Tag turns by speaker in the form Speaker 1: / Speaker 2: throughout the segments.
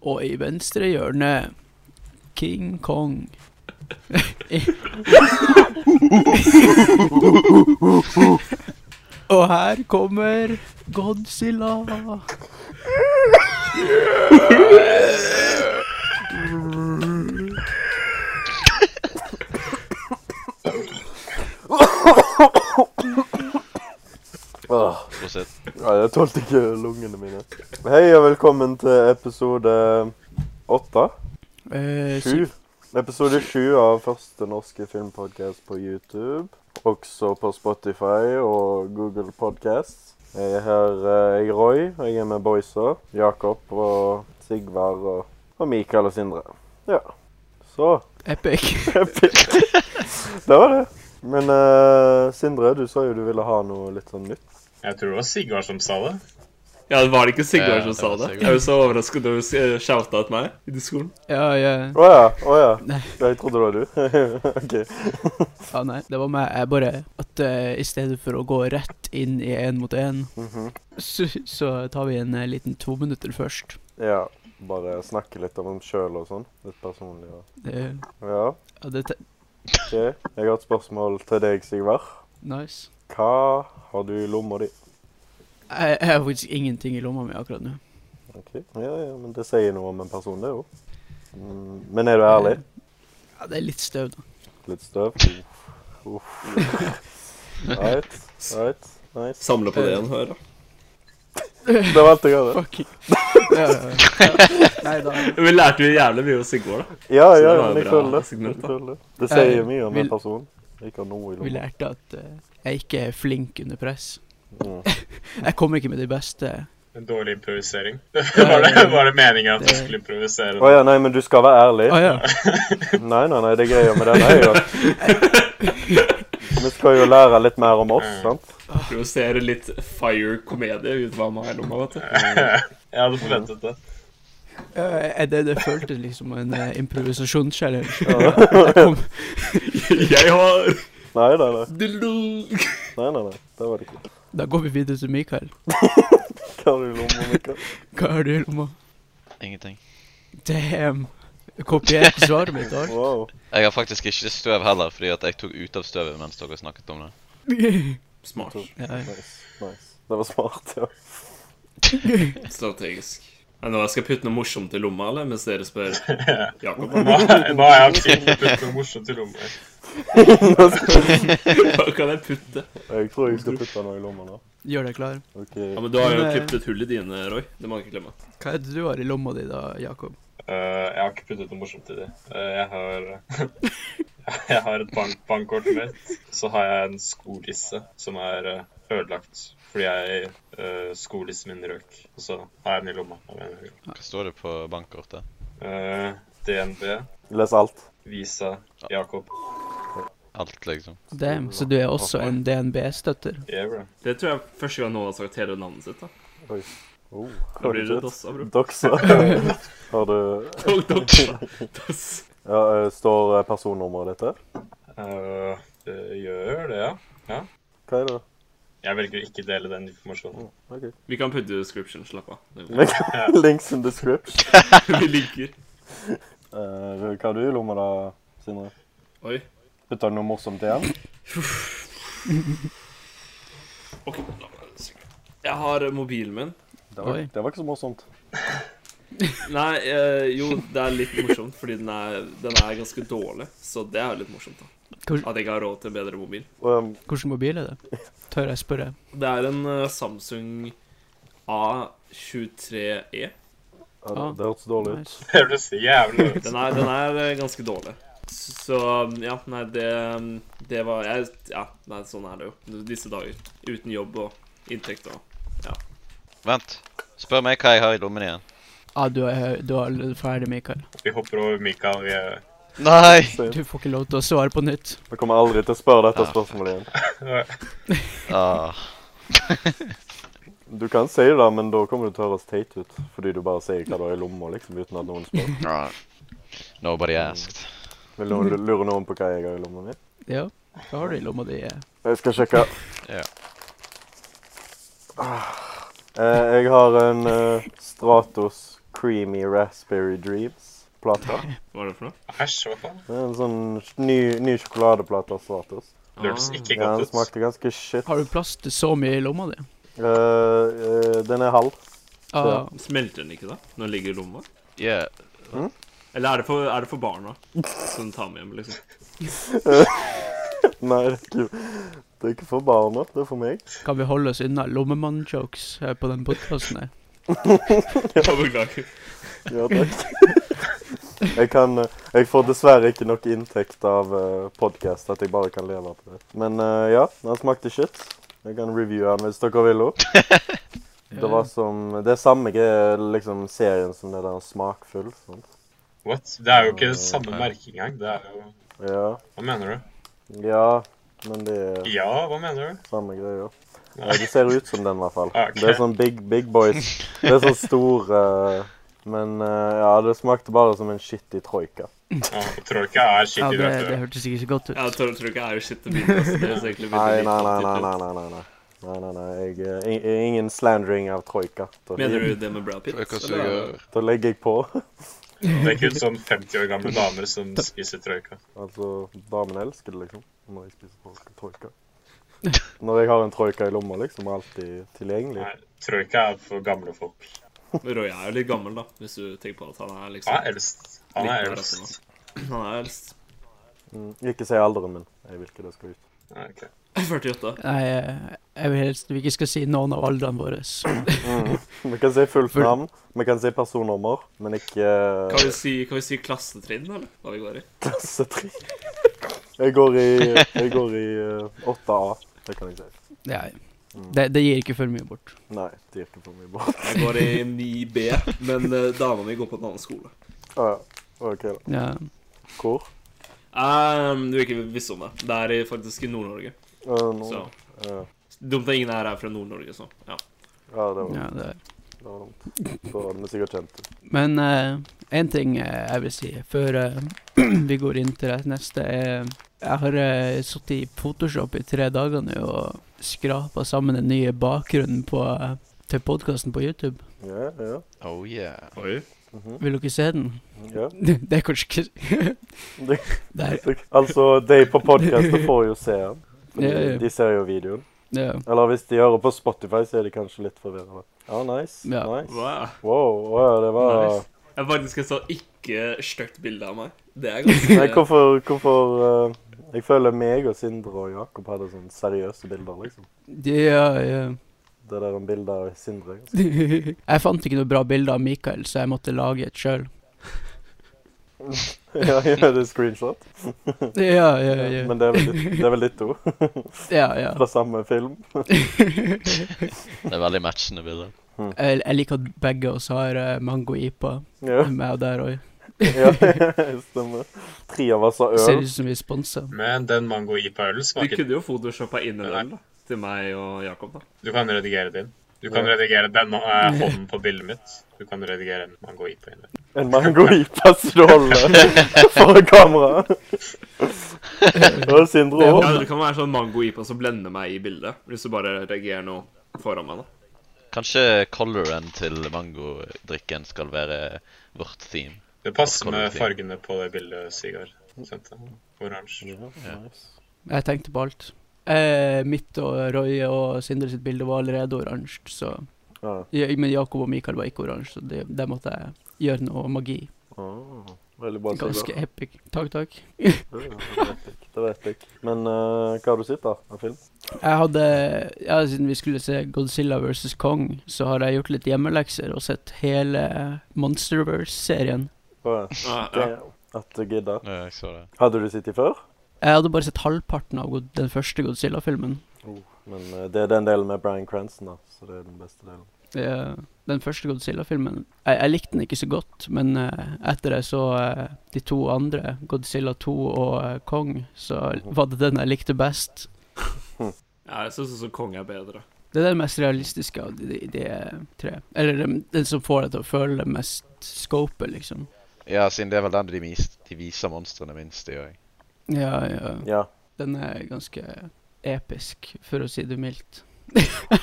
Speaker 1: Og i venstre hjørne King Kong. Og her kommer Godzilla.
Speaker 2: Åh,
Speaker 3: Prosent.
Speaker 2: nei, jeg tålte ikke lungene mine. Hei og velkommen til episode åtte?
Speaker 1: Eh,
Speaker 2: Sju?
Speaker 1: si-
Speaker 2: Episode sju av første norske filmpodkast på YouTube. Også på Spotify og Google Podcast. Jeg er her, eh, jeg er Roy, og jeg er med boysa. Jakob og Sigvard og, og Mikael og Sindre. Ja. Så
Speaker 1: epic.
Speaker 2: Det var det. Men eh, Sindre, du sa jo du ville ha noe litt sånn nytt.
Speaker 4: Jeg tror det var Sigvard som sa det.
Speaker 5: Ja, var det ikke
Speaker 3: Ja,
Speaker 5: Sigvard
Speaker 3: det
Speaker 5: som sa
Speaker 3: var
Speaker 5: det?
Speaker 3: Sigvard.
Speaker 5: Jeg er jo så overrasket over å shouta til meg i discoen.
Speaker 1: Ja, ja.
Speaker 2: Å ja. Å ja.
Speaker 1: Nei.
Speaker 2: Jeg trodde det var du. OK.
Speaker 1: ja, nei, det var meg. Jeg bare At eh, i stedet for å gå rett inn i én mot én,
Speaker 2: Mhm.
Speaker 1: så, så tar vi en eh, liten to minutter først.
Speaker 2: Ja. Bare snakke litt om dem sjøl og sånn. Litt personlig. Og.
Speaker 1: Det,
Speaker 2: Ja.
Speaker 1: Eh, ja, det te-
Speaker 2: OK. Jeg har et spørsmål til deg, Sigvard.
Speaker 1: Nice.
Speaker 2: Hva har du i lomma di?
Speaker 1: Jeg, jeg har faktisk ingenting i lomma mi akkurat nå.
Speaker 2: Ok. Ja, ja, men det sier noe om en person, det jo. Mm, Men er du ærlig?
Speaker 1: Ja, det er litt støv, da.
Speaker 2: Litt støv? Uff. Right. Right. Nice.
Speaker 5: Samle på det han hører.
Speaker 2: Det var alt jeg hadde.
Speaker 1: Fuck. Ja, ja, ja. Nei da.
Speaker 5: Vi lærte jo jævlig mye av Sigvard, da.
Speaker 2: Ja,
Speaker 5: Så det
Speaker 2: ja,
Speaker 5: var
Speaker 2: men jeg
Speaker 5: bra
Speaker 2: føler det.
Speaker 5: signert,
Speaker 2: Jeg
Speaker 5: da.
Speaker 2: føler det. Det
Speaker 1: Eh,
Speaker 2: sier mye om
Speaker 1: vil-
Speaker 2: en person. Ikke har noe
Speaker 1: Vi
Speaker 2: i lomma.
Speaker 1: lærte at eh, jeg ikke er flink under press.
Speaker 2: Mm.
Speaker 1: Jeg kommer ikke med de beste.
Speaker 4: En dårlig improvisering. var, det, var det meningen at du
Speaker 1: Det-
Speaker 4: skulle improvisere?
Speaker 2: Å ja, nei, men du skal være ærlig.
Speaker 1: Å ja.
Speaker 2: Nei, nei, nei, det er greia med den er jo at Vi skal jo lære litt mer om oss, sant?
Speaker 5: Provosere litt fire-komedie ut hva han har i lomma, vet du.
Speaker 4: Jeg hadde forventet det.
Speaker 1: Eh, Det, det føltes liksom en eh, improvisasjonschallenge.
Speaker 5: Jeg har
Speaker 2: Nei, nei, nei.
Speaker 5: dildo!
Speaker 2: nei, nei, nei. Det var det ikke.
Speaker 1: Da går vi videre til Mikael.
Speaker 2: Hva har du i lomma, Mikael?
Speaker 1: Hva har du i lomma?
Speaker 3: Ingenting.
Speaker 1: Damn. Du kopierte svaret mitt, da.
Speaker 2: Wow.
Speaker 3: Jeg har faktisk ikke støv heller, fordi at jeg tok ut av støvet mens dere snakket om det.
Speaker 5: Smart.
Speaker 1: Ja, ja.
Speaker 2: Nice. nice. Det var smart, ja.
Speaker 5: Strategisk. Er det nå jeg skal putte noe morsomt i lomma, eller? Mens dere spør Jakob.
Speaker 4: Nå, nå har jeg aktivt puttet noe morsomt i lomma.
Speaker 5: Hva kan jeg putte?
Speaker 2: Jeg tror jeg skal putte noe i lomma nå.
Speaker 1: Gjør deg klar.
Speaker 2: Ok.
Speaker 5: Ja, men du har jo
Speaker 1: Men, eh,
Speaker 5: klippet et hull i dine, Roy. Det må jeg ikke glemme.
Speaker 1: Hva er det du har i lomma di, da, Jakob?
Speaker 4: Eh, jeg har ikke puttet noe morsomt i det. Eh, jeg har Jeg har et bank bankkortet mitt. Så har jeg en skolisse som er eh, ødelagt fordi jeg uh, skolissen min røk. Og så har jeg den i lomma. av en eller annen grunn.
Speaker 3: Hva står det på bankkortet?
Speaker 4: Eh, DNB,
Speaker 2: Les alt.
Speaker 4: Visa, Jakob.
Speaker 3: Alt, liksom.
Speaker 1: Damn, så du er også en DNB-støtter?
Speaker 4: Yeah, bro.
Speaker 5: Det tror jeg er første gang noen har sagt hele navnet sitt, da.
Speaker 2: Oh,
Speaker 5: Da blir det
Speaker 2: shit.
Speaker 5: Dossa, bro.
Speaker 2: Doxa. Har du
Speaker 5: Dog, Dossa. Doss.
Speaker 2: ja, eh, Står eh, personnummeret ditt der?
Speaker 4: Eh, det gjør det, ja.
Speaker 2: Hva er det?
Speaker 4: Jeg velger å ikke dele den informasjonen.
Speaker 2: Ok.
Speaker 5: Vi kan putte description, slapp av.
Speaker 2: Link- Links in description.
Speaker 5: Vi ligger.
Speaker 2: Eh, hva har du i lomma da, Sindre?
Speaker 5: Oi.
Speaker 2: Putta du noe morsomt igjen?
Speaker 5: Ok, la meg synge. Jeg har eh, mobilen min.
Speaker 2: Det var,
Speaker 1: Oi.
Speaker 2: det var ikke så morsomt.
Speaker 5: Nei, eh, jo, det er litt morsomt, fordi den er, den er ganske dårlig. Så det er jo litt morsomt, da.
Speaker 1: Hvor-
Speaker 5: At jeg ikke har råd til en bedre mobil.
Speaker 2: Um,
Speaker 1: Hvilken mobil er det? Tør jeg spørre?
Speaker 5: Det er en eh, Samsung E. A23e.
Speaker 2: ja,
Speaker 1: Ah.
Speaker 2: det hørtes dårlig ut.
Speaker 1: Nice.
Speaker 4: Det høres jævlig ut.
Speaker 5: Den er, den er eh, ganske dårlig. Så ja, nei, det, det var jeg, Ja, nei, sånn er det jo disse dager. Uten jobb og inntekt og
Speaker 3: Vent. Spør meg hva jeg har i lommen igjen.
Speaker 1: Ah, du er, du er allerede ferdig, Mikael.
Speaker 4: Vi hopper over Mikael. eh, Vi er...
Speaker 3: Nei!
Speaker 1: Du får ikke lov til å svare på nytt.
Speaker 2: Jeg kommer aldri til å spørre dette spørsmålet igjen.
Speaker 3: Ah.
Speaker 2: Du kan si det, da, men da kommer du til å høres teit ut. Fordi du bare sier hva du har i lomma, liksom, uten at noen spør.
Speaker 3: Ah. Nobody asked.
Speaker 2: Vil noen lu- lure noen på hva jeg har i lomma mi?
Speaker 1: Ja, hva har du i lomma di? eh?
Speaker 2: Jeg skal sjekke.
Speaker 3: Ja.
Speaker 2: Ah. Eh, jeg har en eh, Stratos Creamy Raspberry Dreams-plata.
Speaker 5: Hva er det for noe?
Speaker 4: Æsj, hva faen?
Speaker 2: Det er en sånn ny, ny sjokoladeplate av Svartos.
Speaker 4: Det hørtes
Speaker 2: Ja,
Speaker 4: ikke
Speaker 2: den
Speaker 4: godt ut.
Speaker 2: smakte ganske shit.
Speaker 1: Har du plass til så mye i lomma di?
Speaker 2: Eh, eh, den er halv.
Speaker 1: Ah,
Speaker 5: Ah, Smelter den ikke, da? Når den ligger i lomma?
Speaker 3: Yeah.
Speaker 5: Eller er det for, er det for barna som tar med hjem, liksom?
Speaker 2: Nei, det er ikke, det er ikke for barna. Det er for meg.
Speaker 1: kan vi holde oss unna lommemann-jokes her på den podkasten her?
Speaker 5: Ja, beklager.
Speaker 2: Ja, takk. Jeg, kan, eh, jeg får dessverre ikke nok inntekt av uh, podkast at jeg bare kan leve på det. Men eh, ja, den smakte shit. Jeg kan reviewe den hvis dere vil òg. Det var som Det er samme greie, liksom, serien som det der Smakfull. Sånn.
Speaker 4: What? Det er jo ikke samme merke engang. Det er jo
Speaker 2: Ja.
Speaker 4: Hva mener du?
Speaker 2: ja, men det er
Speaker 4: Ja, hva mener du?
Speaker 2: samme greia. Ja,
Speaker 4: Nei.
Speaker 2: det ser ut som den, i hvert fall.
Speaker 4: Ok.
Speaker 2: Det er sånn big, big boys. Det er sånn stor eh, Men eh, ja, det smakte bare som en shitty troika.
Speaker 4: Ja, Troika er
Speaker 1: Ja,
Speaker 4: skikkelig
Speaker 1: det, det
Speaker 4: rødt.
Speaker 1: hørtes ikke så godt ut.
Speaker 5: Jeg tror, tror ikke jeg er jo shit til å begynne med. ass. Det høres egentlig veldig
Speaker 2: Nei,
Speaker 5: lite
Speaker 2: nei, nei.
Speaker 5: opp
Speaker 2: nei,
Speaker 5: til
Speaker 2: nei, nei, nei, nei. Nei, nei, nei, jeg eh, i- i- Ingen slandering av troika. Da,
Speaker 5: det. Mener du det med Brad Pitt?
Speaker 3: Jeg kan
Speaker 5: eller?
Speaker 3: suge
Speaker 2: da legger jeg på.
Speaker 4: Det er kun sånn 50 år gamle damer som spiser troika.
Speaker 2: Altså, damene elsker det, liksom. Når jeg spiser tro- troika. Når jeg har en troika i lomma, liksom. Alltid tilgjengelig.
Speaker 4: Nei, troika er for gamle folk.
Speaker 5: Men Roy er jo litt gammel, da, hvis du tenker på at han er liksom
Speaker 4: Han er eldst. Han er
Speaker 5: Litt mer
Speaker 4: eldst.
Speaker 5: Han er eldst.
Speaker 2: Mm, Ikke si alderen min. Jeg vil ikke det skal ut.
Speaker 4: Ja, ok.
Speaker 5: 48.
Speaker 1: Nei, eh, jeg vil helst vi ikke skal si noen av aldrene våre. så-
Speaker 2: Vi kan si fullt
Speaker 1: For-
Speaker 2: navn, vi kan si personnummer, men ikke eh,
Speaker 5: Kan vi si, kan vi si klassetrinn, eller? Hva vi går i?
Speaker 2: Klasse 3. Jeg går i, jeg går i eh, 8A, det kan jeg si.
Speaker 1: Nei, det, det gir ikke for mye bort.
Speaker 2: Nei, det gikk ikke for mye bra.
Speaker 5: Jeg går i 9B, men eh, dama mi går på en annen skole.
Speaker 2: Ah, ja. OK, da.
Speaker 1: Ja.
Speaker 2: Hvor?
Speaker 5: Ehm, du ikke visste om det. Det er i- faktisk i Nord-Norge.
Speaker 2: Eh, nå.
Speaker 5: Så
Speaker 2: Ja.
Speaker 5: dumt at ingen her er fra Nord-Norge, så ja.
Speaker 2: ja, det var,
Speaker 1: ja det er.
Speaker 2: det var dumt. Da hadde vi sikkert kjent det.
Speaker 1: Men én ting eh, jeg vil si før eh, vi går inn til det neste, er Jeg har uh, sittet i Photoshop i tre dager nå og skrapa sammen den nye bakgrunnen på, eh, til podkasten på YouTube.
Speaker 2: Ja, ja. Mhm,
Speaker 3: Oh yeah.
Speaker 5: Oi.
Speaker 1: Vil dere se den?
Speaker 2: ja.
Speaker 1: Det er kanskje ikke
Speaker 2: Det-
Speaker 1: Der.
Speaker 2: Altså, de på podkastet får jo se den. fordi
Speaker 1: Ja, ja.
Speaker 2: De ser jo videoen.
Speaker 1: Ja.
Speaker 2: Eller hvis de hører på Spotify, så er de kanskje litt forvirrende. Ja, nice.
Speaker 1: Ja.
Speaker 2: nice.
Speaker 5: Wow.
Speaker 2: Wow, wow, det var
Speaker 5: Nice. Jeg faktisk et så ikke stygt bilde av meg. Det er ganske
Speaker 2: Nei, hvorfor, hvorfor eh, Jeg føler meg og Sindre og Jakob hadde sånn seriøse bilder, liksom.
Speaker 1: Ja, ja.
Speaker 2: Det der om bildet av Sindre. altså.
Speaker 1: Jeg fant ikke noe bra bilde av Mikael, så jeg måtte lage et sjøl.
Speaker 2: ja, ja, det er screenshot.
Speaker 1: Ja, ja, ja.
Speaker 2: Men det er vel ditt- det er vel ditt ord?
Speaker 1: ja, ja.
Speaker 2: Fra samme film?
Speaker 3: Det er veldig matchende bilder.
Speaker 1: Jeg, jeg liker at begge oss har eh, mango ipa.
Speaker 2: Ja,
Speaker 1: Meg og der òg.
Speaker 2: ja stemmer. Tre av oss har
Speaker 1: Ser
Speaker 2: øl.
Speaker 1: ut som vi er sponsa.
Speaker 4: Men den mango-ipa-ølen
Speaker 5: Du
Speaker 4: smaker
Speaker 5: kunne jo photoshoppa inn en øl da, til meg og Jakob, da.
Speaker 4: Du kan redigere din. Du kan
Speaker 2: Ja.
Speaker 4: redigere den eh, hånden på bildet mitt. Du kan redigere en mango-ipa inn der.
Speaker 2: En mango-ipa stjålet for kamera. Og Sindre
Speaker 1: Det
Speaker 2: òg.
Speaker 5: Ja, det kan være sånn mango-ipa som blender meg i bildet. Hvis du bare reagerer noe foran meg, da.
Speaker 3: Kanskje coloren til mangodrikken skal være vårt theme.
Speaker 4: Det passer
Speaker 3: Hva kan du
Speaker 4: med
Speaker 3: si?
Speaker 4: fargene på det bildet, Sigurd. Sendte. Oransje.
Speaker 1: Jeg tenkte på alt. Eh, mitt og Roy og Sindre sitt bilde var allerede oransje, så
Speaker 2: Ja.
Speaker 1: ja, Men Jakob og Mikael var ikke oransje, så det- der måtte jeg gjøre noe magi.
Speaker 2: Ah, Veldig bra.
Speaker 1: Ganske
Speaker 2: Sigurd.
Speaker 1: epic. Takk, takk.
Speaker 2: Ja, Det vet jeg. Men eh, hva har du sett, da? Av film?
Speaker 1: Jeg hadde Ja, siden vi skulle se Godzilla versus Kong, så har jeg gjort litt hjemmelekser og sett hele Monsterverse-serien.
Speaker 2: Å,
Speaker 5: Ja, ja.
Speaker 2: ja. At du gidder.
Speaker 3: Ja, jeg så det.
Speaker 2: Hadde du sittet før?
Speaker 1: Jeg hadde bare sett halvparten av God- den første Godzilla-filmen.
Speaker 2: Men eh, det er den delen med Bryan Cranston, da. Så det er den beste delen.
Speaker 1: Eh, den første Godzilla-filmen jeg, jeg likte den ikke så godt, men eh, etter jeg så eh, de to andre, Godzilla 2 og eh, Kong, så var det den jeg likte best.
Speaker 2: Hm.
Speaker 5: ja jeg syns også konge er bedre.
Speaker 1: Det er den mest realistiske av de, de, de tre. Eller den, den som får deg til å føle det mest scopet, liksom.
Speaker 3: Ja, siden det er vel den de, vis- de viser monstrene minst i òg.
Speaker 1: Ja, ja.
Speaker 2: Ja.
Speaker 1: Den er ganske episk, for å si det mildt.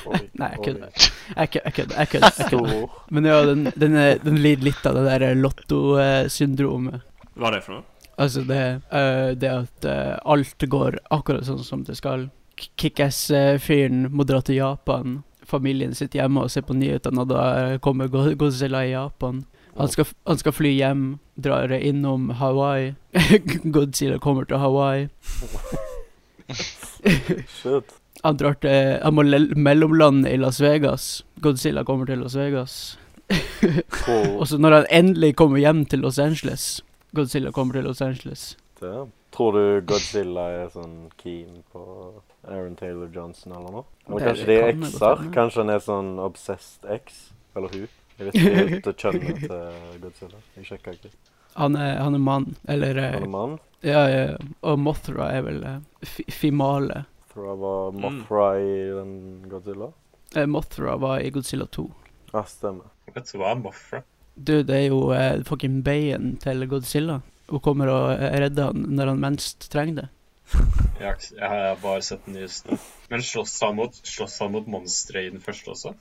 Speaker 2: Oi,
Speaker 1: Nei, jeg
Speaker 2: oi.
Speaker 1: kødder. Jeg kødder, jeg kødder, jeg kødder. jeg kødder.
Speaker 2: Stor.
Speaker 1: Men ja, den, den, er- den lider litt av det der eh, lottosyndromet.
Speaker 5: Hva er det for noe?
Speaker 1: Altså det, eh, det at eh, alt går akkurat sånn som det skal. K- Kickass-fyren må dra til Japan. Familien sitter hjemme og ser på nyhetene, og da eh, kommer Go- Godzilla i Japan. Han skal, f- han skal fly hjem, drar innom Hawaii. Godzilla kommer til Hawaii.
Speaker 2: Shit.
Speaker 1: Han drar til Han må lel- mellomlande i Las Vegas. Godzilla kommer til Las Vegas.
Speaker 2: Cool.
Speaker 1: Og så når han endelig kommer hjem til Los Angeles Godzilla kommer til Los Angeles.
Speaker 2: Damn. Tror du Godzilla er sånn keen på Aaron Taylor Johnson eller noe? Men
Speaker 1: Det-
Speaker 2: kanskje de
Speaker 1: det
Speaker 2: er
Speaker 1: kan det godt
Speaker 2: ekser?
Speaker 1: hende.
Speaker 2: Kanskje han er sånn obsessed ex? Eller hun? Jeg vet ikke helt det kjønnet til Godzilla. Jeg sjekka ikke.
Speaker 1: Han er, han er mann, eller eh,
Speaker 2: Han er mann.
Speaker 1: ja, ja, Og Mothra er vel eh, fi- Fimale.
Speaker 2: Tror jeg var
Speaker 5: Mm.
Speaker 2: Mothra i den Godzilla.
Speaker 1: Eh, Mothra var i Godzilla 2.
Speaker 2: Ja, stemmer.
Speaker 4: Vet du hva er Mothra?
Speaker 1: Du, det er jo eh, fucking Bayen til Godzilla. Hun kommer og eh, redder han når han minst trenger det.
Speaker 4: Jeg har, ikke- jeg har bare sett den nyeste. Men slåss han mot, slåss han mot monstre i den første også?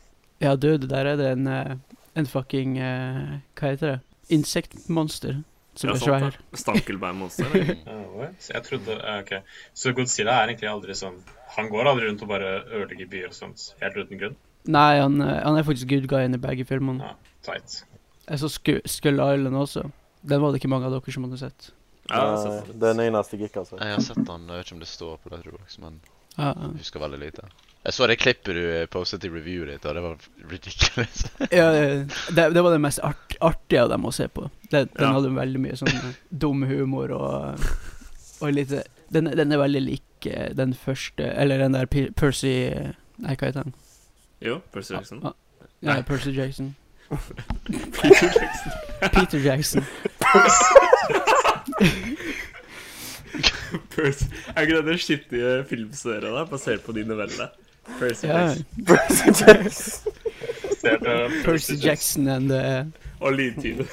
Speaker 1: Ja, du, det der er det en, eh, en fucking eh, Hva heter det? Insektmonster. Som
Speaker 5: Ja,
Speaker 1: er
Speaker 5: sant,
Speaker 1: svær.
Speaker 5: da. Stankelbeinmonster? eller?
Speaker 4: Ja, what? Jeg trodde, eh, ok. Så Godzilla er egentlig aldri sånn Han går aldri rundt og bare ødelegger byer og sånt. Helt uten grunn.
Speaker 1: Nei, han, eh, han er faktisk good guy i begge filmene.
Speaker 4: Teit.
Speaker 1: Jeg så Sku- Skull Island også. Den var det ikke mange av dere som hadde sett.
Speaker 5: Ja, jeg har
Speaker 2: Nei,
Speaker 5: sett det.
Speaker 2: Eh, den eneste altså. jeg ikke har sett.
Speaker 3: Jeg har sett han, jeg vet ikke om det står på det, men
Speaker 1: Ja,
Speaker 3: jeg husker veldig lite. Jeg så det klippet du eh, postet i reviewet ditt, og det var ridiculous.
Speaker 1: ja, eh, det, det var det mest art, artige av dem å se på. Det, den
Speaker 5: Ja.
Speaker 1: hadde veldig mye sånn eh, dum humor og, og litt eh, den, den er veldig lik eh, den første Eller den der P Percy eh, Nei, hva heter han?
Speaker 5: Jo, Percy Jackson.
Speaker 1: Ah, ah, ja,
Speaker 5: Nei.
Speaker 1: Percy Jackson. Peter Jackson.
Speaker 5: Percy. Er ikke det den skittige filmserien der, basert på de novellene? Percy
Speaker 1: Ja,
Speaker 5: Jackson.
Speaker 4: Ser du
Speaker 1: Percy Jackson and eh,
Speaker 5: Og lydtyven.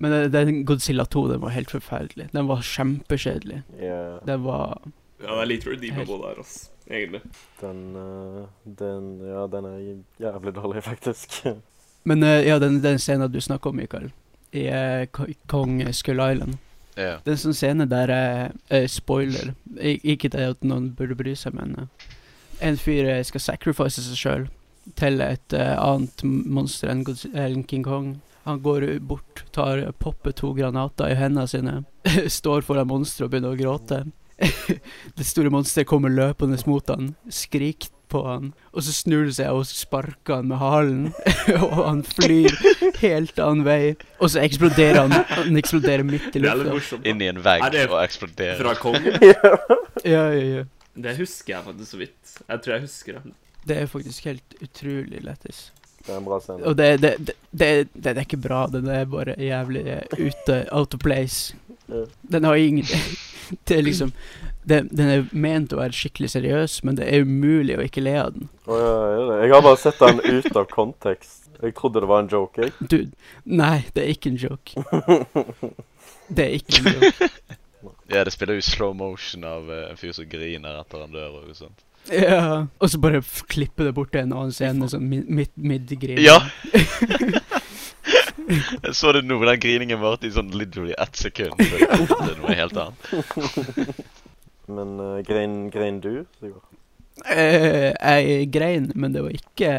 Speaker 1: Men eh, den Godzilla 2, den var helt forferdelig. Den var kjempekjedelig.
Speaker 2: Yeah.
Speaker 1: Den var
Speaker 5: Ja, det er litt redeemable der, ass. Egentlig.
Speaker 2: Den, eh, den Ja, den er jævlig dårlig, faktisk.
Speaker 1: Men eh, ja, den, den scenen du snakker om, Mikael, i eh, Ko- Kong Skull Island
Speaker 3: Ja.
Speaker 1: Den sånn scene der eh, eh, Spoiler. Ik ikke det at noen burde bry seg, men eh, en fyr eh, skal sacrifice seg sjøl til et eh, annet monster enn Godz- enn King Kong. Han går eh, bort, tar popper to granater i hendene sine, står foran monsteret og begynner å gråte. det store monsteret kommer løpende mot han, skriker på han, og så snur det seg og sparker han med halen, og han flyr helt annen vei, og så eksploderer han. Han eksploderer midt i
Speaker 5: Det er litt
Speaker 1: lufta.
Speaker 5: morsomt. da.
Speaker 3: Inn i en vegg
Speaker 5: Er det
Speaker 3: og
Speaker 5: Fra
Speaker 3: eksplodere.
Speaker 5: kongen.
Speaker 1: Ja, ja, ja.
Speaker 5: Det husker jeg faktisk så vidt. Jeg tror jeg husker det.
Speaker 1: Det er faktisk helt utrolig lættis.
Speaker 2: Det er en bra scene.
Speaker 1: Og det, det, det, det, det er ikke bra, den er bare jævlig eh, ute, out of place.
Speaker 2: Ja.
Speaker 1: Den har ingen Det er liksom den, den er ment å være skikkelig seriøs, men det er umulig å ikke le av den.
Speaker 2: Å, ja, er det? Jeg har bare sett den ut av kontekst. Jeg trodde det var en joke. jeg.
Speaker 1: Dude, nei, det er ikke en joke. Det er ikke en joke.
Speaker 3: Ja, det spiller jo slow motion av eh, en fyr som griner etter han dør og sånt.
Speaker 1: Ja. Og så bare f- klippe det bort til en annen scene, sånn mid- midt midgrin.
Speaker 3: Ja! Jeg så det nå, den griningen varte i sånn literally ett sekund. før det kom til noe helt annet.
Speaker 2: Men eh, grein, grein du, Sigurd?
Speaker 1: Eh, jeg grein, men det var ikke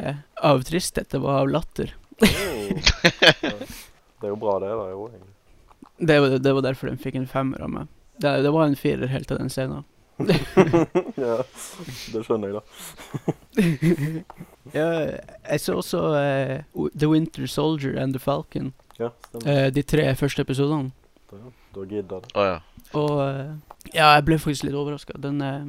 Speaker 1: av tristhet, det var av latter.
Speaker 2: Det er jo bra, det. da, jo, egentlig.
Speaker 1: Det var, det var derfor den fikk en femmer av meg. Det, det var en firer helt til den scenen.
Speaker 2: ja, det skjønner jeg, da.
Speaker 1: Ja, jeg så også eh, O- The Winter Soldier and The Falcon.
Speaker 2: Ja, stemmer.
Speaker 1: eh, de tre første episodene.
Speaker 2: Da- Da gidder det.
Speaker 3: Å ja.
Speaker 1: Og eh, ja, jeg ble faktisk litt overraska. Den, eh,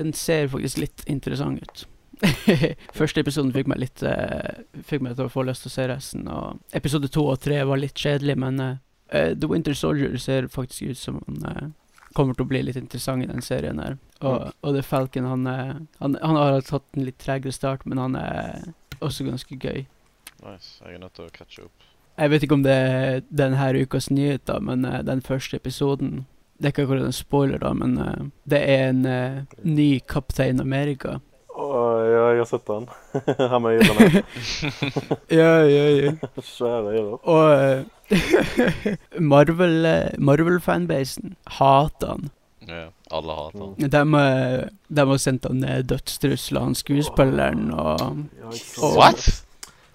Speaker 1: den ser faktisk litt interessant ut. første episoden fikk meg litt eh, Fikk meg til å få lyst til å se resten. Og episode to og tre var litt kjedelig, men eh, eh, The Winter Soldier ser faktisk ut som han eh, kommer til å bli litt interessant i den serien her. Og, og The Falcon, han, eh, han, han har hatt en litt tregere start, men han er også ganske gøy.
Speaker 3: Nice. Jeg er nødt til å catche opp.
Speaker 1: Jeg vet ikke om det er denne ukas nyheter, men eh, den første episoden Det er ikke akkurat en spoiler, da, men eh, det er en eh, ny Kaptein Amerika.
Speaker 2: Å, jeg ja, jeg har sett den. Han med yrene.
Speaker 1: Ja, ja, ja.
Speaker 2: Svære yrer.
Speaker 1: Og eh, Marvel, eh, Marvel-fanbasen hater han.
Speaker 3: Ja, alle hater han.
Speaker 1: De, eh, de har sendt han eh, dødstrusler, han skuespilleren, og
Speaker 2: Ja, ikke sant.
Speaker 1: Og-
Speaker 3: What?!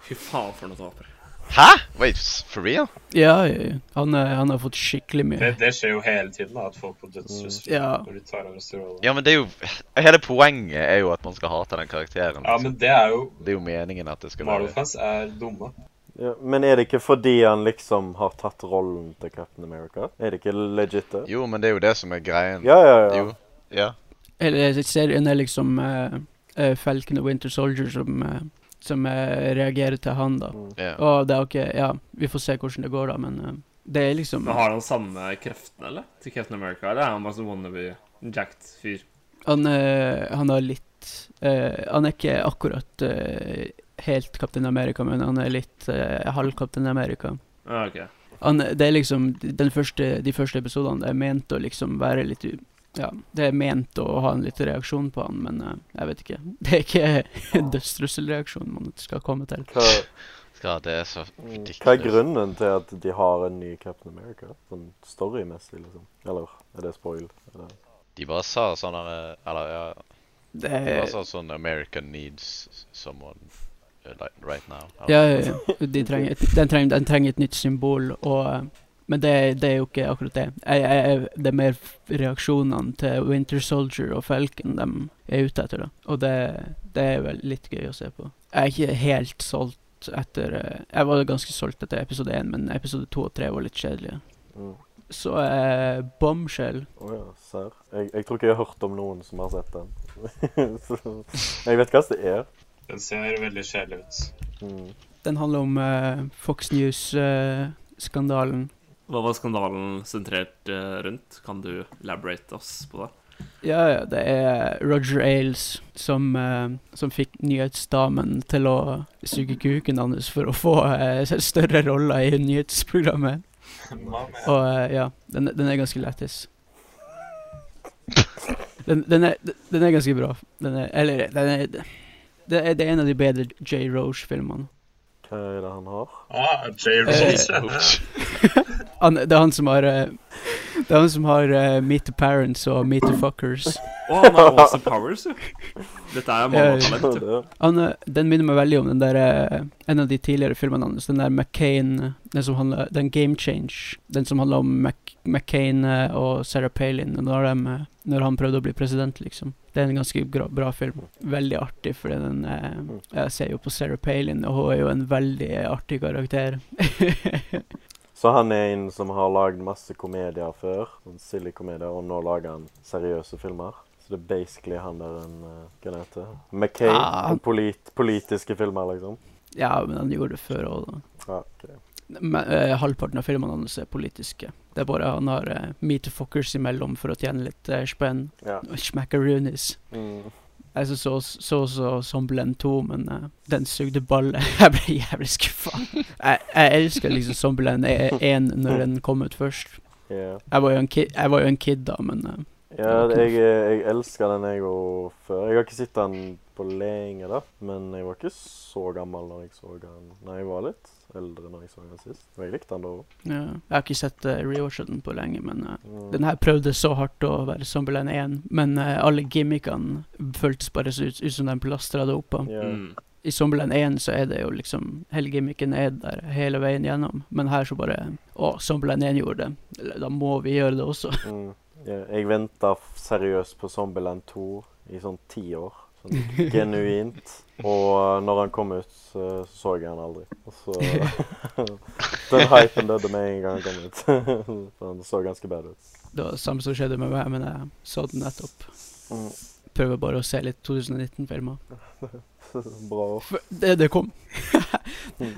Speaker 5: Fy faen, for noen tapere.
Speaker 3: Hæ?! Wait, s- for real?
Speaker 1: Ja, ja, ja. han, eh, han har fått skikkelig
Speaker 4: Det,
Speaker 1: mye.
Speaker 4: det skjer jo hele tiden da, at folk på dødsrus
Speaker 1: Ja.
Speaker 4: når de tar over steroider.
Speaker 3: Ja, men det er jo Hele poenget er jo at man skal hate den karakteren.
Speaker 4: Ja,
Speaker 3: liksom.
Speaker 4: men det er jo
Speaker 3: Det er jo meningen at det skal være
Speaker 4: Marvel-fans er dumme.
Speaker 2: Ja, men er det ikke fordi han liksom har tatt rollen til Captain America? Er det ikke legit, det?
Speaker 3: Jo, men det er jo det som er greien.
Speaker 2: Ja, ja, ja.
Speaker 3: Jo. Ja.
Speaker 1: Eller serien er liksom eh, eh, Falcon og Winter Soldier som, eh, som eh, reagerer til han, da.
Speaker 3: ja.
Speaker 1: Og det er ok, ja, vi får se hvordan det går, da, men eh, det er liksom
Speaker 5: Men Har han samme kreftene, eller? Til Captain America, eller er han bare sånn wannabe-jacked fyr?
Speaker 1: Han, eh, han har litt eh, Han er ikke akkurat eh, helt Kaptein Amerika, men han er litt eh, halv Kaptein Amerika.
Speaker 5: Ah, ok.
Speaker 1: Han, det er liksom den første, De første episodene det er ment å liksom være litt u- Ja, det er ment å ha en liten reaksjon på han, men eh, jeg vet ikke. Det er ikke dødstrusselreaksjonen man skal komme til.
Speaker 2: Hva,
Speaker 3: Skal det er så
Speaker 2: hva er grunnen til at de har en ny Captain America? Sånn storymessig, liksom. Eller er det spoil? Er det-
Speaker 3: De bare sa sånn der, eh, Eller, ja
Speaker 1: Det
Speaker 3: De bare
Speaker 1: er,
Speaker 3: sa sånn America needs someone eh, like, right now.
Speaker 1: ja, ja, ja, de trenger et, den, trenger, den trenger et nytt symbol, og eh, Men det, det er jo ikke akkurat det. Jeg, jeg, jeg, det er mer f- reaksjonene til Winter Soldier og Falcon de er ute etter, da. Og det, det er vel litt gøy å se på. Jeg er ikke helt solgt etter eh, Jeg var ganske solgt etter episode én, men episode to og tre var litt kjedelige.
Speaker 2: Mm.
Speaker 1: Så eh, Bombshell
Speaker 2: Å ja, serr. Jeg, jeg tror ikke jeg har hørt om noen som har sett den. Så, jeg vet hva det er.
Speaker 4: Den ser veldig kjedelig ut.
Speaker 2: Mm.
Speaker 1: Den handler om eh, Fox eh, News-skandalen.
Speaker 5: Hva var skandalen sentrert eh, rundt? Kan du elaborate oss på det?
Speaker 1: ja, ja, det er Roger Ailes som, eh, som fikk nyhetsdamen til å suge kuken hans for å få eh, større roller i nyhetsprogrammet.
Speaker 4: Hva med-
Speaker 1: Og eh, ja, den, den er ganske lættis. Den, den, er, den er ganske bra. Den er, eller den er, det, er, det er en av de bedre J. Roche-filmene.
Speaker 2: Hva er det han har?
Speaker 4: Ah, J. Ross.
Speaker 3: Ouch.
Speaker 1: Han, det er han som har eh, Det er han som har eh, Meet the Parents og Meet the Fuckers.
Speaker 5: Å, han har Awesome Powers, jo! Dette er mammatalent, jo.
Speaker 2: Det,
Speaker 1: Han, eh, den minner meg veldig om den der eh, En av de tidligere filmene hans, den der McCain eh, Den som handler Den Game Change. Den som handler om Mac, McCain eh, og Sarah Palin når, dem, eh, når han prøvde å bli president, liksom. Det er en ganske gra, bra film. Veldig artig, fordi den eh, Jeg ser jo på Sarah Palin, og hun er jo en veldig artig karakter.
Speaker 2: Så han er en som har lagd masse komedier før, sånn silly komedier, og nå lager han seriøse filmer. Så det er basically han der en eh, Hva det heter McCain.
Speaker 1: Ah.
Speaker 2: og Polit, politiske filmer, liksom.
Speaker 1: ja, men han gjorde det før òg, da.
Speaker 2: Ja, ok.
Speaker 1: Men, eh, halvparten av filmene hans er politiske. Det er bare han har eh, meet the fuckers imellom for å tjene litt eh, spenn.
Speaker 2: Ja.
Speaker 1: Schmackaroonies.
Speaker 2: Mm.
Speaker 1: Jeg Altså, så så så, så Zombieland 2, men eh, den sugde ballet. jeg ble jævlig skuffa. jeg, jeg elsker liksom Zombieland 1 når den kom ut først.
Speaker 2: Yeah.
Speaker 1: Jeg var jo en kid, jeg var jo en kid da, men eh,
Speaker 2: Ja, jeg, eh, jeg elsker den jeg òg før. Jeg har ikke sett den på lenge, da. Men jeg var ikke så gammel når jeg så den. Nei, jeg var litt eldre når jeg så den sist. Men jeg likte den da òg.
Speaker 1: ja. jeg har ikke sett uh, rewatchet den på lenge. Men eh,
Speaker 2: Mm.
Speaker 1: den her prøvde så hardt å være Zombieland 1, men eh, alle gimmickene føltes bare så ut, ut som de plastra det opp på.
Speaker 2: Ja.
Speaker 5: Mm.
Speaker 1: I Zombieland 1 så er det jo liksom Hele gimmicken er der hele veien gjennom, men her så bare Å, Zombieland 1 gjorde det. Eller, Da må vi gjøre det også.
Speaker 2: Mm. Ja, jeg venta seriøst på Zombieland 2 i sånn ti år. Sånn genuint. Og eh, når han kom ut, så så så jeg han aldri. Og så Den hypen døde med en gang han kom ut. For han så ganske bad ut.
Speaker 1: Det var det samme som skjedde med meg, men jeg så den nettopp.
Speaker 2: Mm.
Speaker 1: Prøver bare å se litt 2019-filmer.
Speaker 2: Bra år.
Speaker 1: For Det, det kom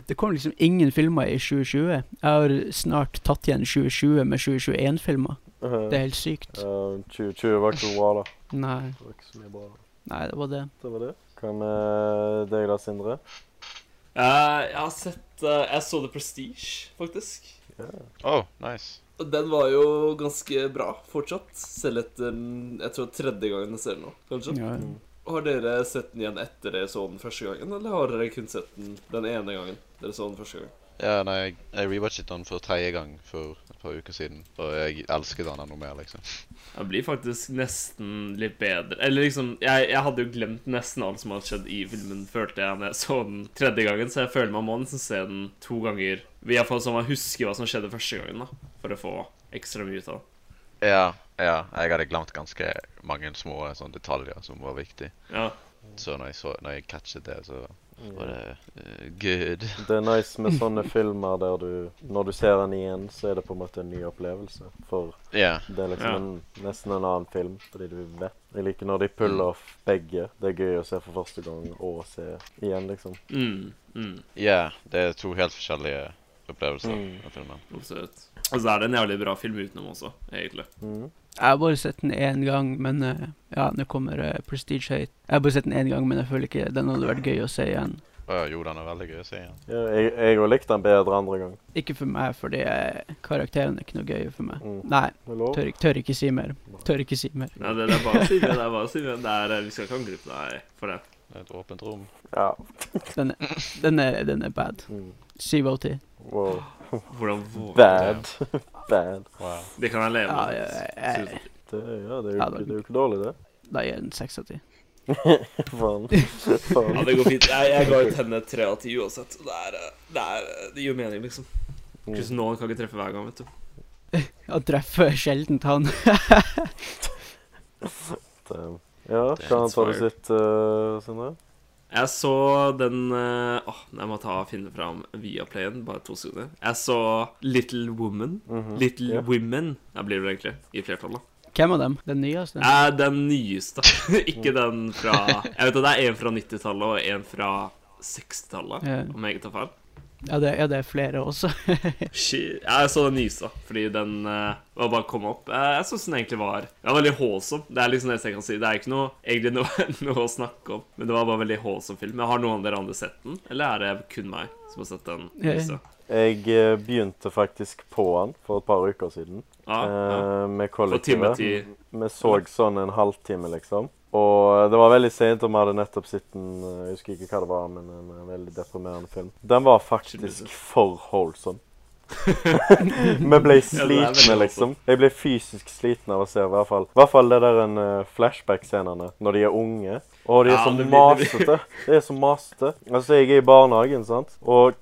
Speaker 1: Det kom liksom ingen filmer i 2020. Jeg har snart tatt igjen 2020 med 2021-filmer. Det
Speaker 2: Eh,
Speaker 1: er helt sykt.
Speaker 2: 2020 var ikke så bra, da.
Speaker 1: Nei,
Speaker 2: Det var ikke så mye bra.
Speaker 1: nei, det var det.
Speaker 2: Det var det. Hva med deg da, Sindre?
Speaker 5: Eh, jeg har sett eh, Jeg så The Prestige, faktisk.
Speaker 3: Oh, nice.
Speaker 5: Og Den var jo ganske bra fortsatt, selv etter den- jeg tror tredje gangen jeg ser den nå, kanskje.
Speaker 1: Ja.
Speaker 5: Har dere sett den igjen etter dere så den første gangen, eller har dere kun sett den den ene gangen dere så den første gangen?
Speaker 3: Ja, nei, jeg, jeg rewatchet den for tredje gang for et par uker siden, og jeg elsket den enda mer, liksom.
Speaker 5: Den blir faktisk nesten litt bedre. Eller liksom, jeg, jeg hadde jo glemt nesten alt som hadde skjedd i filmen, følte jeg når jeg så den tredje gangen, så jeg føler man må nesten se den to ganger. Iallfall så sånn, man husker hva som skjedde første gangen, da, for å få ekstra mye ut av det.
Speaker 3: Ja, ja, jeg hadde glemt ganske mange små sånn, detaljer som var viktig.
Speaker 5: Ja.
Speaker 3: Så når jeg, så, når jeg catchet det, så var det eh, good.
Speaker 2: Det er nice med sånne filmer der du Når du ser den igjen, så er det på en måte en ny opplevelse. For
Speaker 3: Ja,
Speaker 2: det er liksom
Speaker 5: Ja.
Speaker 2: en, nesten en annen film, fordi du vet Jeg liker når de puller off begge. Det er gøy å se for første gang og se igjen, liksom.
Speaker 5: Mm, mm.
Speaker 3: ja, det er to helt forskjellige opplevelser
Speaker 2: Mm.
Speaker 3: av filmen.
Speaker 5: Absolutt. Og så er det en jævlig bra film utenom også, egentlig.
Speaker 2: Mm.
Speaker 1: Jeg har bare sett den én gang, men eh, ja, nå kommer eh, Prestige Hate. Jeg har bare sett den én gang, men jeg føler ikke den hadde vært gøy å se igjen.
Speaker 3: Å, jo, den er veldig gøy å se igjen.
Speaker 2: Ja, jeg jeg òg likte den bedre andre gang.
Speaker 1: Ikke for meg, fordi eh, karakteren er ikke noe gøy for meg.
Speaker 2: Mm.
Speaker 1: Nei,
Speaker 2: Er det lov?
Speaker 1: tør, ikke- tør ikke si mer. Tør ikke si mer.
Speaker 5: Nei, det, det er bare å si det. det er bare å si det. Det er, Vi skal ikke angripe deg for det.
Speaker 3: Det er et åpent rom.
Speaker 2: Ja.
Speaker 1: Den er, den er, den er bad.
Speaker 2: Mm.
Speaker 1: Syv av ti.
Speaker 2: Wow.
Speaker 5: Hvordan våger
Speaker 2: Bad. Bad.
Speaker 3: Wow.
Speaker 5: du? Det kan jeg leve
Speaker 1: Ja,
Speaker 5: med.
Speaker 1: jeg, jeg, jeg,
Speaker 2: Det, ja, det er jo,
Speaker 1: Ja,
Speaker 2: ikke,
Speaker 1: det-
Speaker 2: det er jo ikke dårlig, det.
Speaker 1: da gir jeg den seks av ti.
Speaker 2: Faen.
Speaker 5: Ja,
Speaker 2: Faen.
Speaker 5: det går fint. Jeg, jeg ga ut henne tre av ti uansett. så Det, er, eh, det, er, det gir mening, liksom.
Speaker 2: Mm.
Speaker 5: Chris Nolan kan ikke treffe hver gang, vet du.
Speaker 1: Han treffer sjelden han.
Speaker 2: Damn. eh, Ja, hva annet har du
Speaker 5: Fired.
Speaker 2: sett, eh, Sindre?
Speaker 5: Jeg så den eh, Åh, jeg må ta og finne fram Viaplayen. Bare to sekunder. Jeg så Little Woman.
Speaker 2: Mhm.
Speaker 5: Little
Speaker 2: Ja.
Speaker 5: Women ja, blir det egentlig. I flertall, da.
Speaker 1: Hvem av dem? Den nyeste?
Speaker 5: Eh, den nyeste. ikke den fra Jeg vet at det er en fra 90-tallet og en fra 60-tallet,
Speaker 1: Ja.
Speaker 5: om jeg ikke tar feil.
Speaker 1: Ja, det, ja, det er flere også.
Speaker 5: Shit. Jeg så den nyeste, fordi den eh, var bare kom opp. Eh, jeg syns den egentlig var Den var veldig håsom. Det er liksom det eneste jeg kan si. Det er ikke noe, egentlig noe, noe å snakke om, men det var bare en veldig håsom film. Men Har noen av dere andre sett den, eller er det kun meg som har sett den nyeste?
Speaker 2: Jeg eh, begynte faktisk på han for et par uker siden.
Speaker 5: Ja, ja.
Speaker 2: eh, med
Speaker 5: Og Timothy
Speaker 2: kollektivet. Vi så sånn en halvtime, liksom. Og det var veldig sent, og vi hadde nettopp sett en eh, Jeg husker ikke hva det var, men en eh, veldig deprimerende film. Den var faktisk for holdsom. Vi ble slitne,
Speaker 5: veldig
Speaker 2: liksom. Jeg ble fysisk sliten av å se i hvert fall I hvert fall det der en eh, flashback-scenene når de er unge. Og de er
Speaker 5: Ja,
Speaker 2: så
Speaker 5: det blir- det blir-
Speaker 2: masete. Det er så masete. Altså, jeg er i barnehagen, sant, og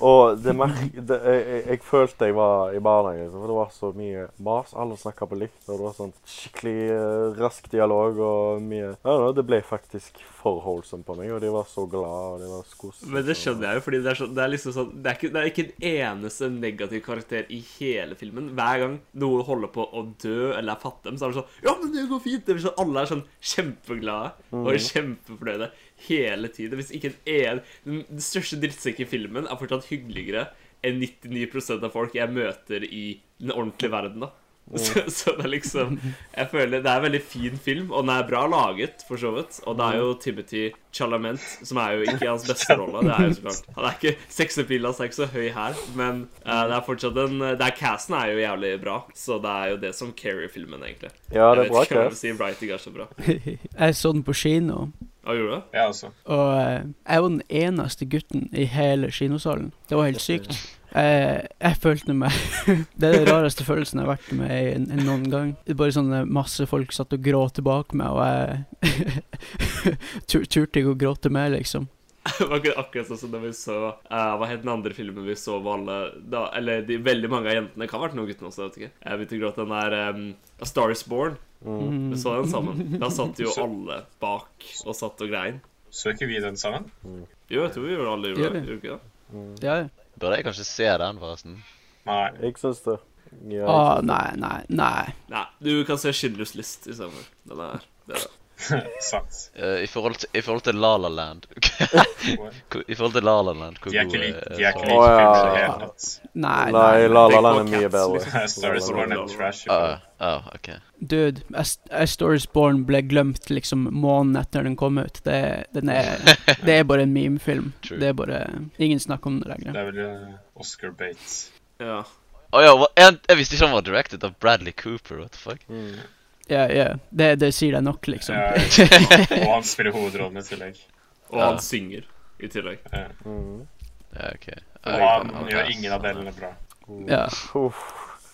Speaker 2: og det mer det, jeg, jeg, jeg følte jeg var i barnehagen, liksom, for det var så mye mas. Alle snakka på likt, og det var sånn skikkelig eh, rask dialog og mye Ja, ja, Det ble faktisk for holdsomt på meg, og de var så glad, og de var så koselige.
Speaker 5: Men det skjønner jeg jo, fordi det er, sånn, det er liksom sånn det er, ikke, det er ikke en eneste negativ karakter i hele filmen. Hver gang noen holder på å dø eller er fattig, så er det sånn Ja, men det går fint! Det er sånn, alle er sånn kjempeglade og kjempefornøyde hele tiden. Hvis ikke en en Den den største drittsekken i filmen er fortsatt hyggeligere enn 99 av folk jeg møter i den ordentlige verden, da. Så, så det er liksom Jeg føler Det er en veldig fin film, og den er bra laget, for så vidt. Og det er jo Timothy Chalament, som er jo ikke hans beste rolle. Det er jo så klart Han er ikke sexappeal, han er ikke så høy her, men eh, det er fortsatt en Det er casten er jo jævlig bra, så det er jo det som carrier filmen, egentlig.
Speaker 2: Ja, det er bra,
Speaker 5: jeg vet ikke om
Speaker 2: Kev.
Speaker 5: jeg si Writing er så bra.
Speaker 1: jeg så den på kino,
Speaker 5: Hva gjorde du?
Speaker 4: Jeg også.
Speaker 1: og eh, jeg var den eneste gutten i hele kinosalen. Det var helt sykt. Eh, jeg følte meg Det er den rareste følelsen jeg har vært med i en- en noen gang. Det er Bare sånn eh, masse folk satt og gråt bak meg, og jeg tur, turte ikke å gråte med, liksom.
Speaker 5: Det var ikke akkurat sånn som da vi så eh, Hva het den andre filmen vi så hvor alle da, Eller de, veldig mange av jentene. Det kan ha vært noen guttene også, jeg vet ikke. Jeg begynte å gråte den der um, A Star Is Born.
Speaker 1: Mm.
Speaker 5: Vi så den sammen. Da satt jo alle bak og satt og grein.
Speaker 4: Så ikke vi den sammen?
Speaker 5: Jo, jeg tror vi gjorde alle
Speaker 1: Gjør
Speaker 5: gjorde
Speaker 1: vi?
Speaker 5: det. Gjorde vi ikke det?
Speaker 1: Ja, ja.
Speaker 3: Burde jeg kanskje se den, forresten?
Speaker 4: Nei.
Speaker 2: Jeg syns det. Ja, jeg
Speaker 1: Å,
Speaker 2: syns det.
Speaker 1: Ah, nei, nei, nei.
Speaker 5: Nei, du kan se Schindlers List istedenfor. Den er det er-
Speaker 4: Sant.
Speaker 3: Eh, I forhold til, i forhold til La La Land Hvor- I forhold til La La Land, hvor
Speaker 4: De er ikke
Speaker 3: god
Speaker 4: like,
Speaker 3: er
Speaker 4: de er ikke
Speaker 3: Star
Speaker 2: eh, Å,
Speaker 4: like
Speaker 3: Wars?
Speaker 4: filmer
Speaker 2: ja.
Speaker 4: i det hele tatt.
Speaker 1: Nei,
Speaker 2: Nei,
Speaker 1: nei.
Speaker 2: La La
Speaker 5: Tenk på
Speaker 2: Land er mye
Speaker 5: Cats,
Speaker 2: bedre.
Speaker 5: liksom.
Speaker 4: Star Wars Born er trash.
Speaker 3: Ah, ah, ok.
Speaker 1: Dude, A St- A Star Is Born ble glemt liksom måneden etter den kom ut. Det, den er, det er bare en memefilm.
Speaker 3: True.
Speaker 1: Det er bare Ingen snakk om det
Speaker 4: Det
Speaker 1: lenger.
Speaker 4: er vel eh, Oscar Bates.
Speaker 5: Ja.
Speaker 2: Mm,
Speaker 3: Å ja, hva- en, jeg visste ikke han var directed av Bradley Cooper, what the fuck?
Speaker 1: Ja, ja. Det, det sier deg nok, liksom.
Speaker 4: Ja, og han spiller hovedrollen i tillegg.
Speaker 5: Og
Speaker 3: Ja.
Speaker 5: han synger i tillegg.
Speaker 2: Mm.
Speaker 3: Ja, ok.
Speaker 4: Og
Speaker 3: Jeg
Speaker 4: han
Speaker 3: kan-
Speaker 4: gjør ingen av delene bra.
Speaker 1: Ja.
Speaker 2: Uff.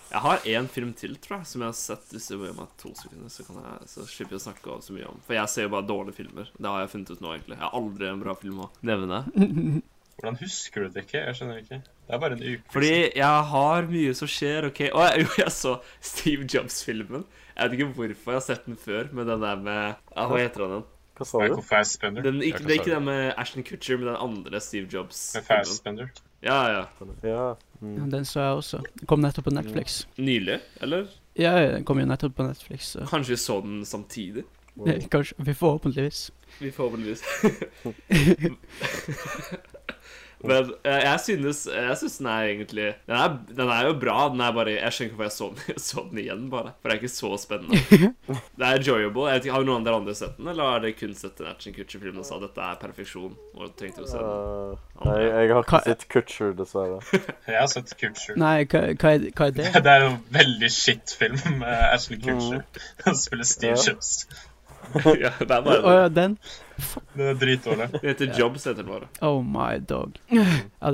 Speaker 5: Jeg har én film til, tror jeg, som jeg har sett. Hvis du gir meg to sekunder, så, kan jeg, så slipper jeg å snakke om så mye om. For jeg ser jo bare dårlige filmer. Det har jeg funnet ut nå, egentlig. Jeg har aldri en bra film å nevne.
Speaker 4: Hvordan husker du det ikke? Jeg skjønner ikke. Det er bare en uke
Speaker 5: Fordi jeg har mye som skjer, OK? Å, jeg, jo, jeg så Steve Jobs-filmen. Jeg vet ikke hvorfor jeg har sett den før, men den der med ja, Hva heter den?
Speaker 2: Hva sa
Speaker 4: Det er
Speaker 2: du?
Speaker 4: hvor Fassbender.
Speaker 5: den ikke, det er ikke den med Ashton Kutcher, men den andre Steve Jobs.
Speaker 4: Med Fassbender.
Speaker 5: Ja, ja.
Speaker 2: Ja.
Speaker 1: Ja, Den så jeg også. Den kom nettopp på Netflix.
Speaker 5: Nylig? Eller
Speaker 1: Ja, ja, den kom jo nettopp på Netflix, så
Speaker 5: kanskje vi så den samtidig?
Speaker 2: Wow.
Speaker 1: kanskje Vi forhåpentligvis.
Speaker 5: Vi Forhåpentligvis. Men eh, jeg synes, jeg synes den er egentlig den er, den er jo bra. Den er bare, Jeg skjønner ikke hvorfor jeg så den, jeg så den igjen, bare. For det er ikke så spennende. Det er enjoyable. Jeg vet ikke, Har noen av dere andre sett den, eller har dere kun sett den Action Kutcher-filmen og sa dette er perfeksjon? Og tenkte å se den?
Speaker 2: Eh, nei, jeg har ikke
Speaker 1: Hva-
Speaker 2: sett Kutcher, dessverre.
Speaker 4: Jeg har sett Culture.
Speaker 1: Nei, hva, hva, er, hva er det?
Speaker 4: Det er jo en veldig shit film med Ashley Kutcher. Han spiller Steve
Speaker 2: Ja.
Speaker 4: Jobs.
Speaker 5: ja, det
Speaker 1: Å
Speaker 5: er bare
Speaker 1: ja, den?
Speaker 4: Den er dritdårlig.
Speaker 5: Det heter Jobs, heter den bare.
Speaker 1: Oh my dog. Ja,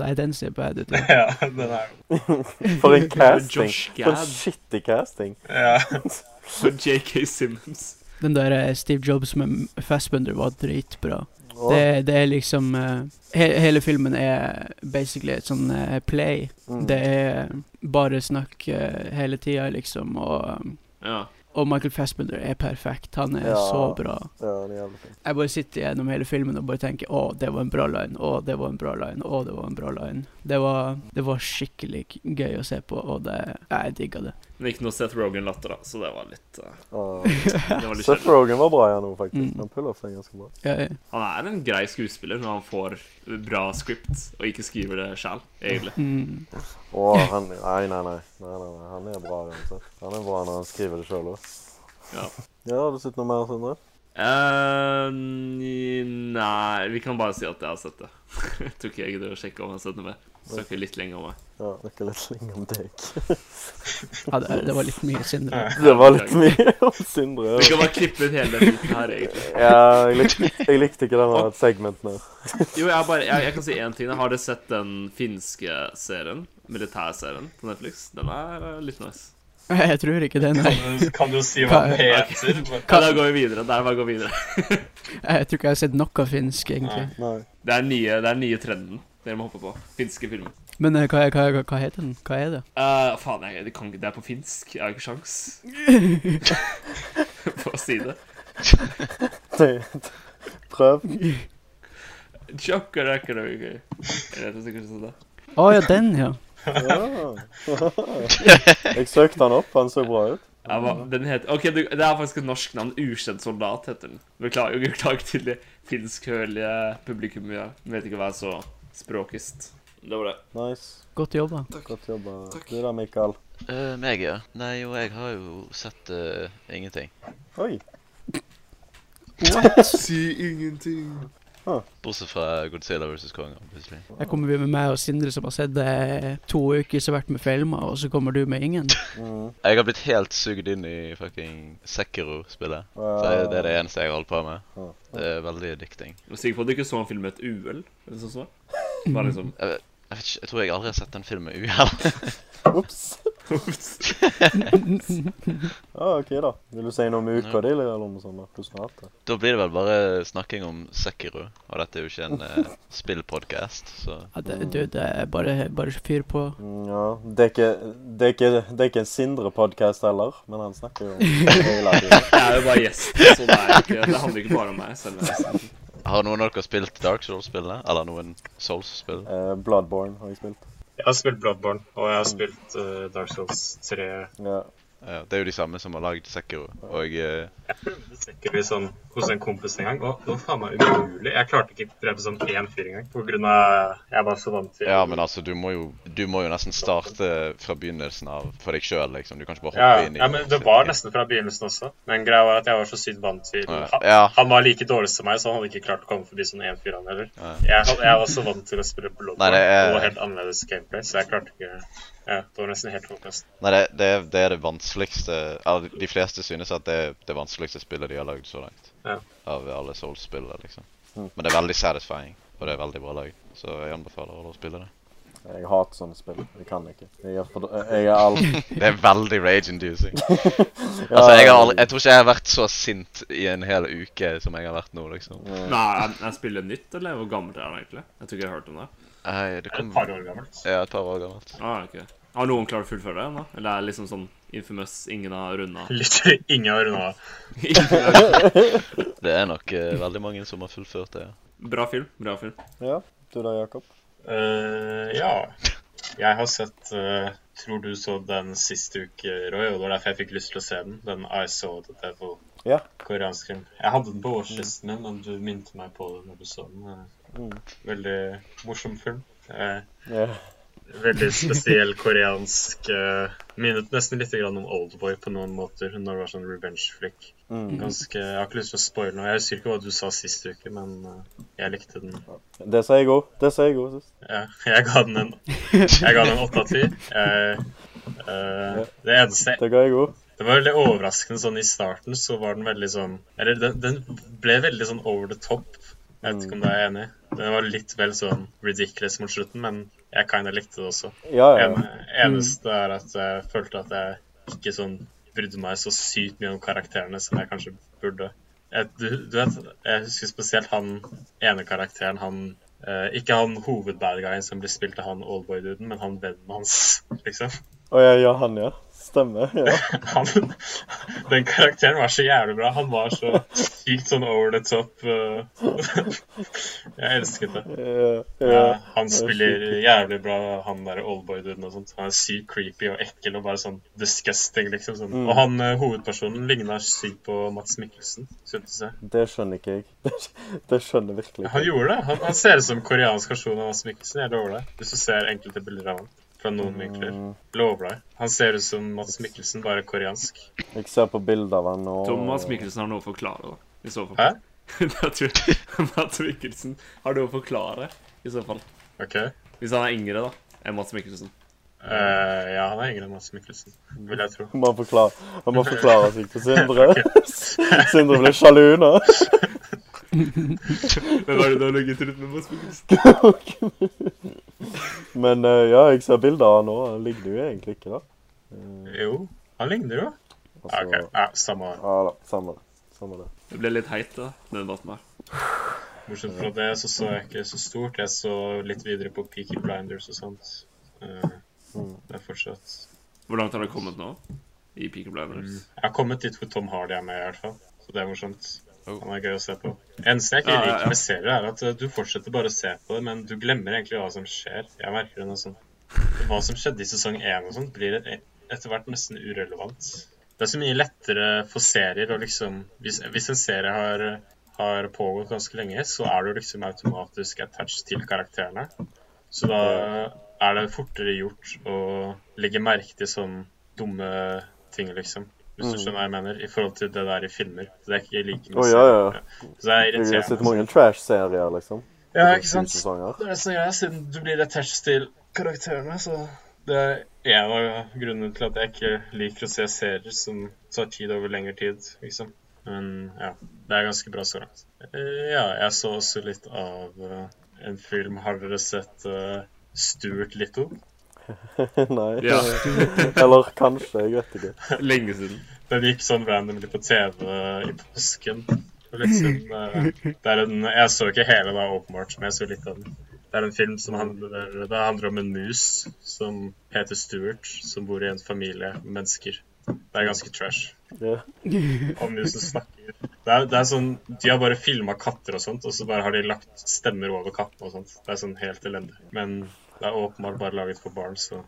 Speaker 1: nei, den ser bad ut. da.
Speaker 4: Ja, den er jo
Speaker 2: For en casting!
Speaker 5: Josh
Speaker 2: For en
Speaker 5: Gad
Speaker 2: skittig casting.
Speaker 4: Ja.
Speaker 5: og JK Simmons.
Speaker 1: Den der eh, Steve Jobs med Fassbender var dritbra.
Speaker 2: Å,
Speaker 1: Det, det er liksom eh, he, Hele filmen er basically et sånn eh, play.
Speaker 2: mm.
Speaker 1: Det er bare snakk eh, hele tida, liksom, og um,
Speaker 5: Ja.
Speaker 1: og Michael Fassbender er perfekt. Han er
Speaker 2: Ja.
Speaker 1: så bra.
Speaker 2: Ja, det er jævlig fint.
Speaker 1: Jeg bare sitter gjennom hele filmen og bare tenker Å, det var en bra line. Å, det var en bra line. Å, det var en bra line. Det var, det var skikkelig k- gøy å se på, og det ja, Jeg digga det.
Speaker 5: Men ikke noe Seth Rogan-latter, da, så det var litt eh,
Speaker 2: Ah.
Speaker 5: Det var litt
Speaker 2: Seth
Speaker 5: kjedelig.
Speaker 2: Rogen var bra her nå, faktisk.
Speaker 1: Mm.
Speaker 2: Han puller seg ganske bra.
Speaker 1: Ja, ja.
Speaker 5: Han er en grei skuespiller når han får bra script og ikke skriver det sjæl, egentlig.
Speaker 1: Mm.
Speaker 2: Å, han Nei, nei, nei. nei, nei, nei. Han er bra uansett. Han er bra når han skriver det sjøl òg.
Speaker 5: Ja.
Speaker 2: Ja, har du sett noe mer, Sindre?
Speaker 5: Eh, nei Vi kan bare si at jeg har sett det. Jeg tror ikke jeg gidder å sjekke om jeg har sett det mer. Snakker litt lenger om meg.
Speaker 2: Ja, Snakke litt lenge om deg.
Speaker 1: ja det, det var litt mye Sindre.
Speaker 2: Det var litt mye om Sindre.
Speaker 5: Vi kan bare klippe ut hele den biten her, egentlig.
Speaker 2: Ja, jeg likte, jeg likte ikke denne segmenten her.
Speaker 5: Jo, jeg, har bare, jeg, jeg kan si én ting. da. Har dere sett den finske serien? Militærserien på Netflix? Den er eh, litt nice.
Speaker 1: Jeg tror ikke det, nei.
Speaker 4: Kan du, Sånn, kan du si hva den
Speaker 5: Hva-
Speaker 4: heter?
Speaker 5: Ja, da går vi videre. Der bare går vi videre.
Speaker 1: Jeg tror ikke jeg har sett noe finsk, egentlig.
Speaker 2: Nei.
Speaker 5: Det er nye, det er nye trenden dere må hoppe på. Finske filmer.
Speaker 1: Men eh, hva, hva, hva, hva heter den? Hva er det?
Speaker 5: Eh, faen, jeg, det, kan, ikke- det er på finsk. Jeg har ikke sjans på å si det.
Speaker 2: Nei. Prøv.
Speaker 5: Jokker er ikke noe gøy. Jeg vet ikke hvordan det er.
Speaker 1: Å ja, den, ja.
Speaker 2: Ja. Jeg søkte han opp, han så bra ut.
Speaker 5: Jeg var, den heter, ok, du, Det er faktisk et norsk navn. Ukjent soldat heter den. Beklager, beklager til det finskhørlige publikummet. Ja. Vet ikke hva jeg så språkist. Det var det.
Speaker 2: Nice.
Speaker 1: Godt jobba.
Speaker 2: Godt jobba. Du da, Mikael.
Speaker 3: Eh, meg, ja. Nei, jo, jeg har jo sett eh, ingenting.
Speaker 2: Oi.
Speaker 5: Si ingenting.
Speaker 3: Bortsett fra Godzilla vs. Kong, obviously.
Speaker 1: Her kommer vi med meg og Sindre som har sett eh, to uker som har vært med filmer, og så kommer du med ingen.
Speaker 2: Mm.
Speaker 3: Jeg har blitt helt sugd inn i fucking Sekiro-spillet. Så jeg- det er det eneste jeg holder på med.
Speaker 2: Ja.
Speaker 3: Det er veldig addicting.
Speaker 5: Jeg er sikker på at du ikke så en film med et uhell? eller sånn som det? Bare liksom
Speaker 3: Jeg, vet ikke, jeg tror jeg aldri har sett en film med uhell.
Speaker 2: Ops.
Speaker 5: Ops.
Speaker 2: Ja, Ah, ok da. Vil du si noe om uka di, eller noe sånt? da? Hvordan har du hatt det?
Speaker 3: da blir det vel bare snakking om Sekiro, og dette er jo ikke en uh, spillpodcast, så
Speaker 1: Ja, det, du, det er bare, bare fyr på.
Speaker 2: Mm, Ja, det er ikke, det er ikke, det er ikke en Sindre-podkast heller, men han snakker jo om det hele tiden.
Speaker 5: Jeg er jo bare gjest, så det, er ikke, det handler ikke bare om meg. Selv om jeg er sånn, gjest.
Speaker 3: Har noen av dere spilt Dark Souls-spillet? Eller noen Souls-spill?
Speaker 2: Eh, Bloodborne har jeg spilt.
Speaker 4: Jeg har spilt Bloodborne, og jeg har spilt eh, Dark Souls 3.
Speaker 2: Ja.
Speaker 3: Ja, det er jo de samme som har lagd Sekiro, og eh,
Speaker 4: Det stikker vi sånn hos en kompis en gang, og det var faen meg umulig. Jeg klarte ikke drepe sånn én fyr engang, på grunn av Jeg var så vant til
Speaker 3: Ja, men altså, du må jo, du må jo nesten starte fra begynnelsen av for deg sjøl, liksom. Du kan ikke bare
Speaker 4: ja,
Speaker 3: hoppe inn i
Speaker 4: ja, men det var nesten fra begynnelsen også. Men greia var at jeg var så sykt vant til
Speaker 3: Ja.
Speaker 4: han,
Speaker 3: Ja.
Speaker 4: han var like dårlig som meg, så han hadde ikke klart å komme forbi sånn én fyr, han heller.
Speaker 3: Ja.
Speaker 4: Jeg, had- jeg var så vant til å spille Bloodborne
Speaker 3: Nei, det er-
Speaker 4: og helt annerledes gameplay, så jeg klarte ikke Ja, det var nesten helt håpløst.
Speaker 3: Nei, det, det, er- det er det vanskeligste eller, De fleste synes at det er det vanskeligste spillet de har lagd så langt.
Speaker 4: Ja.
Speaker 3: Av alle Souls-spillere, liksom.
Speaker 2: Mm.
Speaker 3: Men det er veldig satisfying, og det er veldig bra lag. Så jeg anbefaler alle å spille det.
Speaker 2: Jeg hater sånne spill. Jeg kan ikke. Jeg er, for, jeg er alt
Speaker 3: Det er veldig rage-inducing. Altså, jeg, har aldri, jeg tror ikke jeg har vært så sint i en hel uke som jeg har vært nå, liksom.
Speaker 2: Ja.
Speaker 5: Nei, jeg, jeg spiller nytt, eller hvor gammel er han egentlig? Jeg tror ikke jeg har hørt om det.
Speaker 3: Nei, det
Speaker 4: Det er
Speaker 3: kom
Speaker 4: et par år gammelt.
Speaker 3: Ja, et par år gammelt.
Speaker 5: Ah, ok. Har noen klart å fullføre det ennå? Eller er det liksom sånn infamous, ingen har runda?
Speaker 4: Litt ingen har runda av.
Speaker 3: Det er nok eh, veldig mange som har fullført det. ja.
Speaker 5: bra film, bra film.
Speaker 2: ja. Du da, Jakob?
Speaker 4: Eh, ja. Jeg har sett eh, Tror du så den sist uke, Roy, og det var derfor jeg fikk lyst til å se den. Den I Saw The Devil.
Speaker 2: Ja. Mm.
Speaker 4: Koreansk film. Jeg hadde den på årslisten min, men du minte meg på det når du så den. Eh,
Speaker 2: Mm.
Speaker 4: Veldig morsom film. Eh,
Speaker 2: Ja.
Speaker 4: veldig spesiell koreansk eh, Minnet nesten litt grann om Oldboy på noen måter, når det var sånn revenge-flick.
Speaker 2: Mm.
Speaker 4: Ganske, Jeg har ikke lyst til å spoile noe. Jeg husker ikke hva du sa sist uke, men eh, jeg likte den.
Speaker 2: Det sa jeg òg. Det sa jeg òg sist.
Speaker 4: Ja, jeg ga den en Jeg ga den en 8 av 10. Jeg, eh, det eneste
Speaker 2: Det ga jeg òg.
Speaker 4: Det var veldig overraskende sånn i starten, så var den veldig sånn Eller den, den ble veldig sånn over the top. Jeg vet ikke om du er enig. Den var litt vel sånn ridiculous mot slutten, men jeg kinda likte det også.
Speaker 2: Ja, ja.
Speaker 4: En, eneste er at jeg følte at jeg ikke sånn brydde meg så sykt mye om karakterene som jeg kanskje burde. Jeg, du, du vet, jeg husker spesielt han ene karakteren, han eh, Ikke han hovedbadguyen som blir spilt av han oldboy-duden, men han vennen hans, liksom.
Speaker 2: Å ja, ja, han, ja. Stemmer. Ja.
Speaker 4: Han, den karakteren var så jævlig bra. Han var så sykt sånn over the top. eh. jeg elsket det.
Speaker 2: Ja,
Speaker 4: Ja,
Speaker 2: ja.
Speaker 4: han
Speaker 2: det er
Speaker 4: spiller
Speaker 2: sykt.
Speaker 4: jævlig bra, han der oldboy-duden og sånt. Han er sykt creepy og ekkel og bare sånn disgusting, liksom. Sånn.
Speaker 2: Mm.
Speaker 4: Og han eh, hovedpersonen ligna sykt på Mats Mikkelsen, syntes jeg.
Speaker 2: Det skjønner ikke jeg. Det, det skjønner virkelig
Speaker 4: Han
Speaker 2: ikke jeg.
Speaker 4: gjorde det. Han, han ser ut som koreansk versjon av Mats Mikkelsen, jeg lover deg. Hvis du ser enkelte bilder av han fra noen vinkler.
Speaker 2: Mm,
Speaker 4: Lover deg. Han ser ut som Mats Mikkelsen, bare koreansk.
Speaker 2: jeg ser på bilder av han nå.
Speaker 5: Thomas Mikkelsen har noe å forklare, da. I så fall.
Speaker 4: Hæ?
Speaker 5: da tror jeg Mats Mikkelsen har noe å forklare, i så fall.
Speaker 4: OK?
Speaker 5: Hvis han er yngre, da, enn Mats Mikkelsen.
Speaker 4: Eh, ja, han er yngre enn Mats Mikkelsen, vil jeg tro.
Speaker 2: Han må forklare, han må forklare seg til Sindre. Sindre blir sjalu nå.
Speaker 5: Hvem er det du har ligget rundt med Mats Mikkelsen?
Speaker 2: Men eh, ja, jeg ser bilder av han nå. Han ligner jo egentlig ikke, da.
Speaker 4: Jo, han ligner jo. Ja, OK.
Speaker 2: Altså,
Speaker 4: Ja, samme
Speaker 2: ja da, samme det. Samme det.
Speaker 5: Det ble litt heit, da, den debatten her.
Speaker 4: Bortsett fra det så så jeg ikke så stort. Jeg så litt videre på Peaky Blinders og sånt. Eh,
Speaker 2: Mm.
Speaker 4: Det er fortsatt
Speaker 5: Hvor langt har det kommet nå? I Peaky Blinders?
Speaker 4: Jeg har kommet dit hvor Tom Hardy er med, i hvert fall. Så det er morsomt.
Speaker 3: Oh.
Speaker 4: Han er gøy å se på. Eneste jeg ikke
Speaker 5: Ja, ja, ja.
Speaker 4: liker med serier, er at eh, du fortsetter bare å se på det, men du glemmer egentlig hva som skjer. Jeg merker det nå sånn. Hva som skjedde i sesong én og sånt, blir et- etter hvert nesten urelevant. Det er så mye lettere for serier å liksom Hvis, hvis en serie har, har pågått ganske lenge, så er du liksom automatisk attached til karakterene. Så da er det fortere gjort å legge merke til sånn dumme ting, liksom. Hvis du
Speaker 2: Mm.
Speaker 4: skjønner hva jeg mener, i forhold til det der i filmer. Det er ikke like
Speaker 2: Å, ja, ja.
Speaker 4: serier. Så det er
Speaker 2: Jeg har sett
Speaker 4: irriterende.
Speaker 2: mange trash-serier, liksom.
Speaker 4: Ja,
Speaker 2: Over
Speaker 4: ikke
Speaker 2: sju
Speaker 4: sant?
Speaker 2: sesonger.
Speaker 4: Det er det som er, siden du blir attached til karakterene, så det er en av grunnene til at jeg ikke liker å se serier som tar tid over lengre tid, liksom. Men ja, det er ganske bra så langt. Eh, Ja, jeg så også litt av eh, en film. Har dere sett eh, Stuart Little?
Speaker 2: Nei.
Speaker 4: Mm.
Speaker 5: Ja.
Speaker 2: Eller kanskje, jeg vet ikke.
Speaker 5: Lenge siden.
Speaker 4: Den gikk sånn randomly på TV i påsken. Og Liksom, eh, det er en, jeg så ikke hele, da, åpenbart, men jeg så litt av den. Det er en film som handler, det handler om en mus som heter Stuart, som bor i en familie med mennesker. Det er ganske trash.
Speaker 2: Ja.
Speaker 4: Og musen snakker. Det er, det er sånn, De har bare filma katter og sånt, og så bare har de lagt stemmer over kattene og sånt. Det er sånn helt elendig. Men det er åpenbart bare laget for barn, så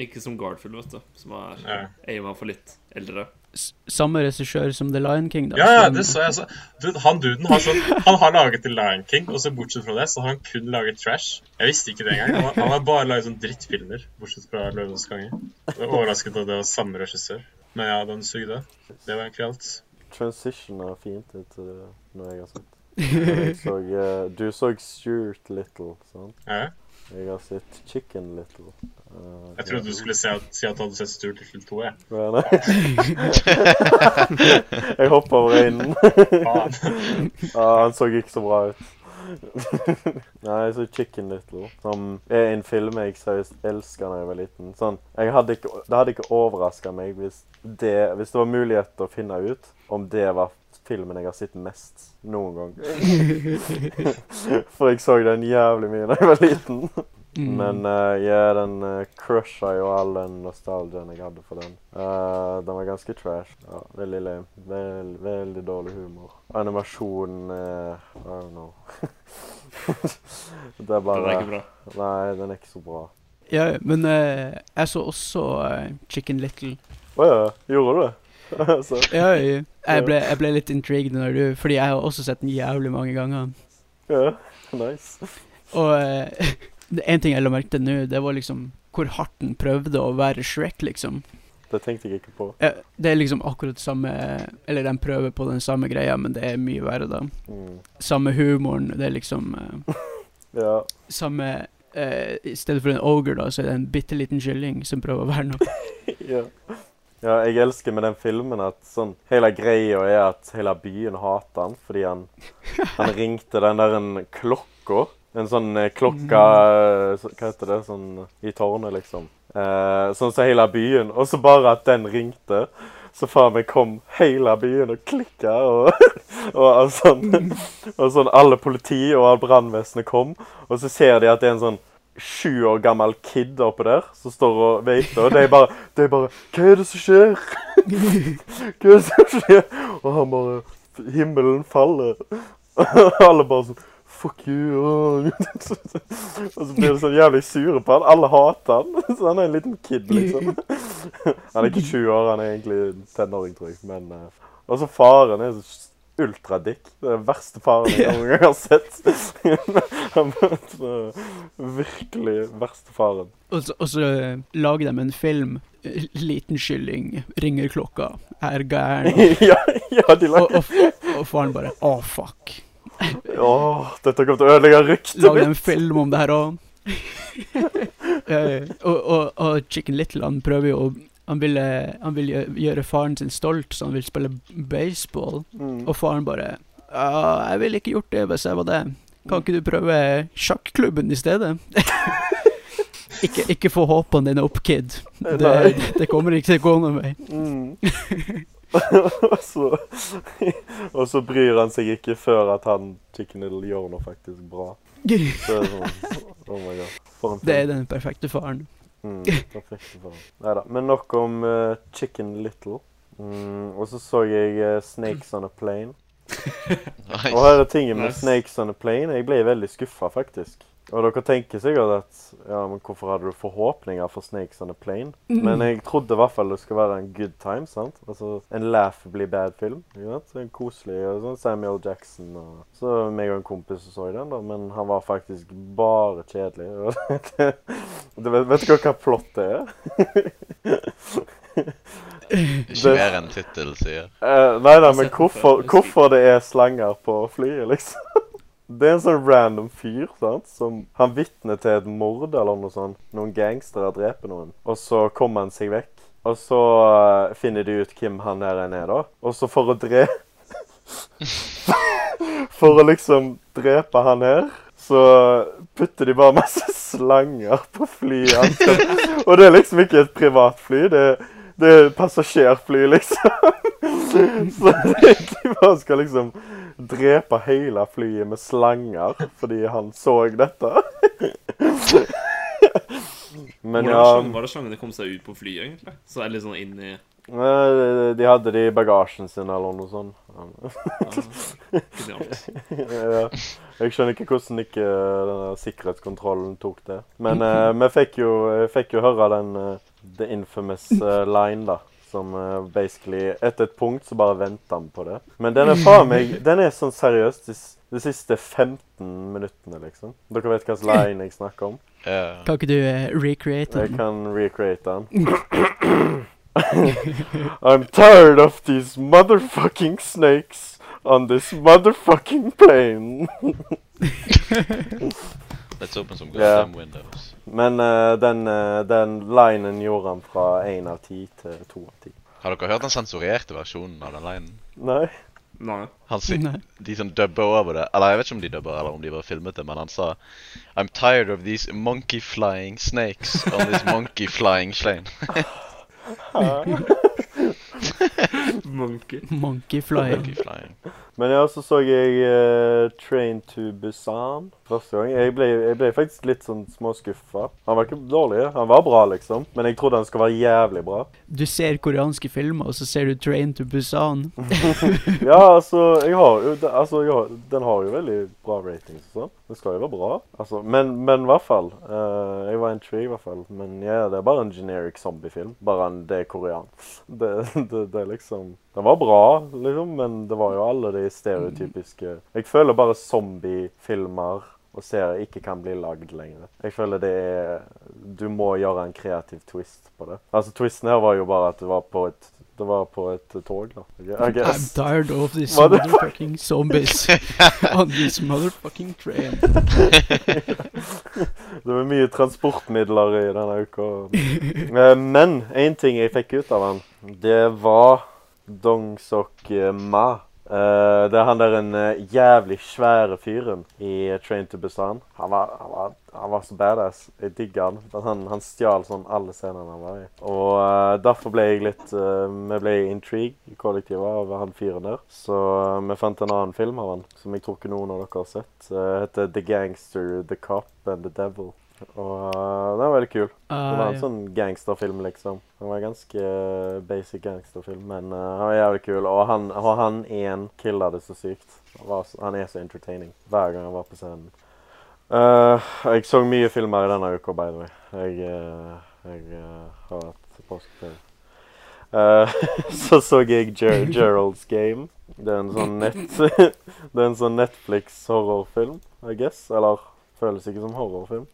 Speaker 5: Ikke som Garfield, vet du, som er
Speaker 4: ja.
Speaker 5: aima for litt eldre.
Speaker 1: S samme regissør som The Lion King, da.
Speaker 4: Ja, ja,
Speaker 1: så-
Speaker 4: det så jeg. Så. Du, han duden har sånn Han har laget The Lion King, og så bortsett fra det så har han kun laget trash. Jeg visste ikke det engang. Han, han har bare laget sånn drittfilmer, bortsett fra Løvenes konge. Jeg var Overrasket at det var samme regissør. Men ja, den sugde. Det var egentlig alt.
Speaker 2: Transition er fint etter det, når jeg har sett. Jeg så, eh, du så Stuart Little, sant?
Speaker 4: Ja.
Speaker 2: Jeg har sett Chicken Little. Eh,
Speaker 4: Jeg trodde du skulle si at, si at du hadde sett Stuart Little 2, jeg.
Speaker 2: men- jeg hoppa over øynene.
Speaker 4: Faen.
Speaker 2: Ja, han så ikke så bra ut. Nei, så Chicken Little, som er en film jeg seriøst elska da jeg var liten. Sånn, jeg hadde ikke, Det hadde ikke overraska meg hvis det, hvis det var mulighet til å finne ut om det var filmen jeg har sett mest noen gang. For jeg så den jævlig mye da jeg var liten.
Speaker 1: mm.
Speaker 5: Mm.
Speaker 2: Men eh, ja, den uh, crusha jo all den nostalgien jeg hadde for den. Eh, den var ganske trash. Ja, veldig lame. Vel, veldig dårlig humor. Animasjonen eh, I don't know. det er
Speaker 5: Det
Speaker 2: bare
Speaker 5: er ikke bra.
Speaker 2: Nei, den er ikke så bra.
Speaker 1: Ja, men eh, jeg så også eh, Chicken Little.
Speaker 2: Å ja, gjorde du det? altså,
Speaker 1: Ja, jeg, jeg, ble, jeg ble litt intrigued når du Fordi jeg har også sett den jævlig mange ganger.
Speaker 2: ja, nice.
Speaker 1: Og eh, det- en ting jeg la merke til nå, det var liksom hvor hardt den prøvde å være Shrek, liksom.
Speaker 2: Det tenkte jeg ikke på.
Speaker 1: Ja, det er liksom akkurat samme Eller den prøver på den samme greia, men det er mye verre, da.
Speaker 2: Mm.
Speaker 1: Samme humoren, det er liksom eh,
Speaker 2: Ja.
Speaker 1: Samme eh, I stedet for en ogre, da, så er det en bitte liten kylling som prøver å være noe.
Speaker 2: ja. ja, jeg elsker med den filmen at sånn, hele greia er at hele byen hater han, fordi han, han ringte den der en klokka. En sånn eh, klokka, eh, så- hva heter det, sånn i tårnet liksom. Eh, sånn som hele byen, og så bare at den ringte, så faen meg kom hele byen og klikket, og, og, og, sånn, og sånn alle politi og all brandvesenet kom, og så ser de at det er en sånn sju år gammel kid oppe der som står og veiter, og de bare, de bare Hva er det som skjer? Hva er det som skjer? Og han bare Himmelen faller. Og alle bare sånn Fuck you. og så blir de sånn jævlig sure på han. Alle hater han. Så han er en liten kid, liksom. Han er ikke 20 år, han er egentlig en tenåring, tror jeg. Men eh, også faren er så ultradick. Det er den verste faren jeg noen gang har sett. Han var så- virkelig verste faren.
Speaker 1: Og så, og så eh, lager de en film. eh, Liten kylling ringer klokka, er gæren.
Speaker 2: ja, ja,
Speaker 1: Og,
Speaker 2: de
Speaker 1: og,
Speaker 2: lager
Speaker 1: f- og faren bare Å, fuck.
Speaker 2: Åh, dette kommer til å ødelegge ryktet
Speaker 1: Lagde en
Speaker 2: mitt!
Speaker 1: film om det her òg. og, og, og Chicken Little han prøver jo å han vil, eh, han vil gjø- gjøre faren sin stolt, så han vil spille baseball.
Speaker 2: Mm.
Speaker 1: Og faren bare «Ja, 'Jeg ville ikke gjort det hvis jeg var det. Kan ikke du prøve sjakklubben i stedet?' ikke, ikke få håpene dine opp, kid. Det,
Speaker 2: Nei.
Speaker 1: det kommer ikke til å gå noen vei.
Speaker 2: Mm. og, så, og så bryr han seg ikke før at han Chicken Little gjør noe faktisk bra. Det er sånn, oh my god. For en film.
Speaker 1: Det er den perfekte faren.
Speaker 2: Mm, perfekte for Neida, men nok om eh, Chicken Little. Mm, og så så jeg eh, Snakes On A Plane. Og her
Speaker 3: Nice.
Speaker 2: er tingen med
Speaker 5: Nice.
Speaker 2: Snakes On A Plane. Jeg ble veldig skuffa, faktisk. Og dere tenker sikkert at ja, men hvorfor hadde du forhåpninger for Snakes On A Plane? Men jeg trodde i hvert fall det skulle være en good time. sant? Altså En laughably bad-film. ikke sant? En koselig og sånn Samuel Jackson og Så meg og en kompis som så den, da, men han var faktisk bare kjedelig. Og det, det, vet, vet dere hva plott det er?
Speaker 3: Ikke mer enn tittel sier.
Speaker 2: Eh, nei da, men
Speaker 5: sett den før,
Speaker 2: hvorfor,
Speaker 5: husker
Speaker 2: hvorfor det er slanger på flyet, liksom? Det er en sånn random fyr sant? som han vitner til et mord eller noe sånt. Noen gangstere dreper noen. Og så kommer han seg vekk. Og så eh, finner de ut hvem han der inne er, da. Og så for å dre... for å liksom drepe han her, så putter de bare masse slanger på flyet. han skal- Og det er liksom ikke et privatfly. Det er det er passasjerfly, liksom. Så de bare skal liksom drepe hele flyet med slanger fordi han så dette. Men
Speaker 5: Hvordan
Speaker 2: ja
Speaker 5: var slang- var det slangene kom seg ut på flyet, egentlig? Så er det litt sånn inn i
Speaker 2: eh, De hadde det i bagasjen sin eller noe sånt.
Speaker 5: Genialt.
Speaker 2: Ja. Jeg skjønner ikke hvordan ikke eh, denne sikkerhetskontrollen tok det. Men eh, vi fikk jo, jeg fikk jo høre den eh, The Infamous eh, Line, da. Som eh, basically Etter et punkt så bare venter han på det. Men den er faen meg Den er sånn seriøst de, s- de siste 15 minuttene, liksom. Dere vet hvilken line jeg snakker om?
Speaker 3: Ja.
Speaker 1: Kan ikke du eh, recreate
Speaker 2: Jeg
Speaker 1: den?
Speaker 2: kan recreate den. I'm tired of these motherfucking snakes on this motherfucking plane.
Speaker 3: Let's open some
Speaker 2: Ja.
Speaker 3: goddamn windows.
Speaker 2: Men eh, den, eh, den linen gjorde han fra én av ti til to av ti.
Speaker 3: Har dere hørt den sensurerte versjonen av den linen?
Speaker 2: Nei?
Speaker 5: Nei.
Speaker 3: Han sier,
Speaker 1: Nei.
Speaker 3: de som dubber over det, eller jeg vet ikke om de dubber eller om de bare filmet det, men han sa I'm tired of these monkey flying snakes on this monkey flying plane.
Speaker 5: Monkey.
Speaker 1: Monkey flying.
Speaker 3: monkey flying.
Speaker 2: Men ja, så så jeg eh, Train to Busan første gang. Jeg ble, jeg ble faktisk litt sånn småskuffa. Han var ikke dårlig, han var bra, liksom. Men jeg trodde han skulle være jævlig bra.
Speaker 1: Du ser koreanske filmer, og så ser du Train to Busan.
Speaker 2: Ja, altså, jeg har jo det- altså, jeg har, Den har jo veldig bra ratings og sånn. Den skal jo være bra. Altså, men, men i hvert fall. eh, jeg var intrigued, i hvert fall. Men ja, det er bare en generic zombiefilm. Bare en, det er koreansk. Det, det, det er liksom Den var bra, liksom, men det var jo alle de stereotypiske Jeg føler bare zombiefilmer og serier ikke kan bli lagd lenger. Jeg føler det er Du må gjøre en kreativ twist på det. Altså, twisten her var jo bare at det var på et det var på et tog, da. I
Speaker 1: I'm
Speaker 2: guess.
Speaker 1: tired of these
Speaker 2: Hva er det?
Speaker 1: motherfucking zombies on this motherfucking train.
Speaker 2: Det var mye transportmidler i denne uka. Eh, Men én ting jeg fikk ut av han, det var Dong Sok Ma. Eh, det er han der en eh, jævlig svære fyren i Train to Busan. Han var, han var, han var så badass. Jeg digger han. Men Han, han stjal sånn alle scenene han var i. Og eh, derfor ble jeg litt eh, Vi ble intrigued i kollektivet av han fyren der. Så eh, vi fant en annen film av han som jeg tror ikke noen av dere har sett. Eh, heter The Gangster, The Cop and The Devil. Og eh, den var veldig kul. Det var
Speaker 1: Ah,
Speaker 2: en
Speaker 1: ja.
Speaker 2: sånn gangsterfilm, liksom. Den var en ganske eh, basic gangsterfilm, men eh, han var jævlig kul. Og han, og han en killa det så sykt. Han, var, så- han er så entertaining hver gang han var på scenen. Eh, jeg så mye filmer i denne uka, by the way. Jeg, eh, jeg eh, har hatt påskeferie. Eh, så så jeg Ger Gerald's Game. Det er en sånn, nett, det er en sånn Netflix-horrorfilm, I guess. Eller føles ikke som horrorfilm.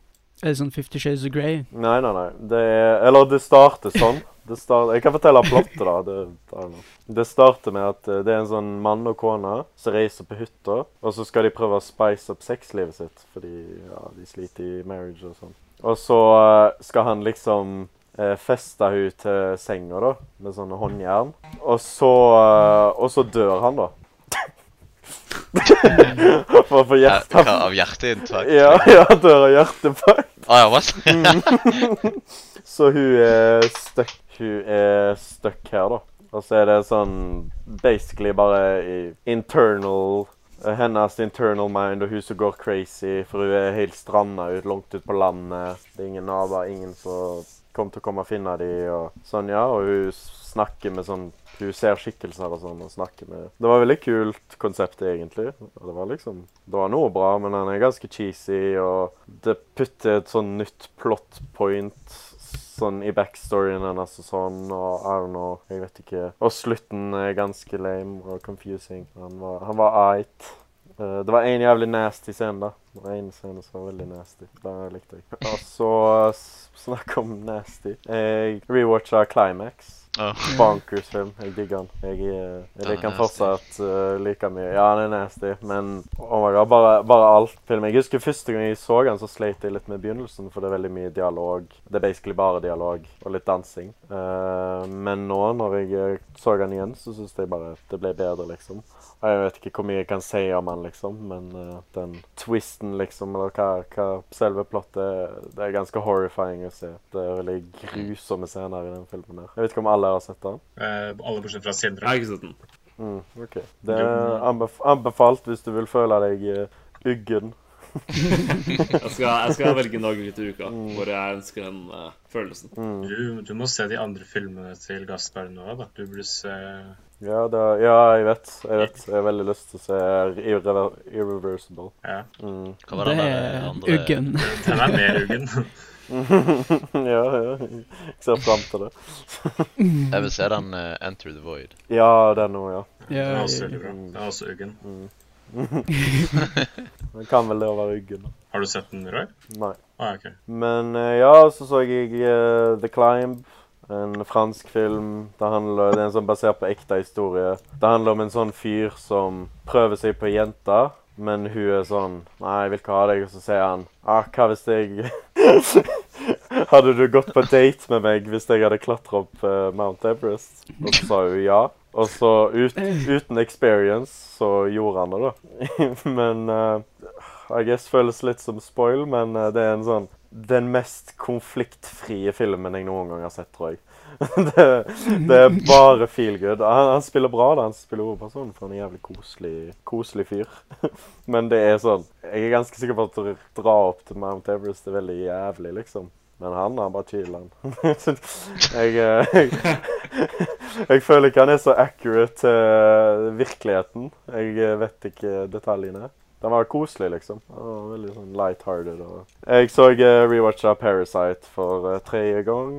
Speaker 1: Er det sånn Fifty Shades of Grey?
Speaker 2: Nei, nei, nei. Det er, eller det starter sånn. Det start, jeg kan fortelle plottet, da. Det, I don't know. det starter med at eh, det er en sånn mann og kone som reiser på hytta, og så skal de prøve å spice opp sexlivet sitt, fordi ja, de sliter i marriage og sånn. Og så eh, skal han liksom eh, feste hun til senga, da, med sånne håndjern. Og så, eh, og så dør han, da. For å få
Speaker 3: Ja,
Speaker 2: hjerte...
Speaker 3: Eh, hva, av hjerteinntakt?
Speaker 2: Ja, Mm. ja, dør av hjertebank.
Speaker 3: Ah, ja, what?
Speaker 2: Så hun er stuck, hun er stuck her, da. Og så er det sånn basically bare i- internal Hennes internal mind og hun som går crazy, for hun er helt stranda ut, langt ut på landet. Det er ingen naboer, ingen som kommer til å komme og finne de, og sånn, ja. Og hun snakker med sånn Hun ser skikkelser og sånn og snakker med Det var veldig kult konsept, egentlig. Og det var liksom Det var noe bra, men han er ganske cheesy, og det putter et sånn nytt plot point sånn i backstoryen hennes og sånn, og I don't know, jeg vet ikke. Og slutten er ganske lame og confusing. Han var, han var eit. Eh, det var en jævlig nasty scene, da. Det var en scene som var veldig nasty. Den likte jeg. Og så eh, s- snakk om nasty. Jeg rewatcha Climax.
Speaker 3: Ah.
Speaker 2: Bonkers film. Jeg digger han. Jeg, eh, jeg
Speaker 3: er
Speaker 2: liker han
Speaker 3: nasty.
Speaker 2: fortsatt eh, like mye. Ja, han er nasty, men oh my god, bare, bare alt film. Jeg husker første gang jeg så han, så sleit jeg litt med begynnelsen, for det er veldig mye dialog. Det er basically bare dialog og litt dansing. Eh, men nå, når jeg eh, så han igjen, så syns jeg bare at det ble bedre, liksom. Og jeg vet ikke hvor mye jeg kan si om han, liksom, men eh, den twisten, liksom, eller hva, hva selve plottet Det er ganske horrifying å se. Det er veldig grusomme scener i den filmen her. Jeg vet ikke om alle har sett den?
Speaker 4: Eh, alle bortsett fra
Speaker 5: Jeg
Speaker 4: Sindre.
Speaker 5: har ikke sett den.
Speaker 2: Mm, ok. Det er anbef anbefalt hvis du vil føle deg eh, uggen.
Speaker 5: Jeg skal, jeg skal velge en dag ut i uka
Speaker 2: Mm.
Speaker 5: hvor jeg ønsker den eh, følelsen.
Speaker 4: Du, du må se de andre filmene til Gaspar nå, da. Du burde se
Speaker 2: Ja, det, ja, jeg vet. Jeg vet. Jeg har veldig lyst til å se Irrever Irreversible.
Speaker 4: Ja.
Speaker 2: Mm.
Speaker 3: Hva var
Speaker 1: Det
Speaker 3: den der
Speaker 1: er
Speaker 3: andre?
Speaker 1: Uggen.
Speaker 4: Den er mer uggen.
Speaker 2: ja, ja. Jeg ser fram til det.
Speaker 1: Mm.
Speaker 3: Jeg vil se den eh, Enter the Void.
Speaker 2: Ja, den òg, ja.
Speaker 4: Den er
Speaker 1: Ja,
Speaker 4: også veldig bra. Den er også uggen.
Speaker 2: Den kan vel det å være uggen. da.
Speaker 4: Har du sett den, Roy?
Speaker 2: Nei.
Speaker 4: Ah, ok.
Speaker 2: Men eh, ja, så så jeg eh, The Climb. En fransk film. Det, handler, det er en sånn basert på ekte historie. Det handler om en sånn fyr som prøver seg på jenta, Men hun er sånn Nei, jeg vil ikke ha deg. Og så sier han ah, Hva hvis jeg Hadde du gått på date med meg hvis jeg hadde klatra opp eh, Mount Everest? Og så sa hun ja. Og så ut, uten experience så gjorde han det, da. men eh, I guess føles litt som spoil, men eh, det er en sånn Den mest konfliktfrie filmen jeg noen gang har sett, tror jeg. det, det er bare feel good. Han, han spiller bra, da. Han spiller hovedpersonen, for han er en jævlig koselig, koselig fyr. Men det er sånn Jeg er ganske sikker på at å dra opp til Mount Everest er veldig jævlig, liksom. Men han er bare chill, han. jeg, eh, jeg, jeg føler ikke han er så accurate til eh, virkeligheten. Jeg eh, vet ikke detaljene. Den var koselig, liksom. Han var veldig sånn light-hearted. Og... Jeg så eh, rewatcha Parasite for eh, tredje gang.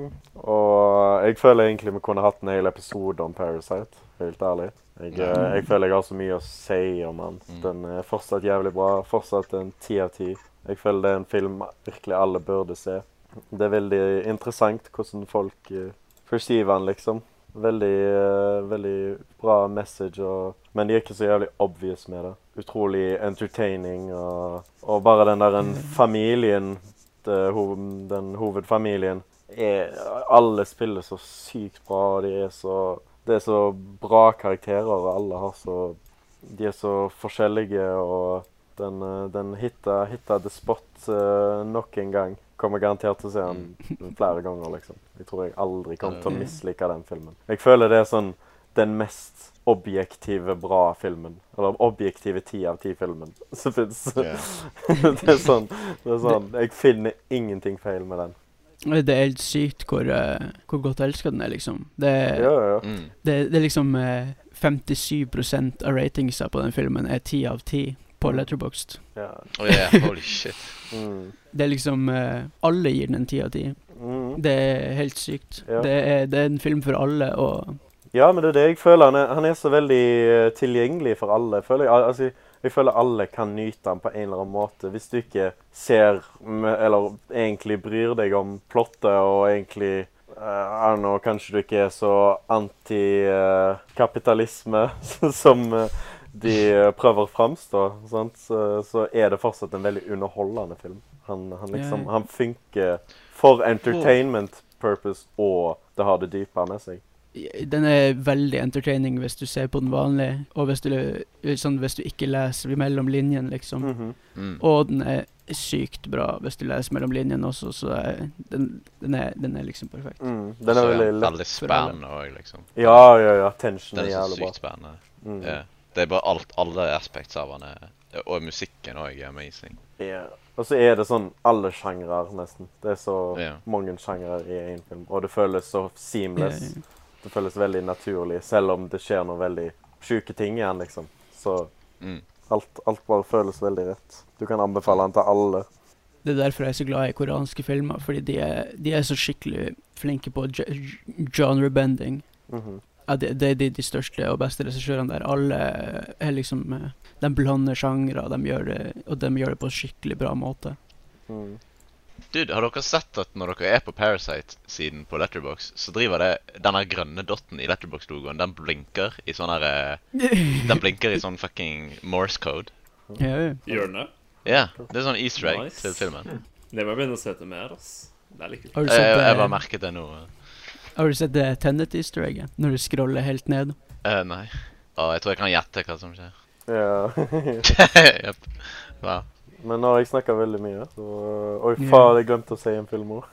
Speaker 2: Og jeg føler egentlig vi kunne hatt en hel episode om Parasite, helt ærlig. Jeg, eh, jeg føler jeg har så mye å si om den. Den er fortsatt jævlig bra. Fortsatt en ti av ti. Jeg føler det er en film virkelig alle burde se. Det er veldig interessant hvordan folk eh, perceiver den, liksom. Veldig, eh, veldig bra message, og, men de er ikke så jævlig obvious med det. Utrolig entertaining, og, og bare den der en familien, det, eh, ho, den hovedfamilien, er, alle spiller så sykt bra, og de er så, det er så bra karakterer, og alle har så, de er så forskjellige, og den, eh, den hitta, hitta the spot eh, nok en gang. Kommer garantert til å se den flere ganger, liksom. Jeg tror jeg aldri kommer til å mislike den filmen. Jeg føler det er sånn den mest objektive bra filmen. Eller objektive ti av ti-filmen som fins.
Speaker 3: Ja.
Speaker 2: det er sånn, det er sånn Jeg finner ingenting feil med den.
Speaker 1: Det er helt sykt hvor, eh, hvor godt elska den er, liksom. Det,
Speaker 2: Ja, ja, ja.
Speaker 3: Mm.
Speaker 1: det, det er liksom eh, 57 av ratingsa på den filmen er 10 av 10 på Letterboxd.
Speaker 2: ja.
Speaker 3: Oh, yeah. Holy shit.
Speaker 2: Mm.
Speaker 1: Det er liksom eh, Alle gir den en 10 av 10.
Speaker 2: Mm.
Speaker 1: Det er helt sykt.
Speaker 2: Ja.
Speaker 1: Det, er, det er en film for alle, og
Speaker 2: Ja, men det er det jeg føler. Han er, han er så veldig eh, tilgjengelig for alle. Jeg føler, al- altså, jeg føler alle kan nyte han på en eller annen måte. Hvis du ikke ser, m- eller egentlig bryr deg om plottet, og egentlig eh, I don't know, kanskje du ikke er så antikapitalisme som eh, de eh, prøver å framstå, sant? Så, så er det fortsatt en veldig underholdende film. Han, han, liksom,
Speaker 1: Ja.
Speaker 2: han funker for entertainment purpose, og det har det dype med seg.
Speaker 1: den er veldig entertaining hvis du ser på den vanlig, og hvis du, sånn, hvis du ikke leser mellom linjene, liksom.
Speaker 2: Mhm.
Speaker 3: Mm.
Speaker 1: Og den er sykt bra hvis du leser mellom linjene også, så eh, den, den, er, den er liksom perfekt.
Speaker 2: Mm,
Speaker 3: Så
Speaker 2: den er
Speaker 3: er
Speaker 2: veldig
Speaker 3: han
Speaker 2: lett.
Speaker 3: Altså, veldig
Speaker 1: for alle.
Speaker 3: spennende òg, liksom.
Speaker 2: Ja, ja, ja. Tension
Speaker 3: Den
Speaker 2: er
Speaker 3: er så
Speaker 2: jævlig bra.
Speaker 3: sykt spennende.
Speaker 2: Mm.
Speaker 3: Ja. Det er bare alt, alle aspekter av han er Og musikken òg er amazing.
Speaker 2: Ja. Og så er det sånn alle sjangrer, nesten. Det er så
Speaker 3: Ja.
Speaker 2: mange sjangrer i én film. Og det føles så seamless.
Speaker 1: Eh,
Speaker 2: Det føles veldig naturlig, selv om det skjer noen veldig sjuke ting igjen, liksom. Så
Speaker 3: Mm.
Speaker 2: alt, alt bare føles veldig rett. Du kan anbefale den til alle.
Speaker 1: Det er derfor jeg er så glad i koreanske filmer, fordi de er, de er så skikkelig flinke på ge- genre bending.
Speaker 2: Mhm.
Speaker 1: Ja, det, det er de, de største og beste regissørene der. Alle er liksom eh, De blander sjangre, de gjør det, og de gjør det på en skikkelig bra måte.
Speaker 2: mm.
Speaker 3: Dude, har dere sett at når dere er på Parasite-siden på Letterbox, så driver det denne grønne dotten i Letterbox-logoen, den blinker i sånn her eh, Den blinker i sånn fucking Morse code.
Speaker 1: Ja, ja.
Speaker 5: Hjørnet.
Speaker 3: Ja, det er sånn easter egg
Speaker 5: Nice.
Speaker 3: til filmen.
Speaker 5: Det må jeg begynne å se etter mer, ass. Det er litt kult.
Speaker 1: Hm. Har du
Speaker 3: Jeg,
Speaker 1: sett,
Speaker 3: jeg, jeg
Speaker 1: eh,
Speaker 3: bare merket det nå.
Speaker 1: har du sett det Tenet Easter egget? Når du scroller helt ned?
Speaker 3: Eh, nei. Å, jeg tror jeg kan gjette hva som skjer.
Speaker 2: Ja.
Speaker 3: Jepp. Wow.
Speaker 2: Men nå har jeg snakka veldig mye, så Oi,
Speaker 1: Ja.
Speaker 2: faen, jeg glemte å si en film òg.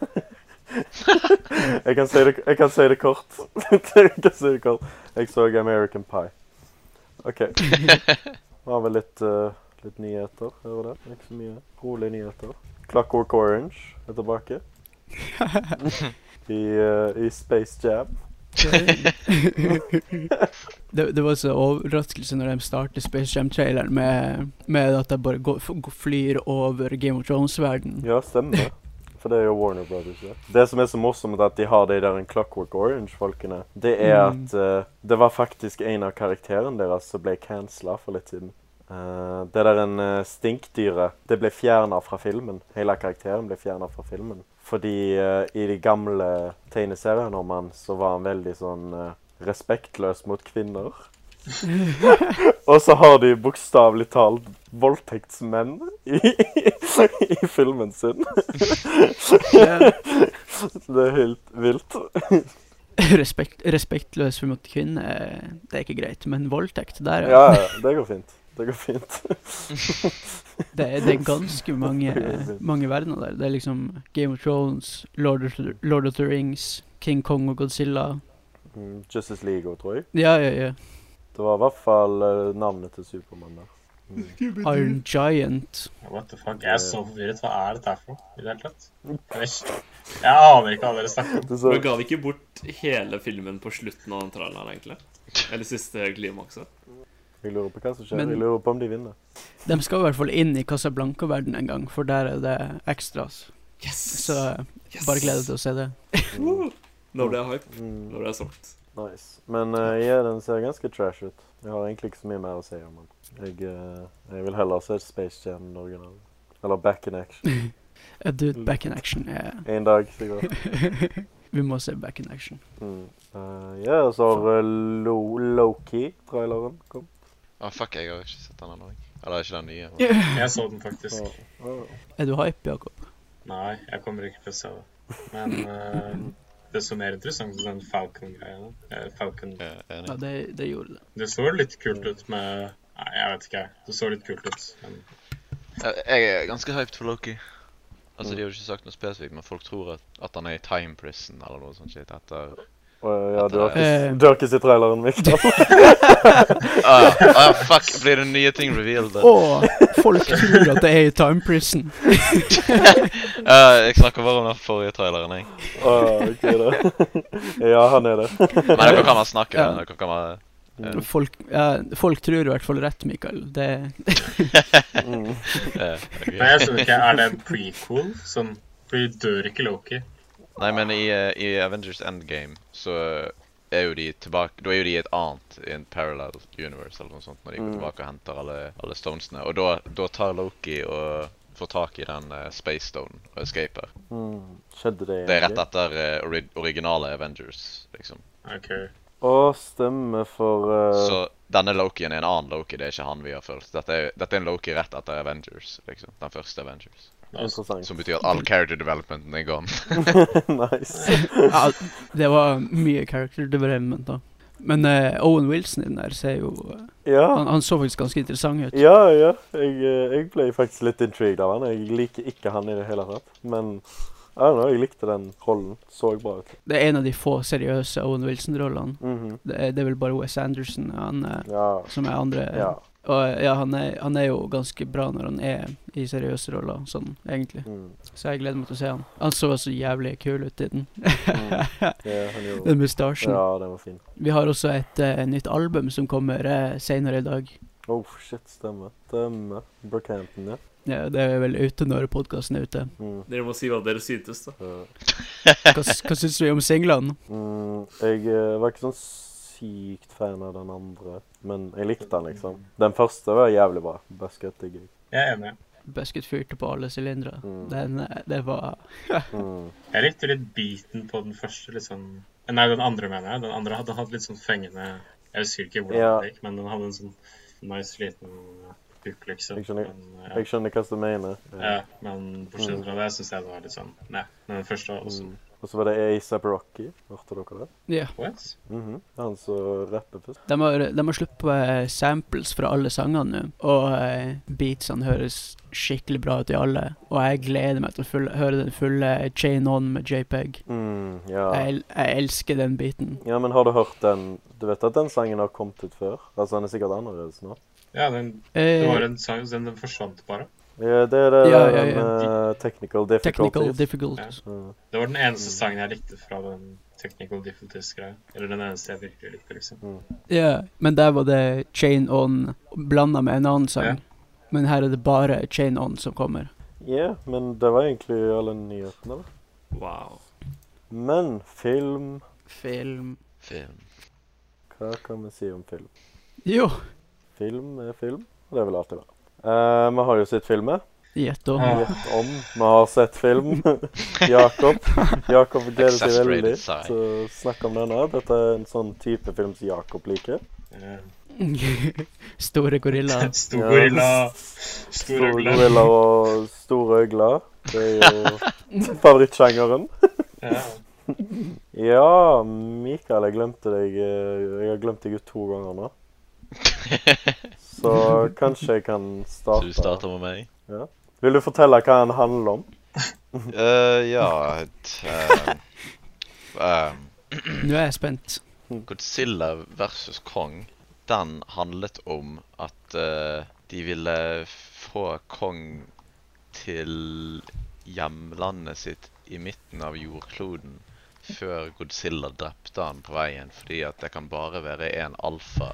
Speaker 2: jeg, kan si det- jeg kan si det kort. jeg kan si det kort. Jeg så American Pie. OK. Nå har vi litt, eh, litt nyheter. Hører det? Ikke så mye. Rolige nyheter. Clockwork Orange er tilbake. I, eh, I Space Jam.
Speaker 1: Det, det var så overraskelse når de startet Space Jam-traileren med, med at de bare går, f- går- flyr over Game of Thrones-verden.
Speaker 2: Ja, stemmer det. For det er jo Warner Brothers. Ja. Det som er så morsomt med at de har de der en Clockwork Orange-folkene, det er
Speaker 1: Mm.
Speaker 2: at eh, det var faktisk en av karakterene deres som ble cancela for litt siden. Eh, det der en eh, stinkdyret, det ble fjerna fra filmen. Hele karakteren ble fjerna fra filmen. Fordi eh, i de gamle tegneseriene om han, så var han veldig sånn eh, respektløs mot kvinner. Og så har de bokstavelig talt voldtektsmenn i, i filmen sin.
Speaker 1: Ja.
Speaker 2: Det er helt vilt.
Speaker 1: Respekt, respektløs for mot kvinner, eh, det er ikke greit. Men voldtekt, der
Speaker 2: Ja, ja, det går fint. Det går fint.
Speaker 1: Det, er- det er ganske mange, mange verdener der. Det er liksom Game of Thrones, Lord of, Lord of the Rings, King Kong og Godzilla.
Speaker 2: Mm, Justice League òg, tror jeg.
Speaker 1: Ja, ja, ja.
Speaker 2: Det var i hvert fall eh, navnet til Supermann der. Mm.
Speaker 1: Iron Giant.
Speaker 4: What the fuck? Jeg er så forvirret. Hva er dette her for noe? I det hele tatt? Jeg vet- jeg aner ikke hva dere snakker om.
Speaker 2: Det
Speaker 5: Men
Speaker 2: så,
Speaker 5: ga de ikke bort hele filmen på slutten av den traileren, egentlig? Eller siste klimakset?
Speaker 2: jeg lurer på hva som skjer.
Speaker 1: Men-
Speaker 2: Jeg lurer på om de vinner.
Speaker 1: De skal i hvert fall inn i Casablanca-verden en gang, for der er det ekstras.
Speaker 5: Yes!
Speaker 1: Så bare gled deg til å se det.
Speaker 5: Woo! Nå ble jeg hype.
Speaker 2: Mm,
Speaker 5: Nå ble jeg solgt.
Speaker 2: nice. Men eh, ja, den ser ganske trash ut. Jeg har egentlig ikke så mye mer å si om den. Jeg, eh, jeg vil heller se Space Jam den originale. Eller Back in Action.
Speaker 1: A dude back in action. eh.
Speaker 2: En dag, sikkert.
Speaker 1: Vi må se back in action.
Speaker 2: Mm. Eh, ja, og så har eh, Lo Loki-traileren kom.
Speaker 3: Å, fuck, jeg har ikke sett den ennå. jeg. Eller ikke den nye. men-
Speaker 4: Jeg så den faktisk.
Speaker 2: Åh.
Speaker 1: Er du hype, Jakob?
Speaker 4: Nei, jeg kommer ikke til å se det. Men eh, det så mer interessant ut den Falcon-greia. Eh, Falcon.
Speaker 3: Jeg er
Speaker 1: Ja,
Speaker 3: enig.
Speaker 1: det, det gjorde det.
Speaker 4: Det så litt kult ut med Nei, jeg vet ikke. jeg. Det så litt kult ut. Men
Speaker 3: Jeg- Eh, Jeg er ganske hyped for Loki. Altså, De har jo ikke sagt noe spesifikt, men folk tror at, at han er i time prison eller noe sånt shit etter
Speaker 2: Åh, ja, du har,
Speaker 1: Eh.
Speaker 2: ikke, du har ikke sett traileren, Mikkel.
Speaker 3: Ah, ah, fuck! Blir det nye ting revealed?
Speaker 1: Å, folk tror at det er i time prison.
Speaker 3: Eh, jeg snakker bare om den forrige traileren, jeg.
Speaker 2: Åh, ok da. ja, han er det.
Speaker 3: Men dere kan bare snakke.
Speaker 1: Ja.
Speaker 3: Dere kan bare Mm.
Speaker 1: Folk, ja, folk tror i hvert fall rett, Mikael. Det,
Speaker 2: Mm.
Speaker 3: eh, ok.
Speaker 4: Nei, jeg skjønner ikke. Er det en prequel? Sånn, fordi dør ikke Loki.
Speaker 3: Nei, men i, eh, i Avengers Endgame så er jo de tilbake Da er jo de i et annet, i en parallel universe eller noe sånt, når de går
Speaker 2: Mm.
Speaker 3: tilbake og henter alle, alle stonesene. Og da, da tar Loki og får tak i den eh, Space Stone og escaper.
Speaker 2: Mm. Skjedde det?
Speaker 3: Det er rett
Speaker 2: egentlig?
Speaker 3: etter eh, ori originale Avengers, liksom.
Speaker 4: OK.
Speaker 2: Å, stemme for eh,
Speaker 3: Så denne Lokien er en annen Loki, det er ikke han vi har fulgt. Dette er, dette er en Loki rett etter Avengers, liksom. Den første Avengers.
Speaker 4: Da,
Speaker 2: Interessant.
Speaker 3: Som betyr at all character developmenten er gone.
Speaker 2: nice.
Speaker 1: ja, det var mye character development, da. Men eh, Owen Wilson i den der ser jo eh,
Speaker 2: Ja.
Speaker 1: han, han så faktisk ganske interessant ut.
Speaker 2: Ah. Ja, ja. Jeg, eh, jeg ble faktisk litt intrigued av han. Jeg liker ikke han i det hele tatt. Men I don't know, jeg likte den rollen. Så bra ut.
Speaker 1: Det er en av de få seriøse Owen Wilson-rollene.
Speaker 2: Mhm.
Speaker 1: Det, er- det er vel bare Wes Anderson han, eh,
Speaker 2: Ja.
Speaker 1: som er andre.
Speaker 2: ja.
Speaker 1: Og eh, ja, han er, han er jo ganske bra når han er i seriøse roller, sånn egentlig.
Speaker 2: Mm.
Speaker 1: Så jeg gleder meg til å se han. Han så så jævlig kul ut i den.
Speaker 2: Mm. Ja, han gjorde
Speaker 1: den mustasjen.
Speaker 2: Ja, den var fin.
Speaker 1: Vi har også et eh, nytt album som kommer eh, senere i dag.
Speaker 2: Oh, shit, stemmer. Stemmer. Brookhampton, ja.
Speaker 1: Ja, det er vel ute når podkasten er ute.
Speaker 2: Mm.
Speaker 5: Dere må si hva dere syntes, da.
Speaker 2: ja.
Speaker 1: Hva, s- hva syns vi om singlene?
Speaker 2: Mm, jeg eh, var ikke sånn sykt fan av den andre, men jeg likte den, liksom. Den første var jævlig bra. Basket digger jeg.
Speaker 4: jeg er enig.
Speaker 1: Basket fyrte på alle sylindere.
Speaker 2: Mm.
Speaker 1: Den, eh, Det var
Speaker 2: Mm.
Speaker 4: Jeg likte litt beaten på den første, litt sånn Nei, den andre, mener jeg. Den andre hadde hatt litt sånn fengende Jeg husker ikke hvordan
Speaker 2: Ja.
Speaker 4: det gikk, men den hadde en sånn nice liten hook, liksom.
Speaker 2: Jeg skjønner.
Speaker 4: Men, ja.
Speaker 2: Jeg skjønner hva du mener.
Speaker 4: Ja, men bortsett fra det syns jeg det var litt sånn Nei, men den første var også
Speaker 2: Mm. Og så var det A$AP Rocky. Hørte dere det?
Speaker 1: Ja.
Speaker 4: What?
Speaker 2: Mhm. Han som rapper først.
Speaker 1: De har, de har sluppet eh, samples fra alle sangene nå, og eh, beatsene høres skikkelig bra ut i alle. Og jeg gleder meg til å full, høre den fulle Chain On med JPEG.
Speaker 2: Mm, ja.
Speaker 1: Jeg, jeg elsker den biten.
Speaker 2: ja, men har du hørt den Du vet at den sangen har kommet ut før? Altså, den er sikkert annerledes nå.
Speaker 4: Ja, den, det var
Speaker 1: Eh,
Speaker 4: en sang den, den forsvant bare.
Speaker 2: Ja, det er det
Speaker 1: Ja,
Speaker 2: der,
Speaker 1: ja,
Speaker 2: den, eh,
Speaker 1: technical
Speaker 2: Technical difficulties.
Speaker 1: difficulties.
Speaker 2: Mm.
Speaker 4: Det var den eneste sangen jeg likte fra den Technical Difficulties-greia. Eller den eneste jeg virkelig likte, liksom.
Speaker 1: Ja, men der var det Chain On blanda med en annen sang.
Speaker 4: Ja.
Speaker 1: Men her er det bare Chain On som kommer.
Speaker 2: Ja, men det var egentlig alle nyhetene, da.
Speaker 5: Wow.
Speaker 2: Men film
Speaker 1: Film
Speaker 3: Film.
Speaker 2: Hva kan vi si om film?
Speaker 1: Jo,
Speaker 2: Film er film, og det vil alltid være. Eh, vi har jo sett filmer.
Speaker 1: gjett om.
Speaker 4: Ah.
Speaker 2: Gjett om. Vi har sett film. Jakob Jakob gleder seg
Speaker 3: Exasperated
Speaker 2: veldig
Speaker 3: sigh.
Speaker 2: til å snakke om denne. Dette er en sånn type film som Jakob liker.
Speaker 4: Eh,
Speaker 1: Store gorillaer.
Speaker 4: Stor
Speaker 2: Ja.
Speaker 4: gorilla, stor
Speaker 2: Store
Speaker 4: øgle.
Speaker 2: gorilla og store øgler. Det er jo favorittsjangeren.
Speaker 4: Ja.
Speaker 2: Ja, Mikael, jeg glemte deg eh, Jeg har glemt deg ut to ganger nå. Så kanskje jeg kan
Speaker 3: Så du
Speaker 2: starte.
Speaker 3: starter med meg?
Speaker 2: Vil du fortelle hva den handler om?
Speaker 3: Eh, ja et, eh, ehm,
Speaker 1: Nå er jeg spent.
Speaker 3: Godzilla versus Kong, den handlet om at eh, de ville få Kong til hjemlandet sitt i midten av jordkloden før Godzilla drepte han på veien, fordi at det kan bare være én alfa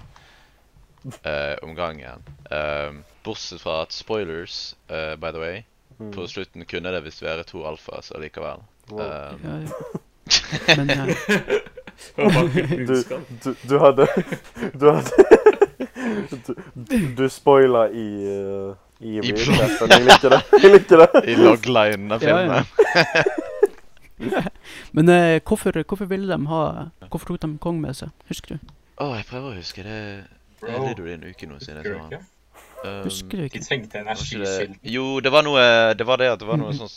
Speaker 3: eh, om gangen. Ehm, bortsett fra at spoilers, eh, by the way, på
Speaker 2: Mm.
Speaker 3: slutten kunne det visst være to alfas allikevel.
Speaker 2: Wow.
Speaker 3: Ehm,
Speaker 1: Ja, ja. Men eh, ja.
Speaker 5: Det var bare
Speaker 2: Du,
Speaker 5: budskap.
Speaker 2: du, du hadde Du hadde Du, du spoila i eh, I
Speaker 3: I
Speaker 2: recapen. Jeg liker det. Jeg liker det.
Speaker 3: I loglinen av
Speaker 1: Ja, ja.
Speaker 3: filmen.
Speaker 1: Men eh, hvorfor, hvorfor ville de ha Hvorfor tok de Kong med seg? Husker du?
Speaker 3: Å, jeg prøver å huske det. Det
Speaker 4: Bro,
Speaker 3: lider i en uke nå siden
Speaker 4: husker
Speaker 3: jeg
Speaker 4: du
Speaker 3: så
Speaker 4: ikke?
Speaker 3: han. Um,
Speaker 1: Husker du
Speaker 4: De
Speaker 1: ikke?
Speaker 4: trengte
Speaker 3: var ikke det...
Speaker 4: energikilden.
Speaker 3: Jo, det var noe Det var det at det var noe sånn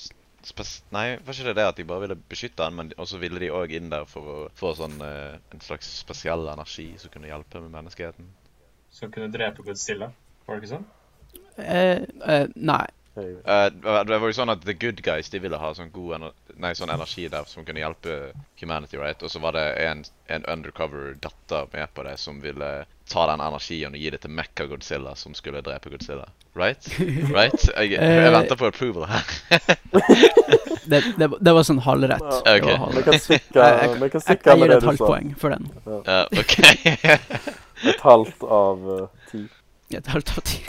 Speaker 3: spes... Nei, var ikke det det at de bare ville beskytte han, men også ville de òg inn der for å få sånn eh, en slags spesiell energi som kunne hjelpe med menneskeheten?
Speaker 4: Som kunne drepe Godzilla. Var det ikke sånn?
Speaker 1: Eh, eh, nei.
Speaker 2: Jeg,
Speaker 3: Eh, det var jo sånn at The Good Guys de ville ha sånn god ener nei, sånn energi der som kunne hjelpe humanity, right? Og så var det en, en undercover datter med på det som ville ta den energien og gi det til Mekka-Godzilla, som skulle drepe Godzilla. Right? Right? Jeg, jeg
Speaker 1: Eh.
Speaker 3: venter på approval her.
Speaker 1: Det, det, det var sånn halvrett.
Speaker 2: Ja.
Speaker 1: Det var
Speaker 3: Ok.
Speaker 2: vi
Speaker 1: halvrett.
Speaker 2: kan stikke,
Speaker 1: Jeg- jeg-
Speaker 2: vi
Speaker 1: Jeg,
Speaker 2: kan stikke
Speaker 1: jeg
Speaker 2: med
Speaker 1: gir
Speaker 2: det
Speaker 1: et
Speaker 2: du
Speaker 1: halvt
Speaker 2: sa.
Speaker 1: poeng for den.
Speaker 3: Eh, OK.
Speaker 2: Et halvt av eh, ti.
Speaker 1: Et halvt av ti.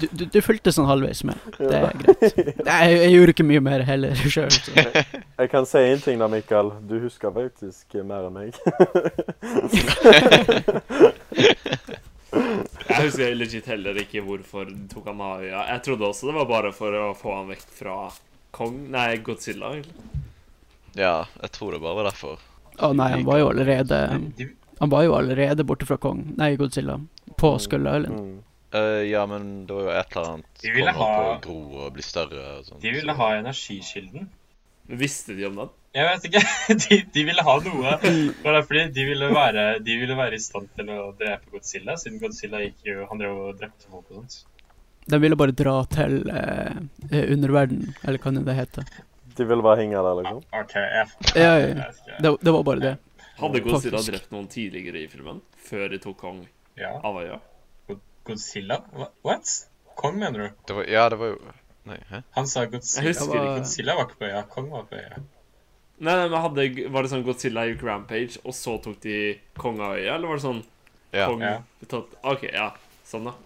Speaker 1: Du, du, du fulgte sånn halvveis med. Det
Speaker 2: Ja.
Speaker 1: er greit. Nei, jeg, jeg gjorde ikke mye mer heller sjøl.
Speaker 2: Jeg kan si en ting da, Mikael. Du husker faktisk mer enn meg.
Speaker 5: Jeg husker legit heller ikke hvorfor de tok han av øya. Jeg trodde også det var bare for å få han vekk fra Kong Nei, Godzilla. egentlig.
Speaker 3: Ja, jeg tror det bare var derfor.
Speaker 1: Å nei, han var jo allerede
Speaker 4: De,
Speaker 1: Han var jo allerede borte fra Kong Nei, Godzilla. På Skull Island.
Speaker 2: Mm.
Speaker 3: Eh, ja, men det var jo et eller annet
Speaker 4: De ville
Speaker 3: som holdt på
Speaker 4: ha-
Speaker 3: å gro og bli større og sånn.
Speaker 4: de ville ha energikilden.
Speaker 5: Men Visste de om den?
Speaker 4: Jeg vet ikke. De, de ville ha noe.
Speaker 1: Mm.
Speaker 4: Det var derfor de, de, ville være, de ville være i stand til å drepe Godzilla, siden Godzilla gikk jo Han drev og drepte folk og sånt.
Speaker 1: De ville bare dra til eh, eh, underverden, eller hva nå det heter.
Speaker 2: De ville bare henge der, liksom.
Speaker 4: OK, jeg,
Speaker 1: Ja, ja,
Speaker 4: jeg
Speaker 1: ja.
Speaker 4: vet ikke.
Speaker 1: Det, det var bare det.
Speaker 5: Hadde Godzilla
Speaker 1: Faktisk.
Speaker 5: drept noen tidligere i filmen? Før de tok Kong
Speaker 4: Ja.
Speaker 5: av øya?
Speaker 4: Godzilla? Hva- What? Kong, mener du?
Speaker 3: Det var, ja, det var jo Nei, hæ?
Speaker 4: Han sa Godzilla.
Speaker 5: Jeg husker
Speaker 1: ikke.
Speaker 4: Godzilla var ikke på øya. Kong var på øya.
Speaker 5: Nei, nei, men hadde, Var det sånn Godzilla gikk rampage, og så tok de Kong av øya? Eller var det sånn
Speaker 3: Ja.
Speaker 5: Kong
Speaker 4: Ja.
Speaker 5: tatt OK, ja. Sånn, da.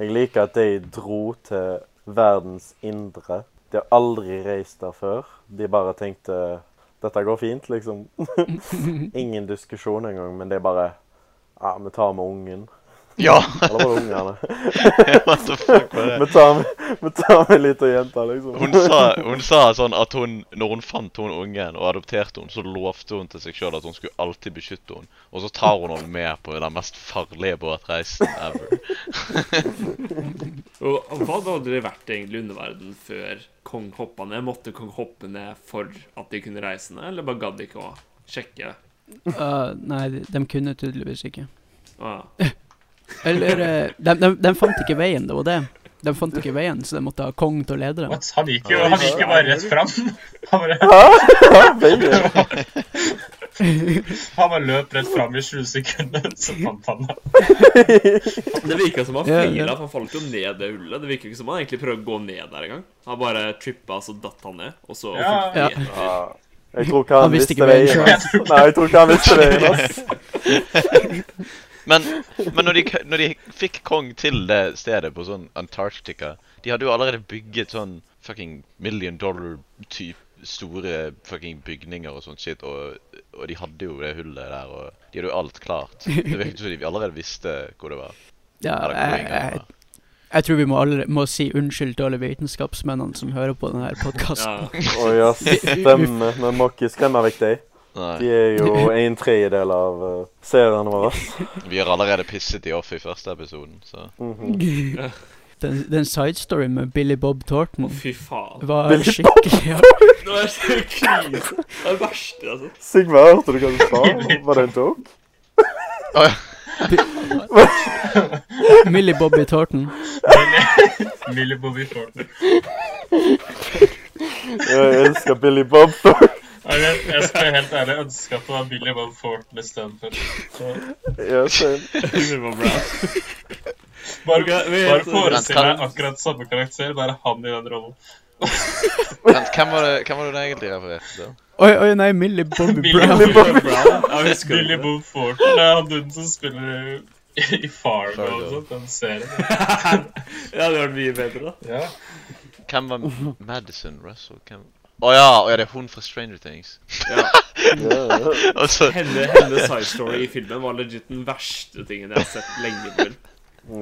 Speaker 2: Jeg liker at de dro til verdens indre. De har aldri reist der før. De bare tenkte dette går fint, liksom. Ingen diskusjon engang, men det er bare Ja, vi tar med ungen.
Speaker 3: Ja!
Speaker 2: Eller var det ungene?
Speaker 3: What the fuck var det?
Speaker 2: Vi tar med, vi tar med lita jente, liksom.
Speaker 3: Hun sa, hun sa sånn at hun, når hun fant hun ungen og adopterte hun, så lovte hun til seg sjøl at hun skulle alltid beskytte hun. Og så tar hun henne med på den mest farlige båtreisen ever.
Speaker 5: Og Hva hadde aldri vært egentlig i underverdenen før Kong hoppa ned? Måtte Kong hoppe ned for at de kunne reise ned, eller bare gadd de ikke å sjekke?
Speaker 1: Eh, nei, de, de kunne tydeligvis ikke.
Speaker 5: Ah.
Speaker 1: Eller eh, de, de, de fant ikke veien, det var det. De fant ikke veien, så de måtte ha Kong til å lede dem.
Speaker 4: What? Han gikk jo han gikk jo bare rett fram. Han bare,
Speaker 2: Baby.
Speaker 4: han bare løp rett fram i 20 sekunder, så fant han henne.
Speaker 5: Det virka som han
Speaker 1: Ja, ja.
Speaker 5: feila, for han falt jo ned det hullet. Det virka ikke som han egentlig prøvde å gå ned der engang. Han bare trippa, så datt han ned, og så
Speaker 4: Ja.
Speaker 5: fulgte de etter.
Speaker 2: Ja. Jeg tror ikke han,
Speaker 1: Han visste
Speaker 2: visste
Speaker 1: ikke
Speaker 2: veien.
Speaker 1: veien
Speaker 2: ass. Nei, jeg tror ikke han visste veien. ass.
Speaker 3: Men, men når, de, k- når de fikk Kong til det stedet på sånn Antarctica De hadde jo allerede bygget sånn fucking million dollar-type store fucking bygninger og sånt shit, og, og de hadde jo det hullet der, og de hadde jo alt klart. Det virket som de allerede visste hvor det var.
Speaker 1: Ja,
Speaker 3: Eller hvor
Speaker 1: jeg,
Speaker 3: inngangen
Speaker 1: jeg,
Speaker 3: var.
Speaker 1: jeg tror vi må, allerede, må si unnskyld til alle vitenskapsmennene som hører på denne podkasten.
Speaker 5: Ja.
Speaker 2: Å ja, stemmer. Vi må ikke skremme vekk deg.
Speaker 3: Nei,
Speaker 2: De er jo en tredjedel av uh, seerne våre.
Speaker 3: Vi har allerede pisset de off i første episoden, så
Speaker 2: Mhm.
Speaker 1: Den, den sidestoryen med Billy Bob Thornton
Speaker 5: Fy faen.
Speaker 1: var
Speaker 2: Billy Bob
Speaker 1: skikkelig ja.
Speaker 5: Det var så krise. Det er det verste, altså.
Speaker 2: Sigve, hørte du hva du sa? Var det en joke?
Speaker 3: Å ja.
Speaker 1: Millie Bobby Thornton.
Speaker 4: Millie Bobby Thornton.
Speaker 2: Jeg elsker Billy Bob Thornton.
Speaker 4: Jeg, jeg skal være helt ærlig ønske at det var Billy Bob Thornton istedenfor.
Speaker 2: Ja, same.
Speaker 4: Bare,
Speaker 5: Ok, vi-
Speaker 4: bare forestill
Speaker 3: Men
Speaker 4: deg
Speaker 3: kan-
Speaker 4: akkurat samme karakter, bare han i den rollen.
Speaker 3: Vent, hvem var det, hvem var det du egentlig refererte til?
Speaker 1: Oi, oi, nei, Millie Bobby
Speaker 4: Millie
Speaker 1: Brown.
Speaker 4: Bobby Brown.
Speaker 5: Jeg husker
Speaker 4: Billy
Speaker 5: det.
Speaker 4: Bob Thornton det er han duden som spiller i- i Fargo og
Speaker 3: Fargo.
Speaker 4: sånt, den serien.
Speaker 5: Ja, det var mye bedre, da.
Speaker 4: Ja.
Speaker 3: Hvem var Madison Russell? Hvem... Å ja, å ja, det er hun fra Stranger Things.
Speaker 2: Ja, ja.
Speaker 3: Og så
Speaker 5: Henne, henne side story i filmen var legit den verste tingen jeg har sett lenge på film.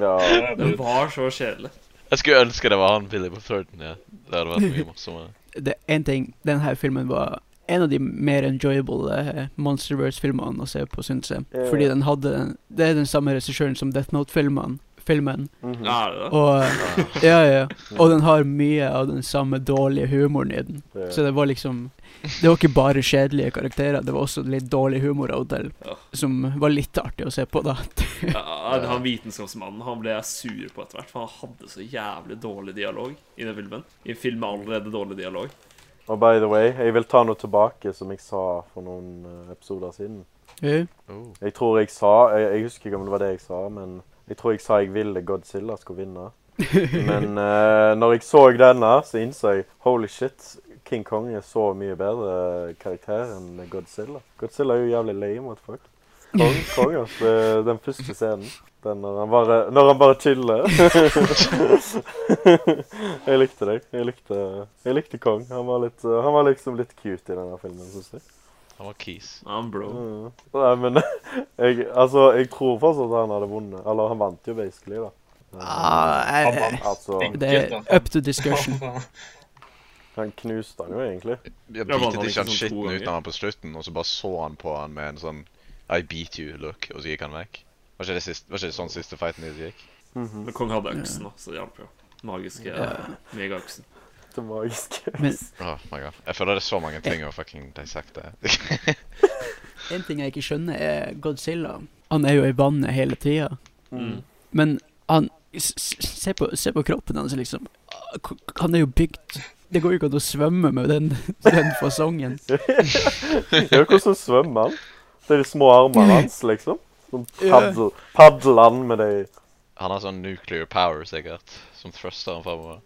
Speaker 2: ja.
Speaker 5: Den var så kjedelig.
Speaker 3: Jeg skulle ønske det var han Billy på Thornton, ja. Det hadde vært mye morsommere.
Speaker 1: Det er en ting, denne filmen var en av de mer enjoyable eh, Monsterverse-filmene å se på, syns jeg.
Speaker 2: Ja, ja.
Speaker 1: Fordi den hadde Det er den samme regissøren som Death Note-filmen. Filmen.
Speaker 2: Mhm.
Speaker 5: Ja, er det det?
Speaker 1: Og eh, ja, ja. Og den har mye av den samme dårlige humoren i den.
Speaker 2: Det-
Speaker 1: Så det var liksom Det var ikke bare kjedelige karakterer, det var også litt dårlig humor av og til.
Speaker 5: Ja.
Speaker 1: Som var litt artig å se på, da.
Speaker 5: Ja, han vitenskapsmannen han ble jeg sur på etter hvert, for han hadde så jævlig dårlig dialog i den filmen. I en film med allerede dårlig dialog.
Speaker 2: Og by the way, jeg vil ta noe tilbake som jeg sa for noen eh, episoder siden.
Speaker 1: Ja.
Speaker 3: Oh.
Speaker 2: Jeg tror jeg sa Jeg, jeg husker ikke om det var det jeg sa, men jeg tror jeg sa jeg ville Godzilla skulle vinne. Men eh, når jeg så denne, så innså jeg holy shit, King Kong er så mye bedre karakter enn Godzilla. Godzilla er jo jævlig lame, what the fuck. Kong, Kong altså, den første scenen. Den når han bare, når han bare chiller. jeg likte det. Jeg likte, jeg likte Kong. Han var, litt, eh, han var liksom litt cute i denne filmen, syns jeg.
Speaker 3: Han var kis.
Speaker 5: Han bro.
Speaker 2: Mm. Nei, men jeg, altså, jeg tror fortsatt han hadde vunnet. Eller han vant jo basically, da.
Speaker 1: Ah, jeg- jeg-
Speaker 2: Altså,
Speaker 1: det er up to discussion.
Speaker 2: han knuste han jo egentlig.
Speaker 3: Jeg
Speaker 5: Ja, men han
Speaker 3: bitet ikke
Speaker 5: gikk
Speaker 3: han
Speaker 5: sånn to
Speaker 3: skitten ut
Speaker 5: ganger.
Speaker 3: når han var på slutten, og så bare så han på han med en sånn I beat you look, og så gikk han vekk. Var ikke det, sist, var ikke det sånn siste fighten de gikk?
Speaker 5: Men kong hadde øksen, da, så det hjalp jo. Magiske eh, megaøksen.
Speaker 2: Det magiske.
Speaker 1: Men
Speaker 3: Oh my god. Jeg føler det er så mange ting å fucking dissecte.
Speaker 1: en ting jeg ikke skjønner, er Godzilla. Han er jo i vannet hele tida.
Speaker 5: Mm.
Speaker 1: Men han s- s- se på, se på kroppen hans, liksom. Ah, k- Han er jo bygd Det går jo ikke an å svømme med den, den fasongen.
Speaker 2: Ja, hvordan svømmer han? Det er de små
Speaker 1: Mm.
Speaker 2: armene hans, liksom. Sånn
Speaker 1: Ja.
Speaker 2: paddel, paddler han med de
Speaker 3: Han har sånn nuclear power, sikkert, som thruster han fremover.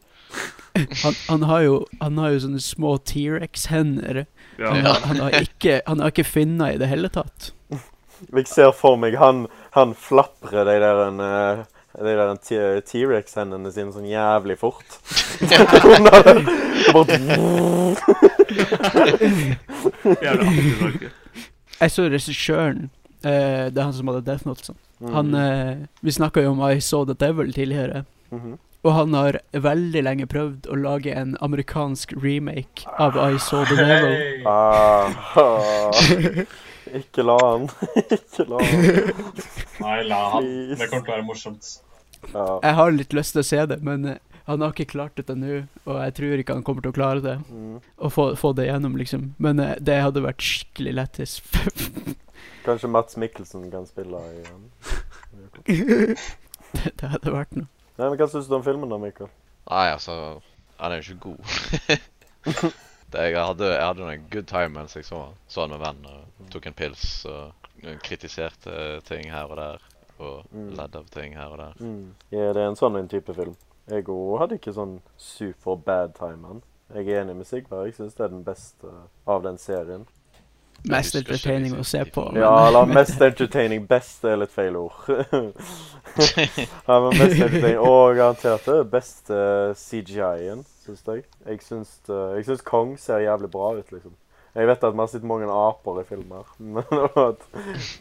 Speaker 1: Han, han, har, jo, han har jo sånne små T-rex-hender.
Speaker 5: Ja.
Speaker 1: Han, har- han har ikke, han har ikke finner i det hele tatt.
Speaker 2: Jeg ser for meg han, han flaprer de der en, eh, de der en T- T-rex-hendene sine sånn jævlig fort. Det bare
Speaker 5: Jævlig aktiv tanke.
Speaker 1: Jeg så regissøren. eh, det er han som hadde Death Note. Sånn.
Speaker 2: Mm.
Speaker 1: Han, eh, vi snakka jo om I Saw The Devil tidligere.
Speaker 2: Mhm.
Speaker 1: Og han har veldig lenge prøvd å lage en amerikansk remake av I Saw The Devil.
Speaker 4: Hey.
Speaker 2: Ah, ikke la han. Ikke la han.
Speaker 4: Nei, la han. Det kommer til å være morsomt.
Speaker 2: Ja.
Speaker 1: Jeg har litt lyst til å se det, men eh, han har ikke klart dette nå. Og jeg tror ikke han kommer til å klare det,
Speaker 2: Mm.
Speaker 1: å få, få det gjennom, liksom. Men eh, det hadde vært skikkelig lættis.
Speaker 2: Kanskje Mats Mikkelsen kan spille um. igjen.
Speaker 1: det, det hadde vært noe.
Speaker 2: Nei, men Hva syns du om filmen, da, Mikkel?
Speaker 3: Nei, altså Han er jo ikke god. det, jeg, hadde, jeg hadde en good time mens jeg så han. Så han med venn og tok en pils og kritiserte ting her og der. Og
Speaker 2: Mm.
Speaker 3: ledd av ting her og der.
Speaker 2: Ja, det er en sånn en type film. Jeg òg hadde ikke sånn super bad time. han. Jeg er enig med Sigvard. Jeg syns det er den beste eh, av den serien.
Speaker 1: Mest
Speaker 3: husker ikke
Speaker 1: entertaining
Speaker 3: liksom
Speaker 1: å se på.
Speaker 3: de-
Speaker 1: men-
Speaker 2: Ja, eller mest entertaining. Best er litt feil ord. ja, men mest entertaining. Og garantert eh, det beste CGI-en, syns jeg. Jeg syns, det- jeg syns Kong ser jævlig bra ut, liksom. Jeg vet at vi har sett mange aper i filmer, men og at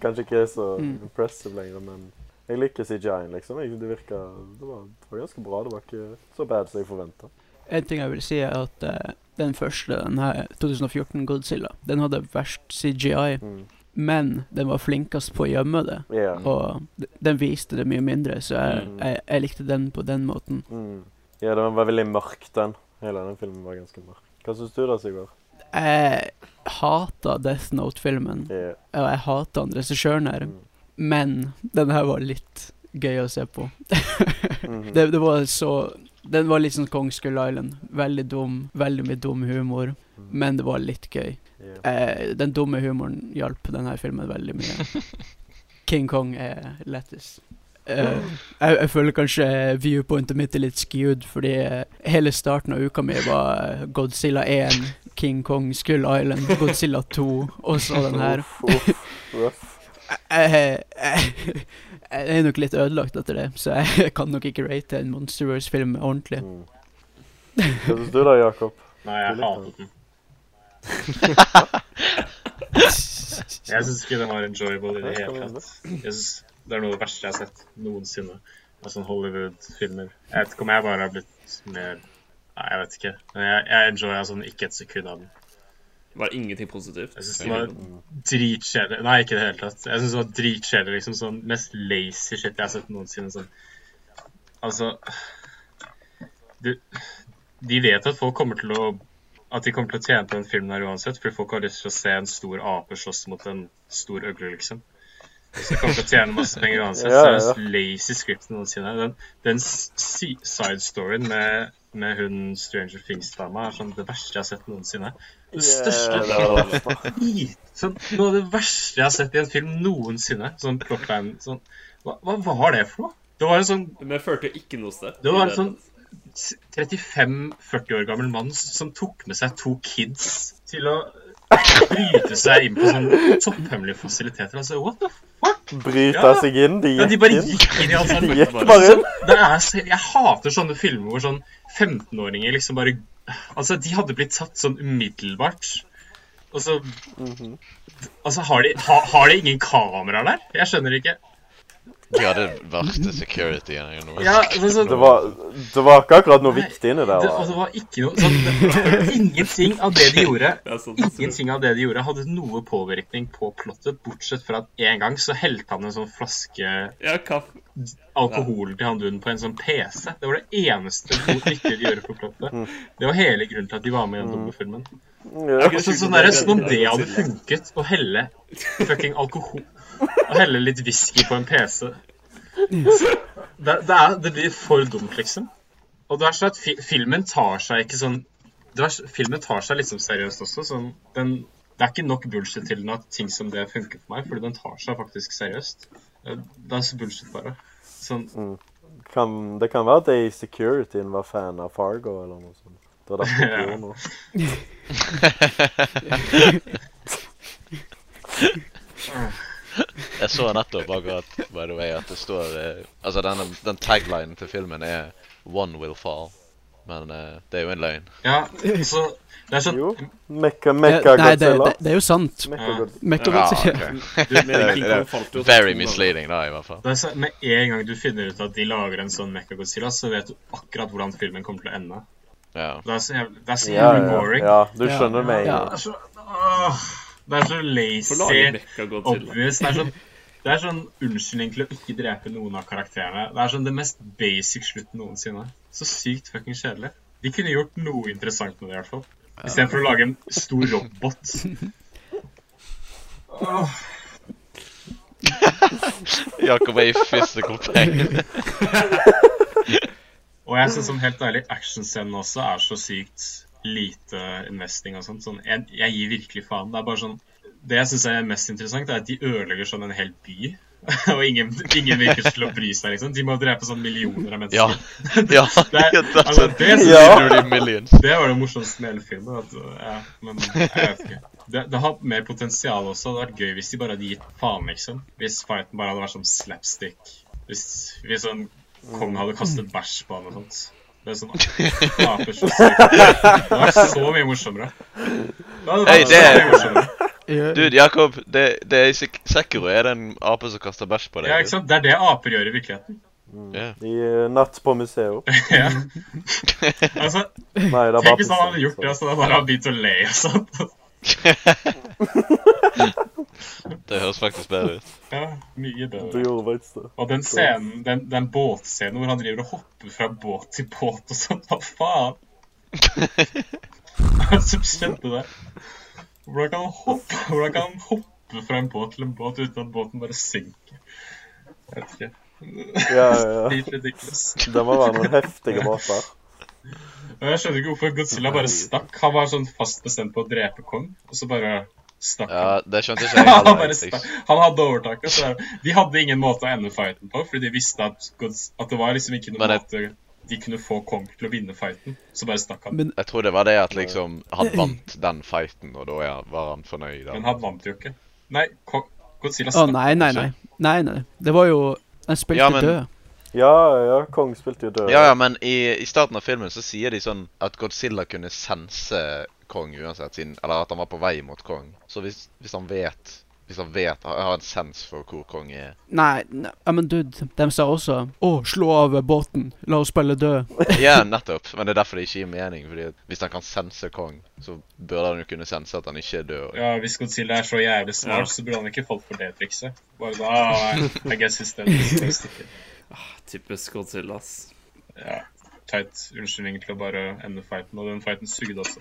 Speaker 2: kanskje ikke er så
Speaker 1: Mm.
Speaker 2: impressive lenger, men jeg liker CGI-en, liksom. Jeg, det virka det var, det var ganske bra. Det var ikke så bad som jeg forventa.
Speaker 1: eh, En ting jeg vil si, er at eh, den første, den her 2014 Godzilla, den hadde verst CGI,
Speaker 2: Mm.
Speaker 1: men den var flinkest på å gjemme det.
Speaker 2: Ja.
Speaker 1: Og d- den viste det mye mindre, så jeg,
Speaker 2: Mm.
Speaker 1: jeg, jeg likte den på den måten.
Speaker 2: Mm. ja, den var veldig mørk, den. Hele den filmen var ganske mørk. Hva syns du da, Sigvard?
Speaker 1: Jeg hata Death Note-filmen,
Speaker 2: Ja.
Speaker 1: og jeg hata han regissøren her,
Speaker 2: Mm.
Speaker 1: men den her var litt gøy å se på.
Speaker 2: Mhm.
Speaker 1: Det, det var så Den var litt sånn Kong Skull Island. Veldig dum, veldig mye dum humor,
Speaker 2: Mm.
Speaker 1: men det var litt gøy.
Speaker 2: Ja.
Speaker 1: Eh, den dumme humoren hjalp denne filmen veldig mye. King Kong er lettest. Eh, jeg, jeg føler kanskje viewpointet mitt er litt skewed, fordi eh, hele starten av uka mi var eh, Godzilla 1, King Kong, Skull Island, Godzilla 2 og så den her.
Speaker 2: Uff, uff, uff.
Speaker 1: Jeg, jeg, jeg er nok litt ødelagt etter det, så jeg kan nok ikke rate en Monsterverse-film ordentlig.
Speaker 2: Mm. Hva syns du da, Jakob?
Speaker 4: Nei, jeg
Speaker 2: Det er litt
Speaker 4: hatet den. Jeg syns ikke den var enjoyable i det hele tatt. Jeg synes Det er noe av det verste jeg har sett noensinne. av sånne Hollywood-filmer. Jeg vet ikke om jeg bare har blitt mer Nei, jeg vet ikke. Men jeg, jeg enjoya sånn ikke et sekund av den.
Speaker 5: Var ingenting positivt.
Speaker 4: Jeg synes det var dritkjedelig. Nei, ikke i det hele tatt. Jeg synes det var dritkjedelig. Liksom sånn mest lazy shit jeg har sett noensinne. Sånn. Altså du, De vet at folk kommer til å At de kommer til å tjene på den filmen her uansett, fordi folk har lyst til å se en stor ape slåss mot en stor øgle, liksom. Så de kommer til å tjene masse penger uansett.
Speaker 2: Ja, ja, ja.
Speaker 4: Så det er det mest lazy script noensinne. Den, den s- si- side-storyen med, med hun Stranger Things-dama er sånn det verste jeg har sett noensinne. Det største
Speaker 2: Ja, det var det.
Speaker 4: drit- sånn, Noe av det verste jeg har sett i en film noensinne. Sånn plotline sånn, hva, hva var det for noe? Det var en sånn
Speaker 5: Men jeg førte jo ikke noe sted.
Speaker 4: Det var en sånn 35-40 år gammel mann som tok med seg to kids til å bryte seg inn på sånne topphemmelige fasiliteter. Altså, what the f...
Speaker 2: Bryta seg inn? De
Speaker 4: Ja, de
Speaker 2: gikk
Speaker 4: bare
Speaker 2: inn?
Speaker 4: gikk inn i sånn alt
Speaker 2: De
Speaker 4: sammen.
Speaker 2: gikk bare inn?
Speaker 4: Altså, Det er så, jeg hater sånne filmer hvor sånn 15-åringer liksom bare Altså, de hadde blitt tatt sånn umiddelbart. Og så
Speaker 2: Mhm.
Speaker 4: Altså, har de, ha, har de ingen kameraer der? Jeg skjønner ikke.
Speaker 3: De hadde verste security jeg noe.
Speaker 4: Ja, altså, så-
Speaker 2: Det var, det var ikke akkurat noe
Speaker 4: Nei,
Speaker 2: viktig inni der.
Speaker 4: det,
Speaker 2: da.
Speaker 4: og det var ikke noe sånn, det, Ingenting av det de gjorde,
Speaker 5: Det er sånn,
Speaker 4: Ingenting av det de gjorde, hadde noe påvirkning på plottet, bortsett fra at en gang så helte han en sånn flaske
Speaker 5: Ja, kaffe.
Speaker 4: alkohol til han dunden på en sånn PC. Det var det eneste viktige de gjorde på plottet.
Speaker 2: Mm.
Speaker 4: Det var hele grunnen til at de var med i den dumme filmen.
Speaker 2: Ja.
Speaker 4: Altså, sånn der, som om det hadde funket, å helle fucking alkohol Å helle litt whisky på en PC. Det, det, er, det blir for dumt, liksom. Og det verste er at fi, filmen tar seg ikke sånn det verste, Filmen tar seg liksom seriøst også. Sånn, den, det er ikke nok bullshit til den at ting som det funker for meg, fordi den tar seg faktisk seriøst. Det det er så bullshit, bare. Sånn,
Speaker 2: Kan, det kan være at de i securityen var fan av Fargo eller noe sånt. Det var derfor de
Speaker 4: Ja.
Speaker 2: gjorde noe.
Speaker 3: Jeg så nettopp akkurat by the way, at det står eh, Altså, denne, den taglinen til filmen er 'One will fall'. Men eh, det er jo en løgn.
Speaker 4: ja, så det er sånn
Speaker 2: Jo. Mekka,
Speaker 1: Ja,
Speaker 2: mekka
Speaker 1: Eh, nei, det, det,
Speaker 2: Godzilla.
Speaker 1: det er jo sant.
Speaker 2: Mekka
Speaker 4: Ja.
Speaker 2: Godzilla.
Speaker 1: Mechagodzilla.
Speaker 5: Men King Kong falt jo.
Speaker 3: Ah, Very misleading, da, i hvert fall.
Speaker 4: Det er så, med en gang du finner ut at de lager en sånn Mechagodzilla, så vet du akkurat hvordan filmen kommer til å ende.
Speaker 3: Ja.
Speaker 4: Det er så jævlig, det er så
Speaker 2: Ja,
Speaker 4: jævlig
Speaker 2: ja,
Speaker 4: boring.
Speaker 2: ja, du skjønner meg.
Speaker 1: Ja.
Speaker 4: Det er så, åh, det er så
Speaker 5: For laget
Speaker 4: lazy,
Speaker 5: Mekka går til.
Speaker 4: obvious. Det er sånn, det er sånn unnskyldning til å ikke drepe noen av karakterene. Det er sånn det mest basic slutten noensinne. Så sykt fucking kjedelig. De kunne gjort noe interessant med det, i hvert fall. Istedenfor å lage en stor robot. Åh,
Speaker 3: Jakob er i fysikerpoeng.
Speaker 4: Og jeg synes sånn helt ærlig, actionscenen også er så sykt lite investing og sånt. Sånn, jeg, jeg gir virkelig faen. Det er bare sånn Det jeg syns er mest interessant, er at de ødelegger sånn en hel by. og ingen, ingen virker til å bry seg, liksom. De må drepe sånn millioner av
Speaker 3: Ja.
Speaker 4: mennesker.
Speaker 3: Ja.
Speaker 4: Det, er-
Speaker 3: Det er
Speaker 4: altså,
Speaker 3: sånn
Speaker 4: det, synes
Speaker 2: Ja.
Speaker 4: jeg-
Speaker 3: Dirty millions.
Speaker 4: det var det morsomste med hele filmen. At, ja, men jeg vet ikke. Det, det har mer potensial også. Det hadde vært gøy hvis de bare hadde gitt faen, liksom. Hvis fighten bare hadde vært som slapstick. Hvis, hvis en kong hadde kastet bæsj på han og sånt. Det er sånn aper så sykt. Det var så mye morsommere. Det hadde
Speaker 3: Hey, det
Speaker 4: vært
Speaker 3: er-
Speaker 4: så mye morsommere.
Speaker 1: Ja.
Speaker 3: Dude, Jakob, det, det er i Sek- Sekiro er det en ape som kaster bæsj på deg.
Speaker 4: Ja, ikke sant? Det er det aper gjør i virkeligheten.
Speaker 2: Mm.
Speaker 3: Ja.
Speaker 2: I eh, Natt på museet.
Speaker 4: ja. Altså,
Speaker 2: Nei, det er
Speaker 4: Tenk
Speaker 2: bare
Speaker 4: hvis sånn han hadde gjort det, og så hadde han bare begynt å le og sånn.
Speaker 3: Det høres faktisk bedre ut.
Speaker 4: Ja, mye
Speaker 2: Du
Speaker 4: bedre.
Speaker 2: gjorde faktisk det.
Speaker 4: Og den scenen, den, den båtscenen hvor han driver og hopper fra båt til båt og sånn, hva faen? Hva som skjedde der? Hvordan kan han hoppe, hvordan kan han hoppe fra en båt til en båt uten at båten bare synker? Jeg vet ikke.
Speaker 2: Ja, ja, ja.
Speaker 4: Helt ridiculous.
Speaker 2: Det må være noen heftige båter.
Speaker 4: Og Jeg skjønner ikke hvorfor Godzilla bare stakk. Han var sånn fast bestemt på å drepe Kong, og så bare stakk han.
Speaker 3: Ja, det skjønte ikke jeg
Speaker 4: han, bare
Speaker 3: heller.
Speaker 4: stakk. han hadde overtaket. Så de hadde ingen måte å ende fighten på, fordi de visste at, Gods- at det var liksom ikke noen
Speaker 3: Men
Speaker 4: måte de kunne få Kong til å vinne fighten. Så bare stakk han.
Speaker 1: Men-
Speaker 3: Jeg tror det var det at liksom han vant den fighten, og da ja, var han fornøyd.
Speaker 4: Men
Speaker 3: Han.
Speaker 4: han vant jo ikke. Nei, Kong, Godzilla
Speaker 1: Å,
Speaker 4: stakk.
Speaker 1: nei, nei, nei. Nei, nei. Det var jo Han spilte
Speaker 3: Ja, men-
Speaker 1: død.
Speaker 2: Ja, ja, Kong spilte jo død.
Speaker 3: Ja, ja, men i, i starten av filmen så sier de sånn at Godzilla kunne sense Kong uansett, siden, eller at han var på vei mot Kong. Så hvis, hvis han vet Hvis han vet, har har en sens for hvor Kong er
Speaker 1: Nei, nei, ja, men dude, de sa også Å, slå av båten. La oss spille død.
Speaker 3: Ja, nettopp. Men det er derfor det ikke gir mening. fordi at hvis han kan sense Kong, så burde han jo kunne sense at han ikke er død.
Speaker 4: Ja, Hvis Godzilla er så jævlig
Speaker 5: Ja.
Speaker 4: smart, så burde han ikke falt for det trikset. Bare da, ah, I guess it's dead. Så bare stikker.
Speaker 5: Typisk Godzilla, ass.
Speaker 4: Ja, Teit unnskyldning til å bare ende fighten, og den fighten sugde også.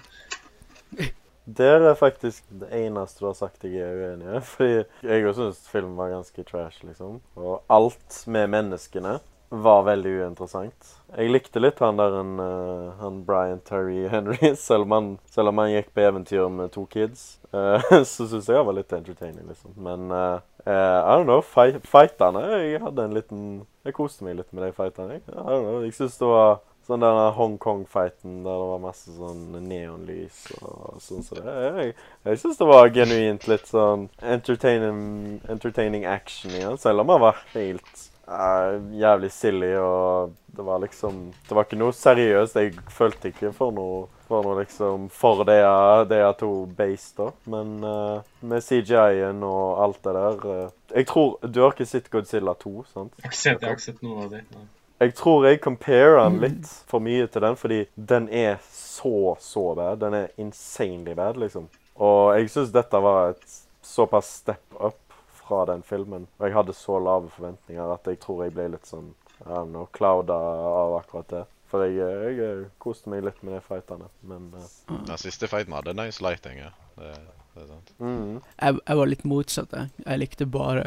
Speaker 2: Der er faktisk det eneste du har sagt jeg er uenig i. Fordi jeg òg syns filmen var ganske trash, liksom. Og alt med menneskene var veldig uinteressant. Jeg likte litt han der en, eh, han Brian Terry Henry, selv om han, selv om han gikk på eventyr med to kids. eh, så syns jeg han var litt entertaining, liksom. Men eh, eh, I don't know. Fight, fightene Jeg hadde en liten Jeg koste meg litt med de fightene. Jeg, I don't know, jeg syns det var Sånn den der Hong Kong-fighten der det var masse sånn neonlys og sånn som det. Jeg, jeg syns det var genuint litt sånn entertaining, entertaining action i den, selv om han var helt eh, jævlig silly og det var liksom Det var ikke noe seriøst. Jeg følte ikke for noe for noe liksom for det jeg, det jeg to base, da. Men eh, med CGI-en og alt det der eh, Jeg tror Du har ikke sett Godzilla 2, sant?
Speaker 4: Jeg har ikke sett, jeg har ikke sett noen av de. Nei.
Speaker 2: Jeg tror jeg comparer den litt for mye til den, fordi den er så, så bad. Den er insanely bad, liksom. Og jeg syns dette var et såpass step up fra den filmen. Og jeg hadde så lave forventninger at jeg tror jeg ble litt sånn I don't know, clouda av akkurat det. For jeg, jeg, eh, koste meg litt med de fightene, men eh,
Speaker 3: Den siste fighten hadde nice lighting, ja. Det, det er sant.
Speaker 2: mm.
Speaker 1: Jeg, jeg var litt motsatt, jeg. Jeg likte bare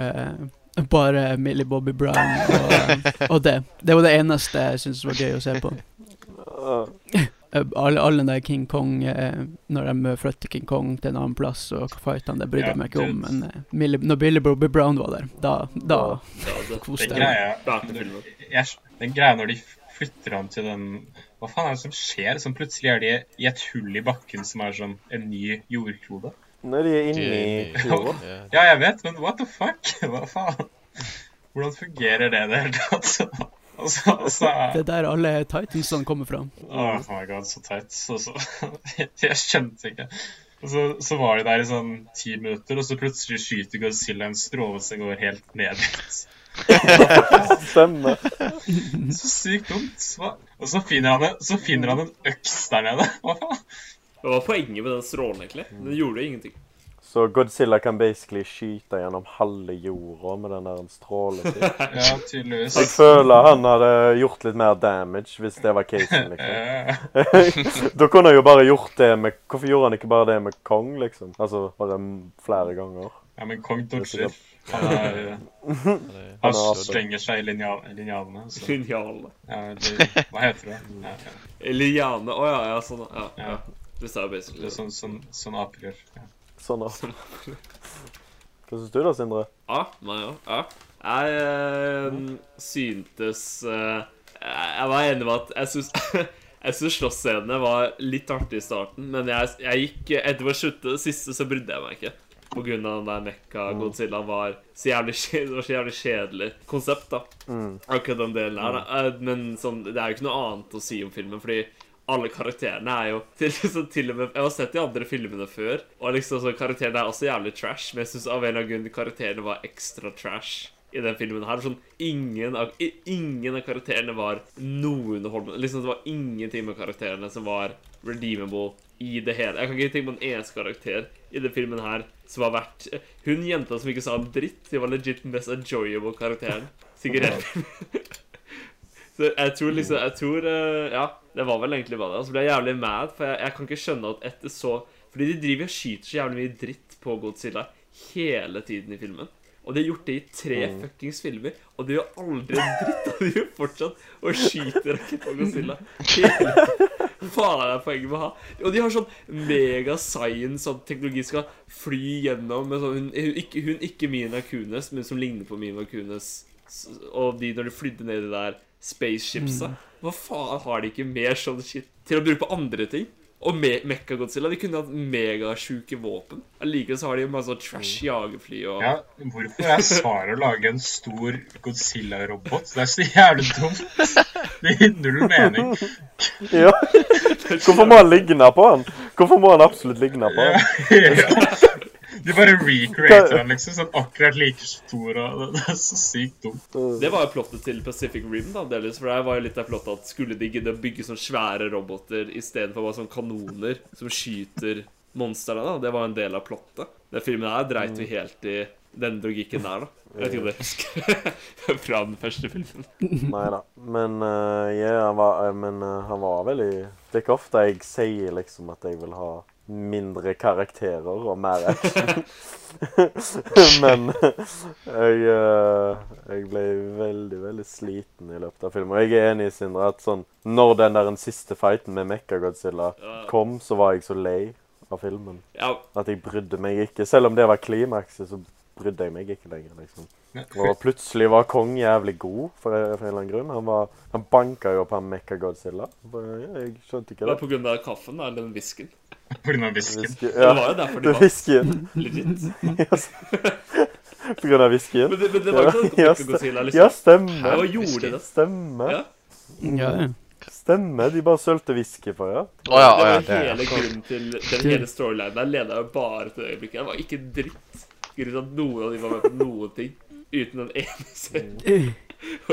Speaker 1: bare Millie Bobby Brown og, og det. Det var det eneste jeg syntes var gøy å se på.
Speaker 2: Eh,
Speaker 1: Eh, Alle, alle den der King Kong eh, Når de flytter King Kong til en annen plass og fightene, det brydde
Speaker 4: Ja,
Speaker 1: jeg meg ikke om.
Speaker 4: dude.
Speaker 1: Men eh, Millie, når Billy Bobby Brown var der, da, da
Speaker 5: Ja, det
Speaker 1: koste jeg
Speaker 4: Den
Speaker 1: meg.
Speaker 4: greia,
Speaker 5: Da er ikke filmen.
Speaker 4: jeg, den greia når de flytter ham til den Hva faen er det som skjer? Sånn, plutselig er de i et hull i bakken som er sånn en ny jordklode.
Speaker 2: Når de er inne i jorda.
Speaker 3: Ja.
Speaker 4: Ja, jeg vet, men what the fuck? Hva faen? Hvordan fungerer det i det hele tatt? Altså, altså,
Speaker 1: Det er der alle Titansene kommer fra.
Speaker 4: oh my god, så teit. Så, så, jeg skjønte ikke. Og så, så var de der i sånn ti minutter, og så plutselig skyter Godzilla en stråle som går helt ned.
Speaker 2: Stemmer.
Speaker 4: Så sykt dumt. Hva- Og så finner han, en- så finner han en øks der nede. Hva faen?
Speaker 5: Hva var poenget med den strålen, egentlig? Den gjorde jo ingenting.
Speaker 2: Så Godzilla kan basically skyte gjennom halve jorda med den der strålen sin.
Speaker 4: Ja, tydeligvis.
Speaker 2: Jeg føler han hadde gjort litt mer damage hvis det var casen, liksom.
Speaker 4: Eh,
Speaker 2: da kunne han jo bare gjort det med Hvorfor gjorde han ikke bare det med Kong, liksom? Altså bare m- flere ganger.
Speaker 4: ja, men Kong dodger. Han, er,
Speaker 3: det-
Speaker 4: han
Speaker 2: er absolutt-
Speaker 4: slenger seg i linjal- linjalene. Så,
Speaker 5: Linjalene.
Speaker 4: ja, eller, hva heter det? Ja, ja.
Speaker 5: Liane. Å ja, ja, sånn. Ja, ja.
Speaker 4: Ja.
Speaker 5: Du sa jo
Speaker 4: Det
Speaker 5: basically
Speaker 4: er
Speaker 5: det.
Speaker 4: sånn, sånn, sånn aper gjør. Ja.
Speaker 2: Sånn da. Hva syns du da, Sindre?
Speaker 5: Ja, nei, ja. ja. Jeg eh, syntes eh, Jeg var enig med at jeg syns Jeg syns slåssscenene var litt artig i starten, men jeg, jeg gikk etter å slutte det siste, så brydde jeg meg ikke. På grunn av den der Mekka Godzilla var så jævlig, kje- det var så jævlig kjedelig konsept, da.
Speaker 2: Mm.
Speaker 5: Akkurat den delen her, da. Eh, Men sånn, det er jo ikke noe annet å si om filmen, fordi alle karakterene er jo til, så til og med, Jeg har sett de andre filmene før, og liksom så karakterene er også jævlig trash, men jeg syns av en eller annen grunn karakterene var ekstra trash. i den filmen her. Sånn, ingen, av, i- ingen av karakterene var noe underholdende. Liksom, det var ingenting med karakterene som var redeemable i det hele. Jeg kan ikke tenke på en eneste karakter i den filmen her som har vært eh, Hun jenta som ikke sa en dritt, hun var legit den mest enjoyable karakteren. Sikkert helt så jeg tror liksom Jeg tror eh, Ja, det var vel egentlig bare det. Og så ble jeg jævlig mad, for jeg, jeg kan ikke skjønne at etter så Fordi de driver og skyter så jævlig mye dritt på Godzilla hele tiden i filmen. Og de har gjort det i tre fuckings filmer, og de gjør aldri en dritt. Og de gjør fortsatt og skyter raketter på Godzilla. Hele faen er poenget med å ha. Og de har sånn mega-science, sånn teknologi skal fly gjennom med sånn, hun, hun, ikke, hun ikke Mina Kunes, men som ligner på Mina Kunes. S- Og de når de flydde ned i det der spaceshipset. Hva faen har de ikke mer sånn shit til å bruke på andre ting? Og me Mekka-Godzilla, de kunne hatt megasjuke våpen. Allikevel så har de masse sånn trash jagerfly og
Speaker 4: Ja, hvorfor er svaret å lage en stor Godzilla-robot? Det er så jævlig dumt. Det gir null mening.
Speaker 2: Ja. Hvorfor må han ligne på han? Hvorfor må han absolutt ligne på han?
Speaker 4: De bare recreater den liksom, så den akkurat like stor. og Det det er så sykt dumt.
Speaker 5: Det var jo plottet til Pacific Rim, da, delvis. For det var jo litt av plottet at skulle de gidde å bygge sånne svære roboter istedenfor bare sånne kanoner som skyter monstrene, da? Det var en del av plottet. Den filmen her dreit jo helt i den logikken der, da. Jeg vet ikke om dere husker fra den første filmen.
Speaker 2: Nei da. Men, eh, ja, han, var, eh, men eh, han var veldig Det er ikke ofte jeg sier liksom at jeg vil ha mindre karakterer og mer action. men jeg, eh, jeg ble veldig, veldig sliten i løpet av filmen. Og jeg er enig i Sindre at sånn Når den der siste fighten med Mekka-Godzilla kom, så var jeg så lei av filmen
Speaker 5: Ja,
Speaker 2: at jeg brydde meg ikke. Selv om det var klimakset, så brydde jeg meg ikke lenger, liksom. Og plutselig var Kong jævlig god, for, for en eller annen grunn. Han, var, han banka jo opp han Mekka-Godzilla. Jeg skjønte
Speaker 5: det
Speaker 2: ikke
Speaker 5: var
Speaker 2: det.
Speaker 5: på grunn av kaffen, da, eller den whiskyen.
Speaker 4: På grunn av hvisken.
Speaker 2: Whisky-
Speaker 5: Det
Speaker 2: ja,
Speaker 5: var jo derfor de
Speaker 2: det
Speaker 5: var
Speaker 2: whiskyen.
Speaker 5: legit.
Speaker 2: Yes. På grunn av whiskyen?
Speaker 5: Men det, men det var ikke sånn
Speaker 2: Ja,
Speaker 5: at Godzilla
Speaker 2: Ja,
Speaker 5: liksom
Speaker 2: stemmer.
Speaker 5: Ja, hva gjorde det?
Speaker 2: Stemmer.
Speaker 5: Ja.
Speaker 1: Ja, ja.
Speaker 2: Stemmer. De bare sølte whisky på, ja.
Speaker 3: Å ja, å
Speaker 5: Det
Speaker 3: ja.
Speaker 5: var hele grunnen til den hele storylinen der leda jo bare til det øyeblikket. Det var ikke dritt. Grunnen til at noen av de var med på noen ting uten den ene scenen.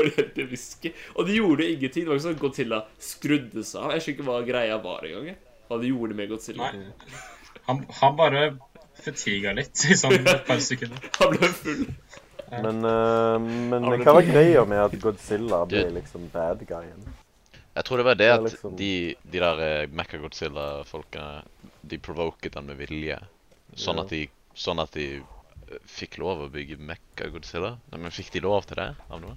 Speaker 5: Og de helt whisky. Og de gjorde ingenting. Det var ikke sånn at Godzilla skrudde seg av. Jeg skjønner ikke hva greia var engang. jeg. Hva de gjorde med Godzilla.
Speaker 4: Nei. Han, han bare fatiga litt i sånn et par sekunder.
Speaker 5: Han ble full.
Speaker 2: Men, eh, men hva var greia med at Godzilla ble liksom bad guyen?
Speaker 3: Jeg tror det var det
Speaker 2: Det er
Speaker 3: at
Speaker 2: liksom-
Speaker 3: de, de der Mekka-Godzilla-folka De provoket den med vilje. Sånn
Speaker 2: Ja.
Speaker 3: at de, sånn at de eh, fikk lov å bygge Mekka-Godzilla. Nei, Men fikk de lov til det? av noe?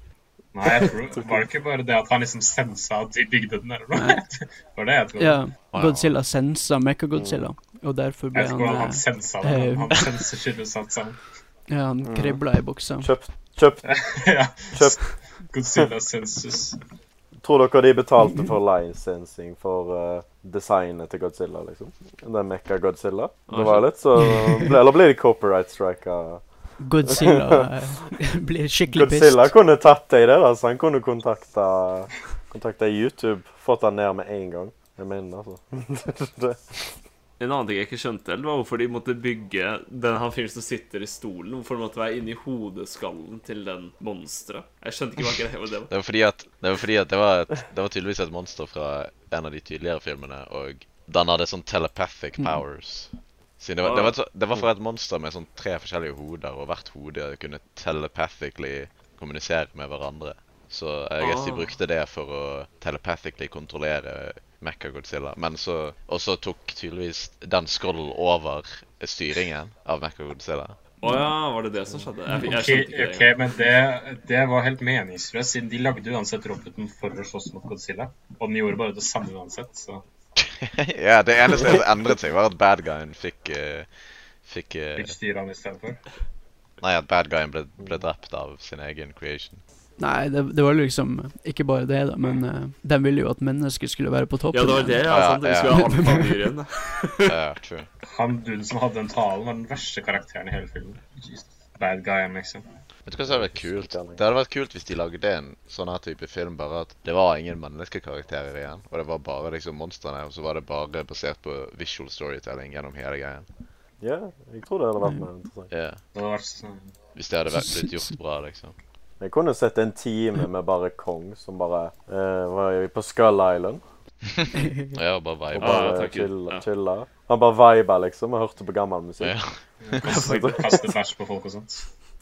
Speaker 4: Nei, jeg tror, var det ikke bare det at han liksom sensa at de bygde den, eller noe? Det var det jeg tror.
Speaker 1: ja. Godzilla sensa Mecha-Godzilla, og derfor ble
Speaker 4: Jeg vet
Speaker 1: han
Speaker 4: ikke hvordan han
Speaker 1: eh,
Speaker 4: sensa det.
Speaker 1: eh,
Speaker 4: Han senser sånn skyldesatt sammen.
Speaker 1: Ja, han kribla i buksa.
Speaker 2: Kjøpt, kjøpt,
Speaker 4: Ja.
Speaker 2: kjøpt
Speaker 4: Godzilla sensus.
Speaker 2: Tror dere de betalte for licensing for eh, designet til Godzilla, liksom? Den mekka Godzilla? Det var litt så ble, Eller ble de copyright strika?
Speaker 1: Godzilla eh, blir skikkelig pissed.
Speaker 2: Godzilla kunne tatt deg det, altså. Han kunne kontakta, kontakta YouTube. Fått han ned med en gang. Jeg mener, altså. det.
Speaker 5: En annen ting jeg ikke skjønte, eller var hvorfor de måtte bygge den han fyren som sitter i stolen, hvorfor det måtte være inni hodeskallen til den monsteret. Jeg skjønte ikke hva greia med det var.
Speaker 3: Det var fordi at det var, fordi at det var, et, det var tydeligvis et monster fra en av de tidligere filmene, og den hadde sånn telepathic powers. Siden det, var, det, var et, så- det var fra et monster med sånn tre forskjellige hoder, og hvert hode kunne telepathically kommunisere med hverandre. Så jeg guess de
Speaker 5: Ah.
Speaker 3: brukte det for å telepathically kontrollere Mekka-Godzilla. Men så Og så tok tydeligvis den skrollen over styringen av Mekka-Godzilla.
Speaker 5: Å ja, var det det som skjedde? Jeg, jeg
Speaker 4: Ok,
Speaker 5: skjønte ikke det.
Speaker 4: ok, men det, det var helt meningsløst, siden de lagde uansett roboten for å slåss mot Godzilla. Og den gjorde bare det samme uansett, så
Speaker 3: ja, det eneste som endret seg, var at bad guyen fikk eh, Fikk eh,
Speaker 4: fikk styre han istedenfor.
Speaker 3: Nei, at bad guyen ble, ble drept av sin egen creation.
Speaker 1: Nei, det, det var liksom ikke bare det, da, men eh, de ville jo at mennesket skulle være på toppen.
Speaker 5: Ja, det var det, ja.
Speaker 3: Ja,
Speaker 5: sant? Vi
Speaker 3: ja.
Speaker 5: skulle ha alle familier igjen. da.
Speaker 3: Ja, true.
Speaker 4: Han duden som hadde den talen, var den verste karakteren i hele filmen. Jesus. Bad guyen, liksom.
Speaker 3: Vet du hva som hadde vært kult? Det hadde vært kult hvis de lagde en sånn her type film, bare at det var ingen menneskekarakterer igjen. Og det var bare liksom monstrene, og så var det bare basert på visual storytelling gjennom hele greien.
Speaker 2: Ja, jeg tror det hadde vært mer interessant.
Speaker 3: Ja.
Speaker 4: Det hadde vært sånn
Speaker 3: Hvis det hadde vært, blitt gjort bra, liksom.
Speaker 2: Jeg kunne sett en time med bare Kong som bare eh, var på Skull Island.
Speaker 3: Ja, bare
Speaker 2: Og
Speaker 3: vibe.
Speaker 5: Ja,
Speaker 2: bare
Speaker 5: takk Gud.
Speaker 2: chilla,
Speaker 5: Ja.
Speaker 2: chilla. Han bare viba, liksom, og hørte på gammel musikk.
Speaker 3: Ja.
Speaker 4: Kaste, kaste bæsj på folk og sånt.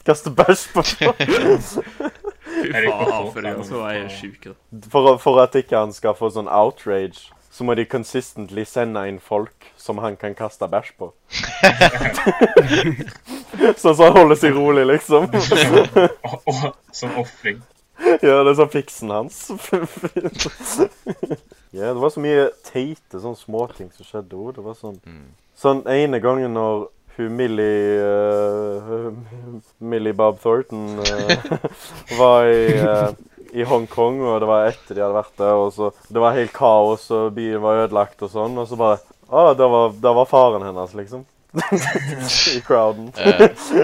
Speaker 2: Kaste bæsj på folk!
Speaker 5: Fy
Speaker 4: Er det ikke
Speaker 5: faen,
Speaker 4: sånn? folk
Speaker 5: for
Speaker 4: der
Speaker 5: en som er
Speaker 4: ute?
Speaker 5: sjuk. da.
Speaker 2: For, å- for at ikke han skal få sånn outrage, så må de consistently sende inn folk som han kan kaste bæsj på. sånn så han holder seg rolig, liksom.
Speaker 4: Og, og, som ofring.
Speaker 2: Ja, det er sånn fiksen hans. ja, det var så mye teite sånn småting som skjedde òg. Det var sånn
Speaker 3: Mm.
Speaker 2: Sånn ene gangen når hun Millie eh, Millie Bob Thornton eh, var i, eh, i Hongkong, og det var etter de hadde vært der, og så Det var helt kaos, og byen var ødelagt og sånn, og så bare Å, ah, der, var- der var faren hennes, liksom. I crowden.
Speaker 3: Eh,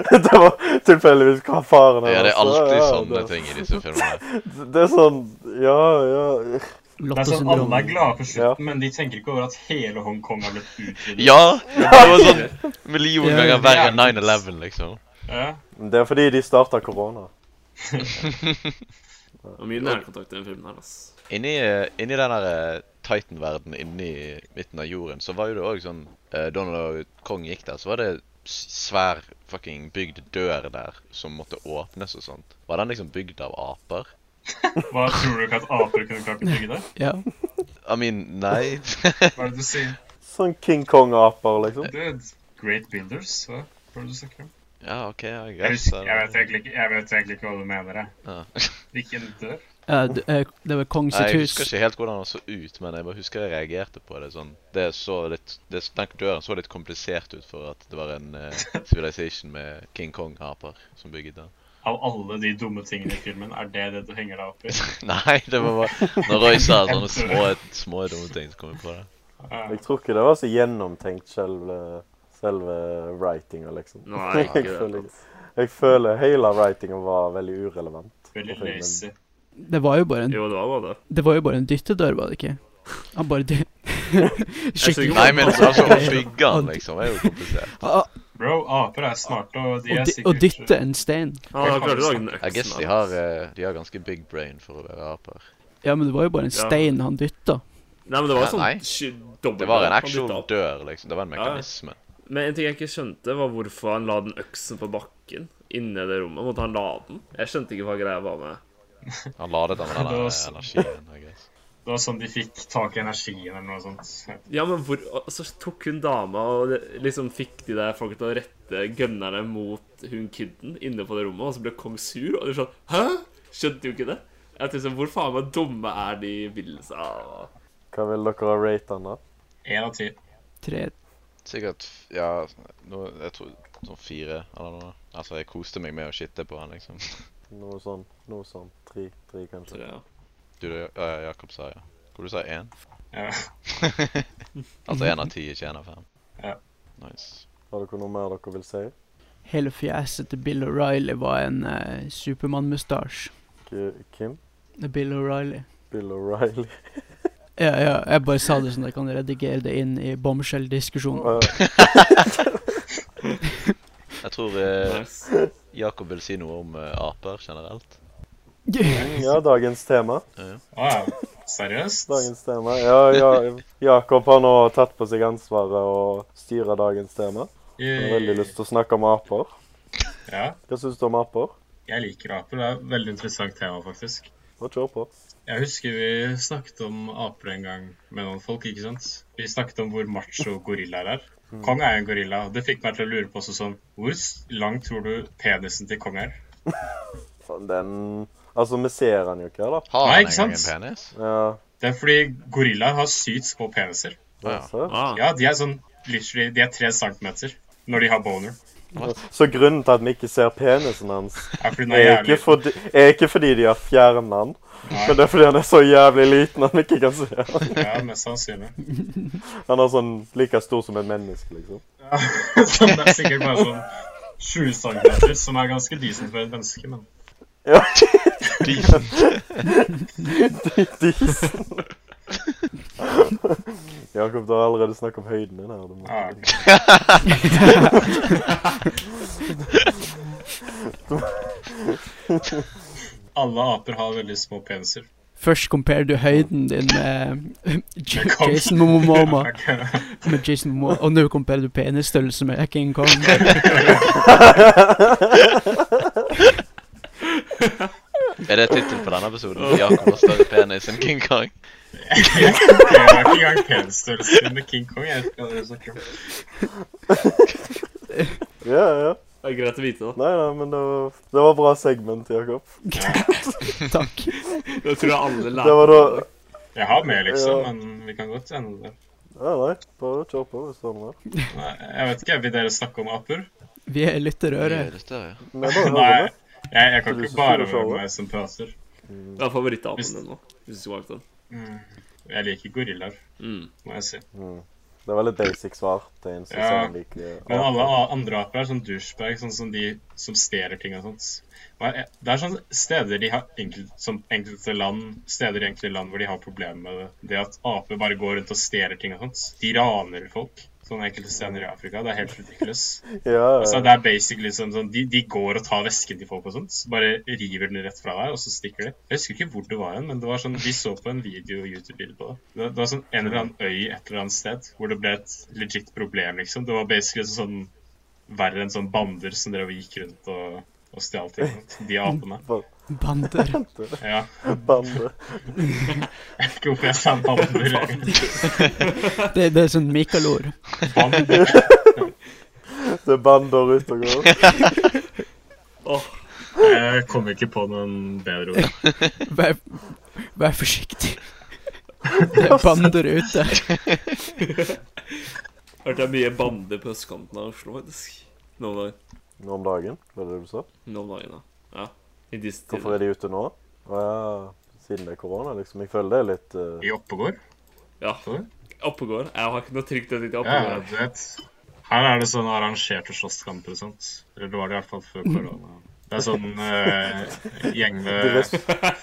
Speaker 2: det var tilfeldigvis hva faren hennes
Speaker 3: ja, det er alltid sånn, sånne
Speaker 2: altså, det-
Speaker 3: ting i disse filmene.
Speaker 2: det er sånn Ja, ja
Speaker 4: Det er sånn Alle er glade på slutten,
Speaker 2: Ja.
Speaker 4: men de tenker ikke over at hele Hongkong har blitt utvidet.
Speaker 3: Ja! Det var sånn million
Speaker 1: Ja,
Speaker 3: ganger verre enn
Speaker 4: jævlig.
Speaker 3: 9-11, liksom.
Speaker 4: Ja.
Speaker 2: Det er fordi de starta korona.
Speaker 5: Det var mye nærkontakt i den filmen her, ass.
Speaker 3: Inni, inni den der eh, Titan-verden inni midten av jorden, så var jo det òg sånn eh, Da når Kong gikk der, så var det s- svær fucking bygd dør der som måtte åpnes og sånt. Var den liksom bygd av aper?
Speaker 4: Hva tror du ikke at aper kunne klart å bygge det?
Speaker 1: Ja.
Speaker 3: I mean, nei.
Speaker 4: Hva er det du sier?
Speaker 2: Sånn King Kong-aper, liksom.
Speaker 4: Dude, great builders? Hva hva er det du snakker om?
Speaker 3: ja, OK, I
Speaker 4: Jeg,
Speaker 3: guess.
Speaker 4: husker, jeg, vet egentlig ikke, jeg vet egentlig ikke hva du mener. jeg.
Speaker 3: uh, Ja.
Speaker 4: Hvilken dør?
Speaker 1: Ja, d- eh, det var Kong
Speaker 3: Nei,
Speaker 1: sitt
Speaker 3: jeg husker
Speaker 1: hus.
Speaker 3: ikke helt hvordan han så ut, men jeg bare husker jeg reagerte på det sånn. Det så litt, det, Den døren så litt komplisert ut for at det var en eh, civilization med King Kong-aper som bygget den.
Speaker 4: Av alle de dumme tingene i filmen, er det det du henger deg opp i?
Speaker 3: Nei, det var bare Når Roy sa sånne små, små dumme ting, så kom jeg på det.
Speaker 4: Ja.
Speaker 2: Jeg tror ikke det var så gjennomtenkt selve, selve writinga, liksom.
Speaker 5: Nei, ikke
Speaker 2: jeg,
Speaker 5: det,
Speaker 2: føler,
Speaker 5: ass.
Speaker 2: jeg føler hele writinga var veldig urelevant.
Speaker 4: Veldig
Speaker 2: på filmen.
Speaker 4: lazy.
Speaker 1: Det var jo bare en,
Speaker 5: Jo, det var bare det.
Speaker 1: det var jo bare en dyttedør, var det ikke? Han bare dytt...
Speaker 5: synes ikke-
Speaker 3: Nei, men altså, å bygge den, liksom, er jo komplisert.
Speaker 1: Ah,
Speaker 4: Bro, aper er smarte, og de
Speaker 1: Å
Speaker 4: er
Speaker 1: dy- å
Speaker 4: sikkert
Speaker 1: dytte en stein.
Speaker 5: Ja, da klarte du å lage den øksen.
Speaker 3: Jeg guess de
Speaker 5: da.
Speaker 3: har, eh, de har ganske big brain for å være aper.
Speaker 1: Ja, men det var jo bare en
Speaker 5: Ja.
Speaker 1: stein han dytta.
Speaker 5: Nei, men det var
Speaker 3: Ja,
Speaker 5: jo
Speaker 3: nei.
Speaker 5: sånn sky- dobbelt
Speaker 3: Det var en
Speaker 5: opp, han
Speaker 3: actual
Speaker 5: dyttet opp.
Speaker 3: dør, liksom. Det var en
Speaker 5: Ja, ja.
Speaker 3: mekanisme.
Speaker 5: Men en ting jeg ikke skjønte, var hvorfor han la den øksen på bakken inne i det rommet. Måtte han la den? Jeg skjønte ikke hva greia var med
Speaker 3: Han ladet den med den
Speaker 4: Det var
Speaker 3: der
Speaker 4: så-
Speaker 3: energien, I guess.
Speaker 4: Det var sånn de fikk tak i energien eller noe sånt.
Speaker 5: Ja, men hvor Så tok hun dama og liksom fikk de der folka til å rette gønnerne mot hun kidden inne på det rommet, og så ble kong sur, og de sånn Hæ? Skjønte jo ikke det. Jeg tenkte sånn, Hvor faen meg dumme er de villsa?
Speaker 2: Hva vil dere rate den, da?
Speaker 4: Én av ti.
Speaker 1: Tre
Speaker 3: Sikkert f- Ja, nå, jeg tror sånn fire eller noe. Altså, jeg koste meg med å shitte på han, liksom.
Speaker 2: Noe sånn, noe sånn. Tre, tre kanskje.
Speaker 5: Ja.
Speaker 3: Du, det- ja, Jakob sa ja. Hvor du sa én?
Speaker 4: Ja.
Speaker 3: Altså én av ti, ikke én av fem.
Speaker 4: Ja.
Speaker 3: Nice.
Speaker 2: Har dere noe mer dere vil si?
Speaker 1: Hele fjeset til Bill O'Reilly var en uh, Supermann-mustasje.
Speaker 2: K- Kim?
Speaker 1: Det er Bill O'Reilly.
Speaker 2: Bill O'Reilly?
Speaker 1: Ja, ja, jeg bare sa det sånn at jeg kan redigere det inn i bombshelldiskusjonen.
Speaker 2: Eh,
Speaker 3: Jeg tror eh,
Speaker 5: Nice.
Speaker 3: Jakob vil si noe om eh, aper generelt.
Speaker 2: ja, dagens tema.
Speaker 4: Wow. Ah, Seriøst?
Speaker 2: Dagens tema. Ja, ja, Jakob har nå tatt på seg ansvaret å styre dagens tema. Jeg har veldig lyst til å snakke om aper.
Speaker 4: Ja,
Speaker 2: Hva syns du om aper?
Speaker 4: jeg liker aper. Det er et veldig interessant tema, faktisk.
Speaker 2: Nå kjør på.
Speaker 4: Jeg husker vi snakket om aper en gang med noen folk, ikke sant? Vi snakket om hvor macho gorillaer er.
Speaker 2: Mm.
Speaker 4: Kong er jo en gorilla, og det fikk meg til å lure på også sånn Hvor s- lang tror du penisen til kong er?
Speaker 2: Faen, Den Altså, vi ser han jo ikke, da.
Speaker 3: Har
Speaker 4: Nei,
Speaker 3: han
Speaker 4: ikke
Speaker 3: engang en
Speaker 4: sant?
Speaker 3: penis?
Speaker 2: Ja,
Speaker 4: Det er fordi gorillaer har sykt små peniser.
Speaker 3: Ja.
Speaker 2: så.
Speaker 5: Ah,
Speaker 4: Ja, de er sånn literally De er tre centimeter når de har boner.
Speaker 2: så grunnen til at vi ikke ser penisen hans,
Speaker 4: Er fordi den er
Speaker 2: er ikke
Speaker 4: jævlig
Speaker 2: fordi, er ikke fordi de har fjernet han, men det er fordi han er så jævlig liten at vi ikke kan se han.
Speaker 4: Ja, mest sannsynlig.
Speaker 2: Han er sånn like stor som et menneske, liksom.
Speaker 4: Så det er sikkert bare sånn 20 centimeter, som er ganske decent for et menneske, men
Speaker 2: Ja,
Speaker 3: Decent.
Speaker 2: disen. Jakob, du har allerede snakket om høyden din her. Du må,
Speaker 4: ja, ok. alle aper har veldig små peniser.
Speaker 1: Først comparer du høyden din med J-
Speaker 4: Med Kong.
Speaker 1: Jason Momoma.
Speaker 4: Ok.
Speaker 1: Med Jason Momoa. Og nå comparer du penisstørrelse med King Kong.
Speaker 3: Er det tittelen på denne episoden? Jakob har større penis enn King Kong.
Speaker 4: Jeg har ikke engang penisstørrelse under King Kong. Jeg vet ikke hva dere snakker om.
Speaker 2: Ja, ja.
Speaker 5: Det er greit å vite, da.
Speaker 2: Nei, nei, men det var, det var bra segment, Jakob.
Speaker 1: Takk.
Speaker 5: Det tror jeg alle
Speaker 2: Det var
Speaker 5: lærer.
Speaker 2: da
Speaker 4: Jeg har med, liksom,
Speaker 2: Ja.
Speaker 4: men vi kan godt ende der.
Speaker 2: Nei, nei, bare kjør på hvis du har noe.
Speaker 4: Nei, jeg vet ikke, Vil dere snakke om aper?
Speaker 1: Vi er lytterøre.
Speaker 3: Gjør det større.
Speaker 2: Nei, bare
Speaker 4: Nei,
Speaker 2: hør det.
Speaker 4: jeg, jeg kan
Speaker 2: Du er
Speaker 4: ikke
Speaker 2: så
Speaker 4: bare
Speaker 2: stor,
Speaker 4: være
Speaker 2: Charlotte.
Speaker 4: meg som prater.
Speaker 5: Det er favorittapen din nå. Hvis du skal valgte den.
Speaker 4: Mm. Jeg liker gorillaer,
Speaker 5: Mm.
Speaker 4: må jeg si.
Speaker 2: Det var litt basic svar. Det eneste
Speaker 4: Ja.
Speaker 2: som jeg liker.
Speaker 4: Men alle a- andre aper er sånn douchebag, sånn som de som stjeler ting og sånt. Og jeg- Det er sånn steder de har enkelt, som enkelte land, steder i enkelte land hvor de har problemer med det. Det at aper bare går rundt og stjeler ting og sånt. De raner folk. Sånn enkelte steder i Afrika. Det er helt ridiculous.
Speaker 2: Ja,
Speaker 4: Altså,
Speaker 2: ja.
Speaker 4: det er basically som sånn, de, de går og tar vesken til folk og sånt, så bare river den rett fra deg, og så stikker de. Jeg husker ikke hvor det var hen, men det var sånn, vi så på en video YouTube-video på det. det. Det var sånn en eller annen øy et eller annet sted, hvor det ble et legit problem, liksom. Det var basically sånn, verre enn sånn bander som drev og gikk rundt og, og stjal ting. og sånt. De apene.
Speaker 1: Bander.
Speaker 4: Ja,
Speaker 2: Bande.
Speaker 4: jeg vet ikke hvorfor jeg sa bander.
Speaker 1: Det, det er sånn Mikael-ord.
Speaker 4: Bander.
Speaker 2: Det er bander ute og går.
Speaker 5: Åh,
Speaker 4: Jeg kom ikke på noen bedre ord.
Speaker 1: Vær, vær forsiktig. Det er bander ute.
Speaker 5: hørte jeg mye bander på østkanten av Oslo, faktisk. Noen dager.
Speaker 2: Nå om dagen, var det det du sa?
Speaker 5: Noen dager da. Ja. I disse
Speaker 2: Hvorfor er
Speaker 5: tider.
Speaker 2: de ute nå? Å ja, siden det er korona, liksom. Jeg føler det er litt eh,
Speaker 4: I Oppegård?
Speaker 5: Ja.
Speaker 4: Sorry?
Speaker 5: Oppegård. Jeg har ikke noe trygt etter
Speaker 4: Ja,
Speaker 5: Oppegård.
Speaker 4: du vet. Her er det sånne arrangerte slåsskamper og sånt. Eller det var det i hvert fall før korona. Det er sånn eh, gjeng med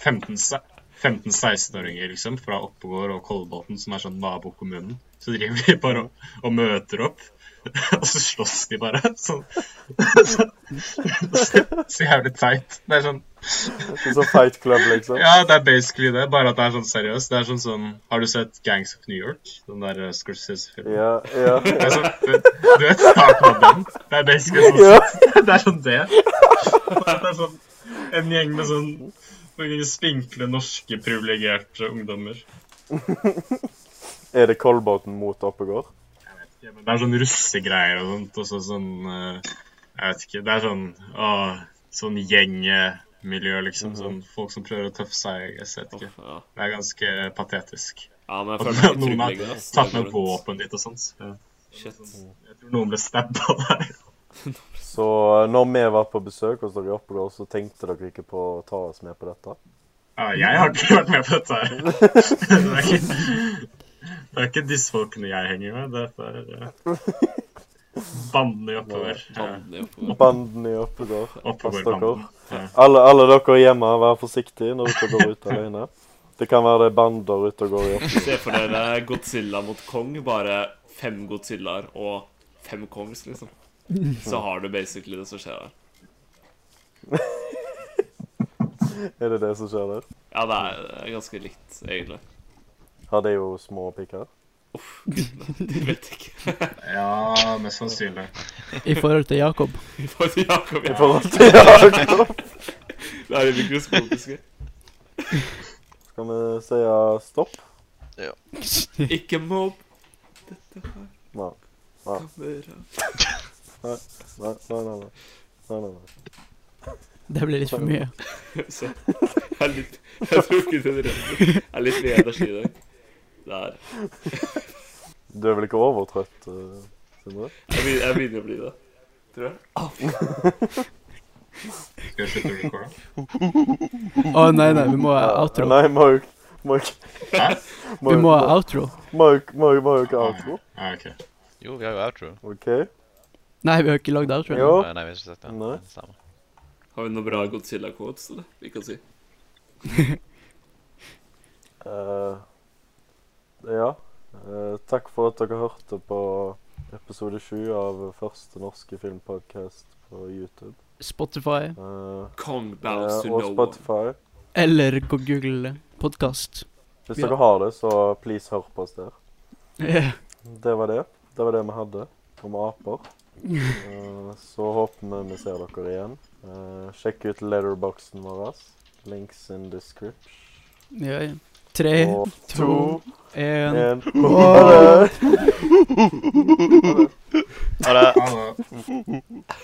Speaker 4: 15 se- 15-16-åringer liksom, fra Oppegård og Kolbotn, som er sånn nabokommunen. Så driver de bare og, og møter opp, og så slåss de bare. Sånn. Så, så, så jævlig teit. Det er sånn
Speaker 2: det er sånn fight club, liksom.
Speaker 4: ja, det er basically det, bare at det er sånn seriøst. Det er sånn sånn Har du sett Gangs of New York? Den der eh, Scorsese-filmen?
Speaker 2: Ja, ja.
Speaker 4: Det er sånn, du, du vet starten av den. Det er basically sånn.
Speaker 2: Ja.
Speaker 4: Det er sånn det. Det er sånn en gjeng med sånn noen spinkle norske privilegerte ungdommer.
Speaker 2: Er det Kolbotn mot Oppegård?
Speaker 4: Ja, men det er sånn russegreier og sånt, og så sånn eh, Jeg vet ikke. Det er sånn å, sånn gjengmiljø,
Speaker 5: Mhm.
Speaker 4: liksom. Sånn folk som prøver å tøffe seg. Jeg vet ikke.
Speaker 5: Uff, ja.
Speaker 4: Det er ganske patetisk.
Speaker 5: ja, men jeg
Speaker 4: Og
Speaker 5: føler meg
Speaker 4: noen
Speaker 5: trygg
Speaker 4: har
Speaker 5: lenger. ass.
Speaker 4: tatt med
Speaker 5: Det går rundt.
Speaker 4: våpen dit og sånt. Ja.
Speaker 5: Shit.
Speaker 4: Jeg tror noen ble stabba der.
Speaker 2: Så eh, når vi var på besøk hos dere i Oppegård, så tenkte dere ikke på å ta oss med på dette?
Speaker 4: Ja, jeg har ikke vært med på dette her. Det er ikke, det er ikke disse folkene jeg henger med. Dette er eh, bandene i oppover. Ja,
Speaker 5: Bander i Oppegård.
Speaker 2: Banden i Oppegård. Pass dere.
Speaker 4: Oppoverbanden.
Speaker 2: Alle, alle dere hjemme, vær forsiktige når dere går ut alene. Det kan være det er bander ute og går i Oppegård.
Speaker 5: Se for dere Godzilla mot Kong, bare fem Godzillaer og fem Kongs, liksom. Så har du basically det som skjer der.
Speaker 2: Er det det som skjer der?
Speaker 5: Ja, det er det er ganske likt, egentlig.
Speaker 2: Har de jo små pikker?
Speaker 5: Du vet ikke.
Speaker 4: Ja, mest sannsynlig.
Speaker 1: I forhold til Jakob.
Speaker 5: Vi får til
Speaker 2: I
Speaker 5: Jakob igjen.
Speaker 2: forhold til Jakob.
Speaker 5: Det er det mikroskopiske.
Speaker 2: Skal vi si stopp?
Speaker 5: Ikke mobb dette her,
Speaker 2: Nei.
Speaker 5: kamera.
Speaker 2: Nei, nei, nei. nei. nei, nei, nei.
Speaker 1: Det ble litt for mye.
Speaker 5: Så jeg er litt Jeg tror ikke det renner. Jeg er litt lei energi i dag. Der.
Speaker 2: Du er vel ikke overtrøtt, eh, Sindre?
Speaker 5: Jeg begynner, jeg begynner å bli det. Tror jeg.
Speaker 4: Skal vi slutte å recorde?
Speaker 1: Å nei, nei, vi må ha outro.
Speaker 2: Nei, må jo må jo-
Speaker 4: Hæ?
Speaker 2: må
Speaker 1: Vi
Speaker 2: jo-
Speaker 1: må ha outro.
Speaker 2: må jo- må jo- må jo ikke outro.
Speaker 4: Ja, ok.
Speaker 3: Jo, vi har jo outro.
Speaker 2: OK?
Speaker 1: Nei, vi har ikke lagd outro.
Speaker 2: Jo.
Speaker 3: Nei, vi har ikke sett den.
Speaker 2: Nei.
Speaker 3: Det stemmer.
Speaker 5: Har vi noen bra Godzilla-quotes, eller? Vi kan si.
Speaker 2: Eh, ja. Eh, takk for at dere hørte på episode sju av første norske filmpodkast på YouTube.
Speaker 1: Spotify.
Speaker 2: Eh,
Speaker 5: Kong
Speaker 2: eh,
Speaker 5: bows to
Speaker 2: og
Speaker 5: no one.
Speaker 2: Spotify.
Speaker 1: Eller gå google podkast.
Speaker 2: Hvis
Speaker 1: Ja.
Speaker 2: dere har det, så please hør på oss der.
Speaker 1: Ja.
Speaker 2: Det var det. Det var det vi hadde om aper. Eh, Så håper vi vi ser dere igjen. Eh, Sjekk ut letterboxen vår. Links in description.
Speaker 1: Ja, ja. Tre,
Speaker 2: Og
Speaker 1: to, én
Speaker 2: en Ha det!
Speaker 3: Ha det.
Speaker 4: Ha det.